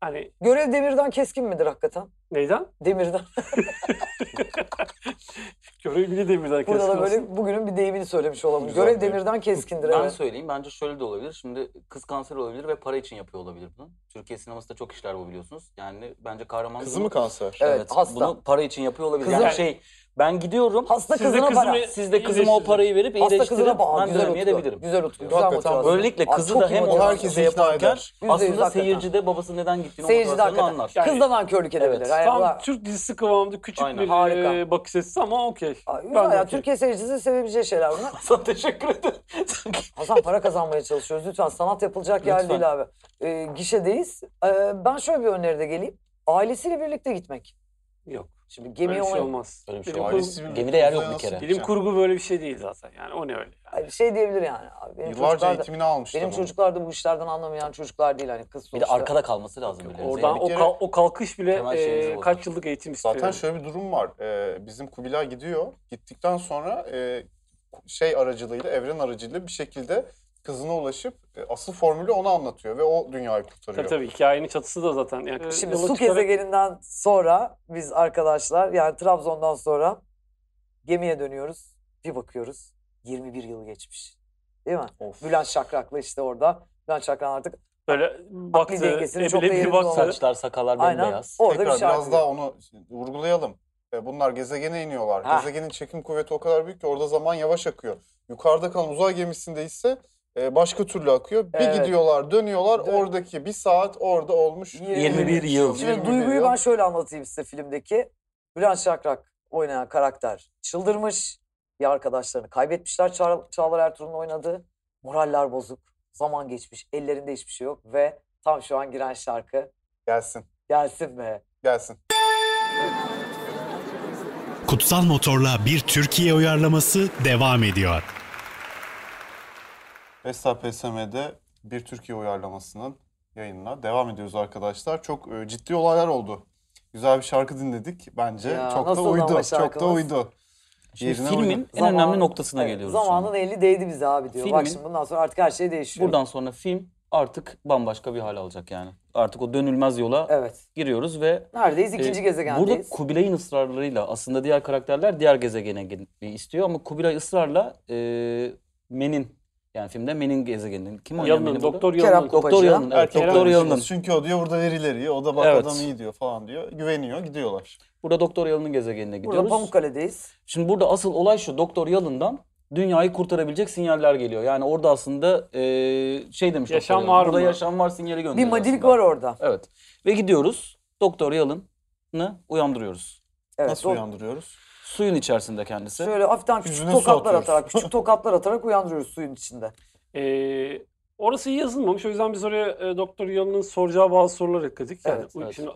Speaker 5: hani
Speaker 3: Görev demirden keskin midir hakikaten?
Speaker 5: neyden?
Speaker 3: Demirden.
Speaker 5: Görev bile demirden
Speaker 3: Burada
Speaker 5: keskin
Speaker 3: da
Speaker 5: olsun.
Speaker 3: böyle bugünün bir deyimini söylemiş olalım.
Speaker 2: Güzel
Speaker 3: Görev
Speaker 2: deyim.
Speaker 3: demirden keskindir.
Speaker 4: Ben
Speaker 3: evet.
Speaker 4: söyleyeyim. Bence şöyle de olabilir. Şimdi kız kanser olabilir ve para için yapıyor olabilir bunu. Türkiye sinemasında çok işler bu biliyorsunuz. Yani bence kahraman...
Speaker 2: Kızı mı kanser?
Speaker 3: Evet, hasta.
Speaker 4: Bunu para için yapıyor olabilir.
Speaker 3: Kızı-
Speaker 4: Yani şey ben gidiyorum.
Speaker 3: Hasta
Speaker 5: Siz de
Speaker 3: kızına
Speaker 5: kızımı-
Speaker 3: para.
Speaker 4: Siz de kızıma o parayı verip
Speaker 3: Hasta
Speaker 4: iyileştirin.
Speaker 3: kızına bağlı.
Speaker 4: Ben
Speaker 3: Güzel
Speaker 4: dönemeye de
Speaker 3: Utku.
Speaker 4: bilirim.
Speaker 3: Güzel Utku. Güzel
Speaker 2: Hakikaten
Speaker 3: motivasyon.
Speaker 4: Böylelikle
Speaker 3: Aa,
Speaker 4: kızı
Speaker 3: çok
Speaker 4: da
Speaker 3: iyi
Speaker 4: hem o
Speaker 3: motivasyon.
Speaker 2: herkesi
Speaker 4: şey
Speaker 2: ikna
Speaker 4: yaparken
Speaker 2: eder.
Speaker 3: Yüzde yüz
Speaker 4: aslında
Speaker 3: hakikaten.
Speaker 4: seyirci de babasının neden gittiğini o
Speaker 3: Seyirci de
Speaker 4: motivasyonunu
Speaker 3: hakikaten.
Speaker 4: anlar.
Speaker 5: Yani-
Speaker 3: Kız da nankörlük edebilir.
Speaker 4: Evet,
Speaker 3: Yani
Speaker 5: Tam
Speaker 3: bana-
Speaker 5: Türk dizisi kıvamında küçük
Speaker 4: Aynen.
Speaker 5: bir
Speaker 3: Harika.
Speaker 5: e, bakış açısı ama okey.
Speaker 3: Aa, güzel
Speaker 5: Ben de
Speaker 3: ya.
Speaker 5: okey.
Speaker 3: Türkiye seyircisinin sevebileceği şeyler bunlar.
Speaker 4: Sana teşekkür ederim.
Speaker 3: Hasan para kazanmaya çalışıyoruz. Lütfen sanat yapılacak yer
Speaker 4: Lütfen.
Speaker 3: değil abi. Ee, gişedeyiz. Ee, ben şöyle bir öneride geleyim. Ailesiyle birlikte gitmek.
Speaker 5: Yok.
Speaker 3: Şimdi
Speaker 5: Öyle
Speaker 3: gemiye
Speaker 5: bir şey
Speaker 3: şey,
Speaker 5: olmaz.
Speaker 4: Öyle bir şey
Speaker 5: Bilim
Speaker 4: olmaz.
Speaker 5: kurgu-
Speaker 2: Ailesi birlikte
Speaker 4: Gemide yer yok
Speaker 2: uzaya
Speaker 4: bir kere.
Speaker 2: nasıl
Speaker 5: Bilim kurgu böyle bir şey değil zaten yani o ne öyle. Yani.
Speaker 3: şey diyebilir yani. Abi, benim
Speaker 2: Yıllarca
Speaker 3: çocuklar da,
Speaker 2: eğitimini almışlar.
Speaker 3: benim
Speaker 2: onun.
Speaker 3: çocuklar da bu işlerden anlamayan çocuklar değil hani kız
Speaker 4: Bir
Speaker 3: sonuçta.
Speaker 4: de arkada kalması lazım.
Speaker 5: Yok,
Speaker 4: birilerinin.
Speaker 5: Oradan
Speaker 4: Yani
Speaker 5: o,
Speaker 2: kere-
Speaker 5: kal- o kalkış bile
Speaker 4: Temel
Speaker 5: e,
Speaker 4: şeyimiz olacak. şey
Speaker 5: kaç yıllık eğitim istiyor.
Speaker 2: Zaten
Speaker 5: yani.
Speaker 2: şöyle bir durum var. Ee, bizim Kubilay gidiyor. Gittikten sonra e, şey aracılığıyla, evren aracılığıyla bir şekilde kızına ulaşıp e, asıl formülü ona anlatıyor ve o dünyayı kurtarıyor.
Speaker 5: Tabii tabii hikayenin çatısı da zaten. Yani, e,
Speaker 3: Şimdi
Speaker 5: yola
Speaker 3: su
Speaker 5: çıkarak-
Speaker 3: gezegeninden sonra biz arkadaşlar yani Trabzon'dan sonra gemiye dönüyoruz. Bir bakıyoruz 21 yıl geçmiş. değil mi?
Speaker 4: Of.
Speaker 3: Bülent Şakrak'la işte orada. Bülent Şakrak artık
Speaker 5: Böyle baktı,
Speaker 3: dengesini çok da
Speaker 5: ebile bir
Speaker 3: yerinde
Speaker 5: baktı.
Speaker 3: olan-
Speaker 4: Saçlar, sakallar
Speaker 3: aynen
Speaker 4: bembeyaz.
Speaker 3: orada
Speaker 2: Tekrar
Speaker 3: bir şarkı.
Speaker 2: biraz daha onu vurgulayalım. E, Bunlar gezegene iniyorlar.
Speaker 3: Ha.
Speaker 2: Gezegenin çekim kuvveti o kadar büyük ki orada zaman yavaş akıyor. Yukarıda kalan uzay gemisinde ise e, başka türlü akıyor. Bir
Speaker 3: Evet.
Speaker 2: gidiyorlar, dönüyorlar.
Speaker 3: Dön-
Speaker 2: Oradaki bir saat orada olmuş.
Speaker 3: 21
Speaker 4: yıl.
Speaker 3: Şimdi
Speaker 2: 21
Speaker 3: duyguyu
Speaker 2: yıl.
Speaker 3: ben şöyle anlatayım size filmdeki. Bülent Şakrak oynayan karakter çıldırmış. Bir arkadaşlarını kaybetmişler Çağ- Çağlar Ertuğrul'un oynadığı. Moraller bozuk. Zaman geçmiş. Ellerinde hiçbir şey yok ve tam şu an giren şarkı
Speaker 2: Gelsin,
Speaker 3: gelsin be.
Speaker 2: gelsin.
Speaker 1: Kutsal Motor'la bir Türkiye uyarlaması devam ediyor.
Speaker 2: Vesta PSM'de bir Türkiye uyarlamasının yayınına devam ediyoruz arkadaşlar. Çok e, ciddi olaylar oldu. Güzel bir şarkı dinledik bence.
Speaker 3: Ya,
Speaker 2: çok da
Speaker 3: nasıl ama
Speaker 2: uydu. Çok da
Speaker 3: şarkımız?
Speaker 2: uydu.
Speaker 4: Şimdi
Speaker 2: Yerine
Speaker 4: filmin
Speaker 2: uygun.
Speaker 4: en önemli noktasına
Speaker 3: evet,
Speaker 4: geliyoruz. şu an.
Speaker 3: Zamanın eli değdi bize abi diyor. Bak
Speaker 4: Filmin-
Speaker 3: şimdi bundan sonra artık her şey değişiyor.
Speaker 4: Buradan sonra film artık bambaşka bir hal alacak yani. Artık o dönülmez yola
Speaker 3: Evet.
Speaker 4: giriyoruz ve
Speaker 3: Neredeyiz? İkinci
Speaker 4: Ee,
Speaker 3: gezegendeyiz.
Speaker 4: Burada Kubilay'ın ısrarlarıyla aslında diğer karakterler diğer gezegene gitmeyi istiyor ama Kubilay ısrarla e, Men'in yani filmde Men'in gezegeninin kim oynuyor
Speaker 5: Yalının,
Speaker 4: Men'i burada?
Speaker 5: doktor
Speaker 3: Kerem
Speaker 5: Yalının.
Speaker 3: Kopacı.
Speaker 4: Doktor Yalın. Evet,
Speaker 2: Erkek
Speaker 4: doktor Yalın'ın.
Speaker 2: konuşuyoruz. Çünkü o diyor burada verileri iyi. O da bak
Speaker 4: Evet.
Speaker 2: adam iyi diyor falan diyor. Güveniyor gidiyorlar.
Speaker 4: Burada Doktor Yalın'ın gezegenine
Speaker 3: Burada
Speaker 4: gidiyoruz.
Speaker 3: Pamukkale'deyiz.
Speaker 4: Şimdi burada asıl olay şu. Doktor Yalın'dan dünyayı kurtarabilecek sinyaller geliyor. Yani orada aslında e, şey demiş
Speaker 5: Yaşam
Speaker 4: Doktor Yalın,
Speaker 5: var
Speaker 4: Burada
Speaker 5: mı?
Speaker 4: yaşam var sinyali
Speaker 3: Bir
Speaker 4: gönderiyor.
Speaker 3: madilik
Speaker 4: aslında.
Speaker 3: var orada.
Speaker 4: Evet. Ve gidiyoruz. Doktor Yalın'ı uyandırıyoruz.
Speaker 3: Evet,
Speaker 2: Nasıl
Speaker 3: o-
Speaker 2: uyandırıyoruz?
Speaker 4: Suyun içerisinde kendisi.
Speaker 3: Şöyle hafiften küçük
Speaker 2: Yüzüne su
Speaker 3: tokatlar
Speaker 2: atıyoruz.
Speaker 3: atarak, küçük tokatlar atarak uyandırıyoruz suyun içinde.
Speaker 5: Ee, orası iyi yazılmamış. O yüzden biz oraya e, Doktor Yalın'ın soracağı bazı soruları ekledik. Yani
Speaker 3: Evet,
Speaker 5: uy-
Speaker 4: evet.
Speaker 5: Şimdi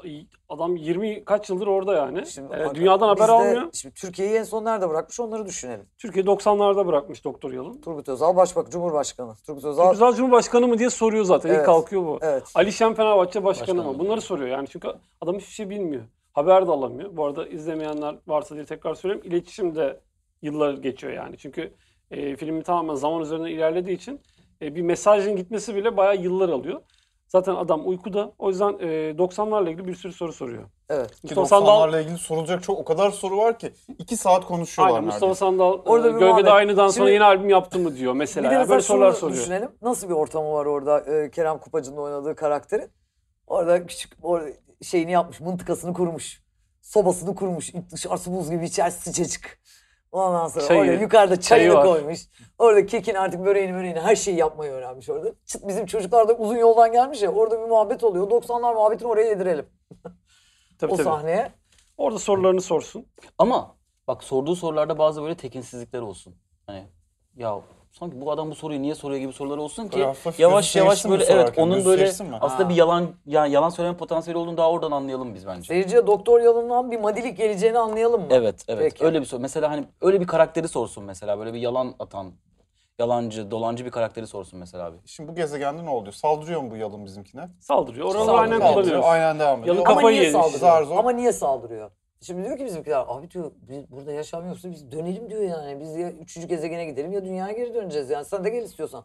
Speaker 5: adam 20 kaç yıldır orada yani.
Speaker 3: Şimdi
Speaker 5: Ee,
Speaker 3: bak-
Speaker 5: dünyadan haber
Speaker 3: biz de-
Speaker 5: almıyor.
Speaker 3: Şimdi Türkiye'yi en son nerede bırakmış onları düşünelim.
Speaker 5: Türkiye 90'larda bırakmış Doktor Yalın.
Speaker 3: Turgut Özal Başbak Cumhurbaşkanı. Turgut Özal
Speaker 5: Güzel Cumhurbaşkanı mı diye soruyor zaten. İlk
Speaker 3: Evet.
Speaker 5: kalkıyor bu.
Speaker 3: evet.
Speaker 5: Ali Şen Fenerbahçe başkanı
Speaker 4: Başkanı.
Speaker 5: mı? Bunları soruyor yani çünkü adam hiçbir şey bilmiyor. Haber de alamıyor. Bu arada izlemeyenler varsa diye tekrar söyleyeyim. İletişim de yıllar geçiyor yani. Çünkü e, filmi tamamen zaman üzerine ilerlediği için e, bir mesajın gitmesi bile bayağı yıllar alıyor. Zaten adam uykuda. O yüzden e, 90'larla ilgili bir sürü soru soruyor.
Speaker 3: Evet.
Speaker 2: Ki
Speaker 5: Mustafa Sandal
Speaker 2: 90'larla ilgili sorulacak çok o kadar soru var ki. iki saat konuşuyorlar
Speaker 5: Aynen Mustafa
Speaker 2: neredeyse.
Speaker 5: Sandal
Speaker 3: Orada
Speaker 5: Orada
Speaker 3: bir
Speaker 5: Gölgede
Speaker 3: muhabbet.
Speaker 5: Aynı'dan sonra
Speaker 3: Şimdi-
Speaker 5: yeni albüm yaptı mı diyor
Speaker 3: Bir
Speaker 5: mesela.
Speaker 3: de mesela
Speaker 5: Böyle sorular
Speaker 3: şunu
Speaker 5: soruyor.
Speaker 3: düşünelim. Nasıl bir ortamı var orada Ee, Kerem Kupacı'nın oynadığı karakterin? Orada küçük or- şeyini yapmış, mıntıkasını kurmuş. Sobasını kurmuş. Dışarısı buz gibi içerisi sıcacık. Ondan sonra
Speaker 5: Çayı-
Speaker 3: orada yukarıda çayını
Speaker 5: çayı Şey, var.
Speaker 3: koymuş. Orada kekin artık böreğini böreğini her şeyi yapmayı öğrenmiş orada. Çıt bizim çocuklar da uzun yoldan gelmiş ya orada bir muhabbet oluyor. 90'lar muhabbetini oraya yedirelim.
Speaker 5: Tabii,
Speaker 3: o
Speaker 5: tabii.
Speaker 3: sahneye.
Speaker 5: Orada sorularını sorsun.
Speaker 4: Ama bak sorduğu sorularda bazı böyle tekinsizlikler olsun. Hani ya sanki bu adam bu soruyu niye soruyor gibi sorular olsun ki
Speaker 2: Böyle hafif
Speaker 4: yavaş
Speaker 2: gözü
Speaker 4: yavaş
Speaker 2: şişirsin mi
Speaker 4: böyle evet
Speaker 2: sorarken?
Speaker 4: onun
Speaker 2: Gözü
Speaker 4: böyle
Speaker 2: şişirsin mi?
Speaker 4: aslında
Speaker 3: Ha.
Speaker 4: bir yalan ya yalan söyleme potansiyeli olduğunu daha oradan anlayalım biz bence.
Speaker 3: Seyirciye doktor yalından bir madilik geleceğini anlayalım mı?
Speaker 4: Evet evet
Speaker 3: Peki.
Speaker 4: öyle bir soru. Mesela hani öyle bir karakteri sorsun mesela böyle bir yalan atan yalancı dolancı bir karakteri sorsun mesela abi.
Speaker 2: Şimdi bu gezegende ne oluyor? Saldırıyor mu bu yalın bizimkine?
Speaker 5: Saldırıyor. Oraları
Speaker 4: Saldırıyor.
Speaker 5: aynen
Speaker 2: Saldırıyor,
Speaker 5: kullanıyoruz.
Speaker 2: Aynen devam ediyor.
Speaker 5: Yalın
Speaker 3: Ama
Speaker 5: Kafayı
Speaker 3: niye
Speaker 5: yemiş.
Speaker 3: saldırıyor?
Speaker 2: Zar zor.
Speaker 3: Ama niye saldırıyor? Şimdi diyor ki bizimkiler abi diyor biz burada yaşam yoksa biz dönelim diyor yani. Biz ya üçüncü gezegene gidelim ya dünyaya geri döneceğiz yani. Sen de gel istiyorsan.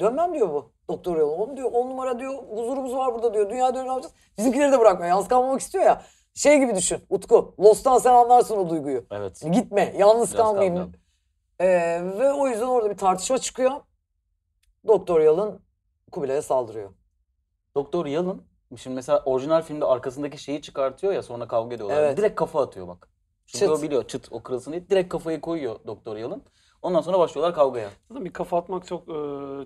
Speaker 3: Dönmem diyor bu doktor yolu. Oğlum diyor on numara diyor huzurumuz var burada diyor. Dünya dönüyor ne yapacağız? Bizimkileri de bırakmıyor. Yalnız kalmamak istiyor ya. Şey gibi düşün Utku. Lost'tan sen anlarsın o duyguyu.
Speaker 4: Evet.
Speaker 3: Gitme yalnız
Speaker 4: Biraz
Speaker 3: kalmayayım.
Speaker 4: kavram.
Speaker 3: Ee, ve o yüzden orada bir tartışma çıkıyor. Doktor Yalın Kubilay'a saldırıyor.
Speaker 4: Doktor Yalın şimdi mesela orijinal filmde arkasındaki şeyi çıkartıyor ya sonra kavga ediyorlar.
Speaker 3: Evet.
Speaker 4: Direkt kafa atıyor bak. Çünkü
Speaker 3: Çıt.
Speaker 4: o biliyor çıt o kırılsın diye direkt kafayı koyuyor Doktor Yalın. Ondan sonra başlıyorlar kavgaya.
Speaker 5: Zaten bir kafa atmak çok e,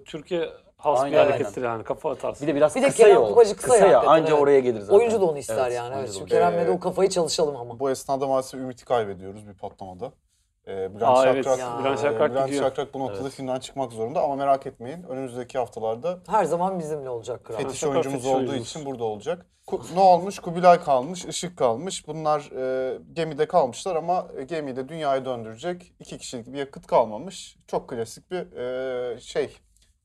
Speaker 5: Türkiye has
Speaker 4: Aynen,
Speaker 5: bir
Speaker 4: aynen.
Speaker 5: harekettir yani. Kafa atarsın.
Speaker 4: Bir de biraz
Speaker 3: Bir de
Speaker 4: kısa
Speaker 3: Kerem
Speaker 4: ya o.
Speaker 3: Kubacı kısa ya
Speaker 4: ya.
Speaker 3: hakikaten,
Speaker 4: Anca
Speaker 3: evet.
Speaker 4: oraya gelir zaten.
Speaker 3: Oyuncu da onu ister
Speaker 4: Evet,
Speaker 3: yani. Evet.
Speaker 4: oyuncu da
Speaker 3: Şimdi
Speaker 4: onu
Speaker 2: Kerem-
Speaker 3: Kerem'le de
Speaker 5: Ee,
Speaker 3: o kafayı çalışalım ama.
Speaker 2: Bu esnada maalesef ümidi kaybediyoruz bir patlamada. Ee, Bülent
Speaker 5: Aa, evet.
Speaker 2: Şakrak,
Speaker 3: Ya.
Speaker 2: e,
Speaker 5: Bülent Şakrak
Speaker 2: Bülent
Speaker 5: gidiyor.
Speaker 2: Şakrak bu noktada filmden çıkmak zorunda ama merak etmeyin önümüzdeki haftalarda
Speaker 3: Her zaman bizimle olacak kral.
Speaker 2: fetiş
Speaker 5: Şakrak
Speaker 2: oyuncumuz
Speaker 5: fetiş
Speaker 2: olduğu
Speaker 5: oyuncumuz.
Speaker 2: için burada olacak. Ku- ne olmuş? Kubilay kalmış, Işık kalmış. Bunlar e, gemide kalmışlar ama e, gemiyi de dünyaya döndürecek iki kişilik bir yakıt kalmamış. Çok klasik bir e, şey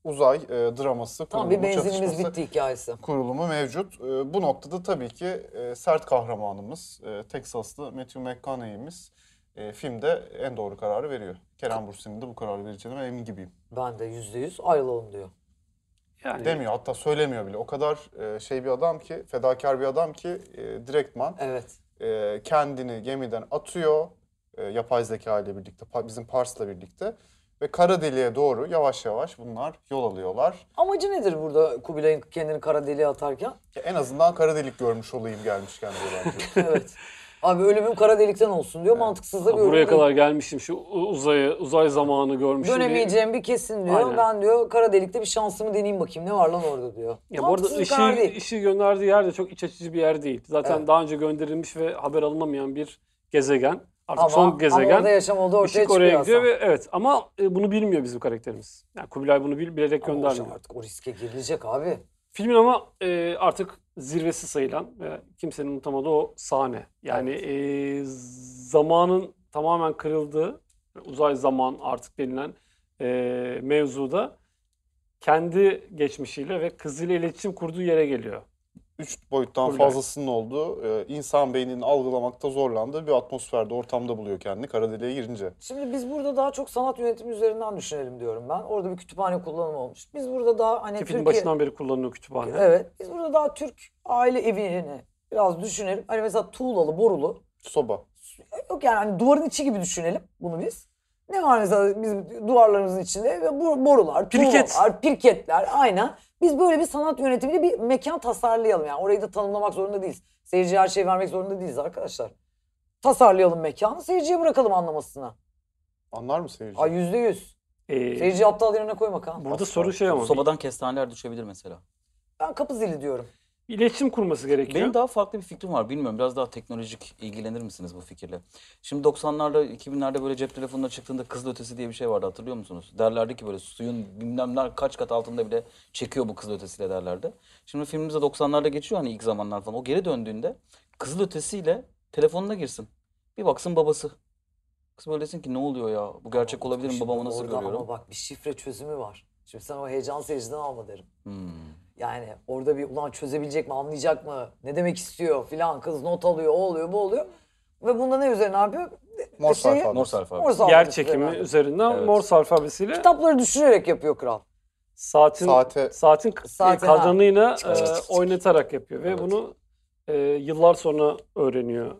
Speaker 2: uzay e, draması,
Speaker 3: Tam
Speaker 2: kurulumu,
Speaker 3: bir benzinimiz
Speaker 2: çatışması
Speaker 3: bitti hikayesi.
Speaker 2: kurulumu mevcut. E, bu noktada tabii ki e, sert kahramanımız, e, Teksaslı Matthew McConaughey'imiz e, filmde en doğru kararı veriyor. Kerem Bürsin'in de bu kararı vereceğine emin gibiyim.
Speaker 3: Ben de yüzde yüz ayrılalım diyor.
Speaker 5: Yani
Speaker 2: Demiyor hatta söylemiyor bile. O kadar e, şey bir adam ki, fedakar bir adam ki e, direktman
Speaker 3: Evet.
Speaker 2: e, kendini gemiden atıyor e, yapay zeka ile birlikte, pa- bizim Pars'la birlikte. Ve kara deliğe doğru yavaş yavaş bunlar yol alıyorlar.
Speaker 3: Amacı nedir burada Kubilay'ın kendini kara deliğe atarken?
Speaker 2: Ya en azından kara delik görmüş olayım gelmişken diyor bence.
Speaker 3: Evet. Abi ölümüm kara delikten olsun diyor. Mantıksızlar
Speaker 5: Ha,
Speaker 3: bir
Speaker 5: buraya
Speaker 3: ölüm.
Speaker 5: kadar gelmişim şu uzay uzay zamanı görmüşüm. diye-
Speaker 3: Dönemeyeceğim bir kesin diyor.
Speaker 5: Aynen.
Speaker 3: Ben diyor kara delikte bir şansımı deneyeyim bakayım ne var lan orada diyor.
Speaker 5: Ya bu arada
Speaker 3: Mantıksız
Speaker 5: ışığı,
Speaker 3: karar değil.
Speaker 5: ışığı gönderdiği yer de çok iç açıcı bir yer değil. Zaten
Speaker 3: Evet.
Speaker 5: daha önce gönderilmiş ve haber alınamayan bir gezegen. Artık
Speaker 3: Ama,
Speaker 5: son
Speaker 3: ama orada
Speaker 5: gezegen.
Speaker 3: yaşam oldu ortaya
Speaker 5: Işık
Speaker 3: çıkıyor
Speaker 5: oraya gidiyor
Speaker 3: aslında.
Speaker 5: ve evet ama e, bunu bilmiyor bizim karakterimiz. Yani Kubilay bunu bil, bilerek
Speaker 3: Ama hocam
Speaker 5: göndermiyor.
Speaker 3: artık o riske girilecek abi.
Speaker 5: Filmin ama e, artık zirvesi sayılan ve kimsenin unutamadığı o sahne. Yani e, zamanın tamamen kırıldığı, uzay zaman artık denilen e, mevzuda kendi geçmişiyle ve kızıyla iletişim kurduğu yere geliyor.
Speaker 2: Üç boyuttan
Speaker 5: Kurbağayı.
Speaker 2: fazlasının olduğu, e, insan beyninin algılamakta zorlandığı bir atmosferde, ortamda buluyor kendini kara deliğe girince.
Speaker 3: Şimdi biz burada daha çok sanat yönetimi üzerinden düşünelim diyorum ben. Orada bir kütüphane kullanımı olmuş. Biz burada daha hani
Speaker 5: Ki
Speaker 3: Türkiye...
Speaker 5: filmin başından beri kullanılıyor kütüphane.
Speaker 3: Evet. Biz burada daha Türk aile evini biraz düşünelim. Hani mesela tuğlalı, borulu.
Speaker 2: Soba.
Speaker 3: Yok yani hani duvarın içi gibi düşünelim bunu biz. Ne var mesela biz duvarlarımızın içinde ve bu borular,
Speaker 5: Pirket.
Speaker 3: tuğlalar, pirketler aynen. Biz böyle bir sanat yönetimiyle bir mekan tasarlayalım yani. Orayı da tanımlamak zorunda değiliz. Seyirciye her şeyi vermek zorunda değiliz arkadaşlar. Tasarlayalım mekanı, seyirciye bırakalım anlamasına.
Speaker 2: Anlar mı seyirci?
Speaker 3: Ay yüzde yüz.
Speaker 5: Ee,
Speaker 3: Seyirci aptal yerine koyma kan.
Speaker 5: burada soru şey ama
Speaker 4: Sobadan kestaneler düşebilir mesela.
Speaker 3: Ben kapı zili diyorum.
Speaker 5: iletişim kurması gerekiyor.
Speaker 4: Benim daha farklı bir fikrim var. Bilmiyorum biraz daha teknolojik ilgilenir misiniz bu fikirle? Şimdi 90'larda 2000'lerde böyle cep telefonuna çıktığında kızıl ötesi diye bir şey vardı hatırlıyor musunuz? Derlerdi ki böyle suyun bilmem ne kaç kat altında bile çekiyor bu kızıl ötesiyle derlerdi. Şimdi filmimizde 90'larda geçiyor hani ilk zamanlar falan. O geri döndüğünde kızıl ötesiyle telefonuna girsin. Bir baksın babası. Kız böyle desin ki ne oluyor ya? Bu gerçek olabilir mi?
Speaker 3: Şimdi
Speaker 4: Babamı nasıl
Speaker 3: orada
Speaker 4: görüyorum?
Speaker 3: Ama bak bir şifre çözümü var. Şimdi sen o heyecan seyirciden alma derim.
Speaker 4: Hmm.
Speaker 3: Yani orada bir ulan çözebilecek mi, anlayacak mı, ne demek istiyor filan kız not alıyor, o oluyor, bu oluyor. Ve bunda ne üzerine ne yapıyor?
Speaker 2: Mor
Speaker 3: Şeyi-
Speaker 2: sayfa.
Speaker 4: Morse alfabesi.
Speaker 3: Morse alfabesi
Speaker 5: Yer çekimi
Speaker 3: üzerine.
Speaker 5: üzerinden
Speaker 4: Evet.
Speaker 5: Morse alfabesiyle
Speaker 3: Kitapları düşürerek yapıyor kral.
Speaker 5: saatin
Speaker 2: Saate-
Speaker 5: saatin k- e,
Speaker 3: Saate, ha.
Speaker 5: kadranıyla
Speaker 4: Çık, çık,
Speaker 5: e,
Speaker 4: çık, çık.
Speaker 5: oynatarak yapıyor ve
Speaker 4: Evet.
Speaker 5: bunu e, yıllar sonra öğreniyor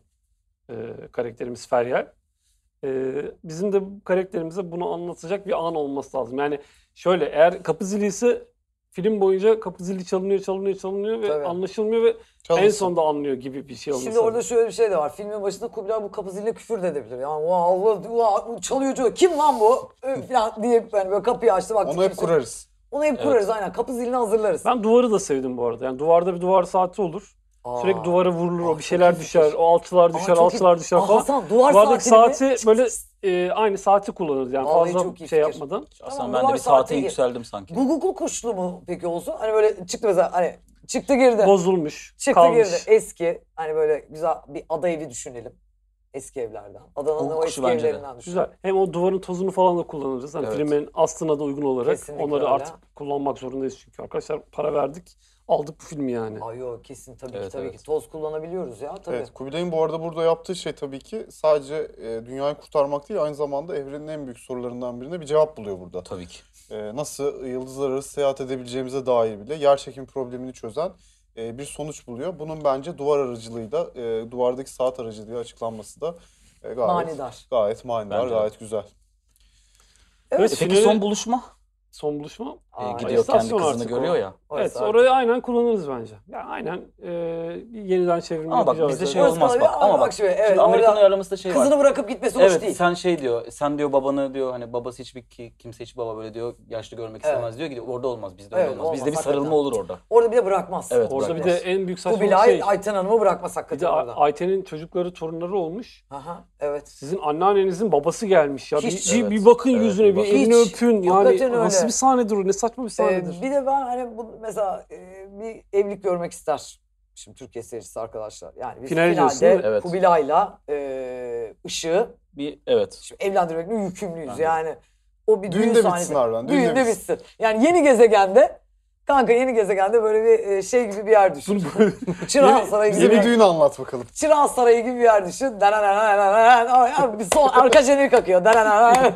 Speaker 5: e, karakterimiz Feryal. E, bizim de bu karakterimize bunu anlatacak bir an olması lazım. Yani şöyle eğer kapı zili ise film boyunca kapı zili çalınıyor çalınıyor çalınıyor ve
Speaker 3: Tabii.
Speaker 5: anlaşılmıyor ve en
Speaker 2: Çalınsın.
Speaker 5: sonda anlıyor gibi bir şey olması
Speaker 3: Şimdi orada
Speaker 5: lazım.
Speaker 3: şöyle bir şey de var. Filmin başında Kubilay bu kapı ziline küfür de edebilir. Yani "Ulan Allah, ulan çalıyor çalıyor. Kim lan bu? Ö, Falan diye yani böyle kapıyı açtı. Baktı,
Speaker 2: Onu hep
Speaker 3: kimse-
Speaker 2: kurarız.
Speaker 3: Onu hep kurarız aynen. Kapı zilini hazırlarız.
Speaker 5: Ben duvarı da sevdim bu arada. Yani duvarda bir duvar saati olur.
Speaker 3: Aa.
Speaker 5: Sürekli duvara vurulur,
Speaker 3: Aa,
Speaker 5: o
Speaker 3: çok
Speaker 5: bir şeyler
Speaker 3: iyi
Speaker 5: düşer,
Speaker 3: fikir.
Speaker 5: o alçılar
Speaker 3: Aa,
Speaker 5: düşer,
Speaker 3: çok iyi.
Speaker 5: alçılar düşer
Speaker 3: Aa,
Speaker 5: falan.
Speaker 3: Hasan, duvar
Speaker 5: Duvardaki
Speaker 3: saatini
Speaker 5: saati böyle e, aynı saati kullanırız yani
Speaker 3: Vallahi
Speaker 5: fazla
Speaker 3: çok iyi
Speaker 5: şey
Speaker 3: fikir.
Speaker 5: yapmadan.
Speaker 4: Aslında
Speaker 3: Tamam,
Speaker 4: ben de
Speaker 3: duvar
Speaker 4: bir saate
Speaker 3: saati-
Speaker 4: yükseldim sanki.
Speaker 3: Google kuşlu mu peki olsun? Hani böyle çıktı mesela hani çıktı girdi.
Speaker 5: Bozulmuş,
Speaker 3: Çıktı
Speaker 5: kalmış.
Speaker 3: girdi. Eski hani böyle güzel bir ada evi düşünelim. Eski evlerden. Adana'nın
Speaker 4: Hukuk
Speaker 3: o
Speaker 4: kuşu
Speaker 3: eski
Speaker 4: bence de.
Speaker 3: evlerinden düşünelim.
Speaker 5: Güzel. Hem o duvarın tozunu falan da kullanırız. Hani
Speaker 4: Evet.
Speaker 5: filmin aslına da uygun olarak
Speaker 3: Kesinlikle
Speaker 5: onları
Speaker 3: öyle.
Speaker 5: artık kullanmak zorundayız çünkü arkadaşlar para verdik, aldık bu filmi yani.
Speaker 3: Ay yo kesin tabii ki
Speaker 4: Evet,
Speaker 3: tabii
Speaker 4: evet.
Speaker 3: ki. Toz kullanabiliyoruz ya tabii.
Speaker 2: Evet, Kubilay'ın bu arada burada yaptığı şey tabii ki sadece e, dünyayı kurtarmak değil, aynı zamanda evrenin en büyük sorularından birine bir cevap buluyor burada.
Speaker 4: Tabii ki.
Speaker 2: E, nasıl yıldızlar arası seyahat edebileceğimize dair bile yerçekim problemini çözen e, bir sonuç buluyor. Bunun bence duvar aracılığıyla, e, duvardaki saat aracılığıyla açıklanması da e, gayet
Speaker 3: Manidar.
Speaker 2: gayet manidar,
Speaker 4: Bence de.
Speaker 2: gayet güzel.
Speaker 5: Evet,
Speaker 4: E
Speaker 5: son
Speaker 4: peki son buluşma?
Speaker 5: son buluşma.
Speaker 4: E,
Speaker 3: Aa,
Speaker 4: gidiyor kendi
Speaker 5: istasyon
Speaker 4: kızını
Speaker 5: artık
Speaker 4: görüyor
Speaker 5: o.
Speaker 4: ya.
Speaker 3: orası
Speaker 5: Evet,
Speaker 3: artık.
Speaker 5: orayı aynen kullanırız bence. Ya aynen e, bir yeniden çevirme
Speaker 4: Ama bak
Speaker 5: yapacağız
Speaker 4: bizde
Speaker 5: yani.
Speaker 4: şey
Speaker 3: Orası
Speaker 4: olmaz
Speaker 3: kalıyor.
Speaker 4: bak.
Speaker 3: Aa,
Speaker 4: Ama
Speaker 3: bak
Speaker 4: bak
Speaker 3: şimdi,
Speaker 4: şimdi,
Speaker 3: evet,
Speaker 4: Amerikan
Speaker 3: orada
Speaker 4: uyarlaması da şey var.
Speaker 3: Kızını bırakıp gitmesi hoş
Speaker 4: Evet
Speaker 3: değil.
Speaker 4: sen şey diyor. Sen diyor babanı diyor hani babası hiçbir ki- kimse hiç baba böyle diyor yaşlı görmek
Speaker 3: Evet.
Speaker 4: istemez diyor gidiyor. Orada olmaz bizde
Speaker 3: Evet,
Speaker 4: öyle olmaz. Bizde bir
Speaker 3: olmaz,
Speaker 4: sarılma
Speaker 3: hakikaten.
Speaker 4: olur orada.
Speaker 3: Orada bir de bırakmaz.
Speaker 4: Evet,
Speaker 5: Orada bir de
Speaker 4: bırakmaz.
Speaker 5: en büyük
Speaker 3: Bu
Speaker 5: saçmalık
Speaker 3: Bilal
Speaker 5: şey.
Speaker 3: Ayten Hanım'ı bırakmaz
Speaker 5: Bir
Speaker 3: hakikaten
Speaker 5: de
Speaker 3: orada.
Speaker 5: A- Ayten'in çocukları, torunları olmuş.
Speaker 3: Aha, evet.
Speaker 5: Sizin anneannenizin babası gelmiş ya. Bir-
Speaker 3: Hiç.
Speaker 5: Bir,
Speaker 4: Evet.
Speaker 5: bir bakın
Speaker 4: Evet,
Speaker 5: yüzüne,
Speaker 4: bir
Speaker 5: bir
Speaker 4: bakın.
Speaker 5: elini
Speaker 3: Hiç.
Speaker 5: öpün. Yani
Speaker 3: Hakikaten öyle.
Speaker 5: nasıl bir sahnedir o? Ne saçma bir
Speaker 3: Ee,
Speaker 5: sahnedir.
Speaker 3: bir de ben hani bu mesela e, bir evlilik görmek ister. Şimdi Türkiye seyircisi arkadaşlar. Yani biz
Speaker 5: Final diyorsun,
Speaker 3: finalde
Speaker 5: değil mi?
Speaker 4: Evet.
Speaker 3: Kubilay'la e, Işığı
Speaker 4: Bir evet.
Speaker 3: Şimdi evlendirmekle yükümlüyüz
Speaker 4: Bence de.
Speaker 3: yani. O bir düğün
Speaker 2: Düğünde bitsin
Speaker 3: sahnesi.
Speaker 2: harbiden, düğünde
Speaker 3: Düğünde bitsin. Yani yeni gezegende Kanka yeni gezegende böyle bir e, şey gibi bir yer düşün. Çırağan Sarayı gibi.
Speaker 2: Yeni düğün anlat bakalım.
Speaker 3: Çırağan Sarayı gibi bir yer düşün. Dananananananan. Ay, ay, Bir son arka jenerik akıyor. Dananananan.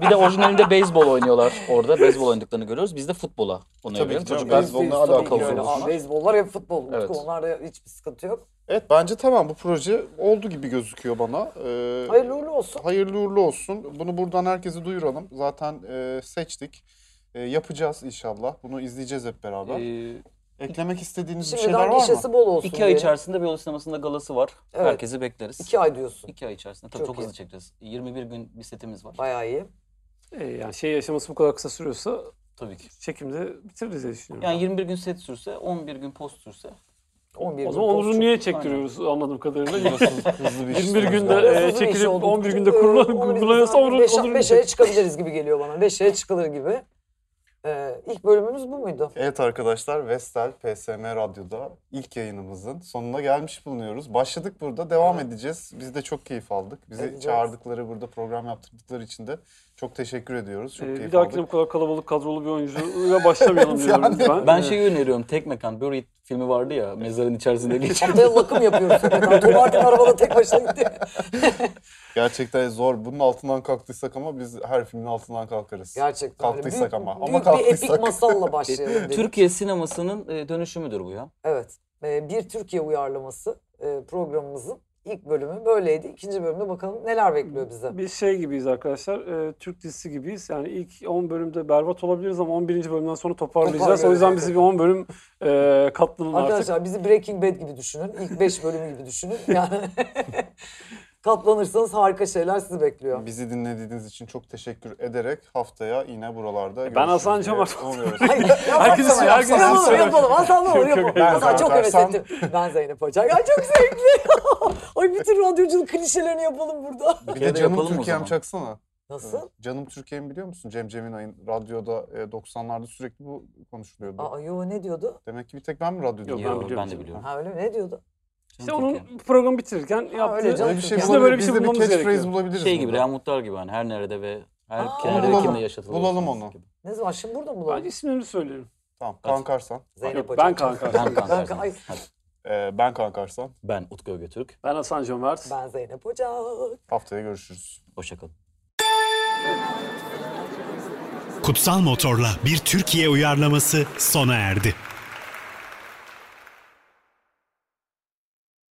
Speaker 4: Bir de orijinalinde beyzbol oynuyorlar orada. Beyzbol oynadıklarını görüyoruz. Biz de futbola onu
Speaker 2: Tabii
Speaker 4: yapıyoruz.
Speaker 2: ki canım,
Speaker 4: Çocuklar
Speaker 2: beyzbol ne
Speaker 3: Tabii
Speaker 2: alaka
Speaker 3: ki öyle.
Speaker 4: olur?
Speaker 3: Aa, Beyzbollar hep futbol. Utku,
Speaker 4: Evet.
Speaker 3: Onlarda hiçbir sıkıntı yok.
Speaker 2: Evet bence tamam bu proje oldu gibi gözüküyor bana. Ee,
Speaker 3: Hayırlı uğurlu olsun.
Speaker 2: Hayırlı uğurlu olsun. Bunu buradan herkese duyuralım. Zaten e, seçtik. E, yapacağız inşallah. Bunu izleyeceğiz hep beraber.
Speaker 5: Ee,
Speaker 2: Eklemek istediğiniz bir şeyler
Speaker 3: Şimdiden
Speaker 2: var mı?
Speaker 3: gişesi bol olsun.
Speaker 4: iki ay
Speaker 3: diyelim.
Speaker 4: içerisinde Beyoğlu Sineması'nda galası var.
Speaker 3: Evet.
Speaker 4: Herkesi bekleriz.
Speaker 3: İki ay diyorsun.
Speaker 4: İki ay içerisinde.
Speaker 3: Çok
Speaker 4: Tabii çok,
Speaker 3: iyi.
Speaker 4: hızlı çekeceğiz. 21 gün bir setimiz var.
Speaker 3: Bayağı iyi.
Speaker 5: e, yani şey yaşaması bu kadar kısa sürüyorsa
Speaker 4: Tabii ki.
Speaker 5: çekimde bitiririz diye düşünüyorum.
Speaker 4: Yani 21 gün set sürse, 11 gün post sürse.
Speaker 3: 11
Speaker 5: o
Speaker 3: gün
Speaker 5: zaman Onur'u
Speaker 3: post-
Speaker 5: niye çektiriyoruz anladığım kadarıyla?
Speaker 2: Hızlı bir iş
Speaker 5: 21
Speaker 2: sonucu
Speaker 5: günde
Speaker 2: var.
Speaker 3: Biraz hızlı
Speaker 5: e,
Speaker 3: bir iş
Speaker 5: çekilip
Speaker 3: oldu.
Speaker 5: 11 günde
Speaker 3: Ee,
Speaker 5: kurula-
Speaker 3: onu biz
Speaker 5: kurgulanıyorsa
Speaker 3: zaten
Speaker 5: Onur
Speaker 3: beş-
Speaker 5: Onur'u
Speaker 3: beş aya çıkabiliriz gibi geliyor bana. 5 aya çıkılır gibi. Ee, ilk bölümümüz bu muydu?
Speaker 2: Evet arkadaşlar Vestel PSM Radyo'da ilk yayınımızın sonuna gelmiş bulunuyoruz. Başladık burada devam edeceğiz. Biz de çok keyif aldık. Bizi
Speaker 3: Edeceğiz.
Speaker 2: çağırdıkları burada program yaptırdıkları için de çok teşekkür ediyoruz. Çok
Speaker 5: Ee,
Speaker 2: keyif
Speaker 5: bir dahakine bu
Speaker 2: aldık.
Speaker 5: kadar kalabalık kadrolu bir oyuncuyla başlamayalım diyorum Ee,
Speaker 2: Yani.
Speaker 5: ben.
Speaker 4: Ben şey- şeyi öneriyorum. Tek mekan. Buried filmi vardı ya. Mezarın içerisinde geçiyor.
Speaker 3: Haftaya lakım yapıyoruz. hakikaten. Tom artık arabada tek başına gidiyor.
Speaker 2: Gerçekten zor. Bunun altından kalktıysak ama biz her filmin altından kalkarız.
Speaker 3: Gerçekten. öyle.
Speaker 2: Kalktıysak
Speaker 3: Büyük-
Speaker 2: ama. Ama
Speaker 3: büyük bir
Speaker 2: kalktıysak.
Speaker 3: epik masalla başlayalım dedik.
Speaker 4: Türkiye sinemasının e, dönüşümüdür bu ya.
Speaker 3: Evet. Ee, bir Türkiye uyarlaması e, programımızın ilk bölümü böyleydi. İkinci bölümde bakalım neler bekliyor bize.
Speaker 5: Biz şey gibiyiz arkadaşlar, e, Türk dizisi gibiyiz. Yani ilk 10 bölümde berbat olabiliriz ama 11. bölümden sonra toparlayacağız. O
Speaker 3: Toparlıyoruz.
Speaker 5: yüzden bizi bir 10 bölüm e, katlanın artık.
Speaker 3: Arkadaşlar bizi Breaking Bad gibi düşünün. İlk 5 bölümü gibi düşünün. Yani katlanırsanız harika şeyler sizi bekliyor.
Speaker 2: Bizi dinlediğiniz için çok teşekkür ederek haftaya yine buralarda
Speaker 5: Ben Hasan
Speaker 2: görüşürüz diye
Speaker 5: Cemal-
Speaker 2: umuyoruz.
Speaker 3: Hayır, yapma
Speaker 5: Herkes-
Speaker 3: sana,
Speaker 5: herkes
Speaker 3: yapma.
Speaker 5: istiyor.
Speaker 3: yapalım, yapalım. Hasan ne olur
Speaker 5: Yok, yok,
Speaker 3: yapalım.
Speaker 2: ben
Speaker 3: Hasan çok
Speaker 2: Serkan
Speaker 3: heves
Speaker 2: Sam.
Speaker 3: ettim. Ben Zeynep Açak. Ay çok zevkli. Ay bütün radyoculuk klişelerini yapalım burada.
Speaker 2: Bir
Speaker 4: kere
Speaker 2: de
Speaker 4: de
Speaker 2: Canım
Speaker 4: yapalım o
Speaker 2: Türkiye'm
Speaker 4: zaman.
Speaker 2: çaksana.
Speaker 3: Nasıl?
Speaker 2: Canım Türkiye'mi biliyor musun? Cem Ceminay'ın radyoda e, 90'larda sürekli bu konuşuluyordu.
Speaker 3: Aa yo ne diyordu?
Speaker 2: Demek ki bir tek ben mi radyoda?
Speaker 5: Yok, ben
Speaker 4: Yo,
Speaker 5: biliyorum
Speaker 4: ben de
Speaker 5: canım.
Speaker 4: biliyorum.
Speaker 3: Ha öyle mi? Ne diyordu?
Speaker 5: İşte onun programı bitirirken
Speaker 3: öyle
Speaker 5: yaptığı
Speaker 3: canım.
Speaker 2: Öyle bir şey
Speaker 3: Biz de
Speaker 2: bulabilir-
Speaker 5: böyle bir
Speaker 2: biz
Speaker 5: şey
Speaker 2: de bir
Speaker 5: bulmamız
Speaker 2: catchphrase
Speaker 5: gerekiyor.
Speaker 2: bulabiliriz.
Speaker 4: Şey gibi
Speaker 2: burada.
Speaker 4: Reha Muhtar gibi hani her nerede ve her
Speaker 3: Aa.
Speaker 4: kenarda
Speaker 2: Bulalım.
Speaker 4: kimle yaşatılır.
Speaker 2: Bulalım onu.
Speaker 4: Gibi.
Speaker 3: Ne zaman? Şimdi burada mı bulalım?
Speaker 5: Ben ismini söylerim.
Speaker 2: Tamam. Kaan Karsan.
Speaker 3: Zeynep
Speaker 5: Yok,
Speaker 3: Hoca.
Speaker 5: ben kanka.
Speaker 4: Ben Kaan
Speaker 3: Kanka, ay.
Speaker 4: Sersen. Hadi.
Speaker 2: Ee, ben Kaan Karsan.
Speaker 4: Ben Utku Ögetürk.
Speaker 5: Ben Hasan Cömert.
Speaker 3: Ben Zeynep Hoca.
Speaker 2: Haftaya görüşürüz.
Speaker 4: Hoşçakalın.
Speaker 1: Kutsal Motor'la bir Türkiye uyarlaması sona erdi.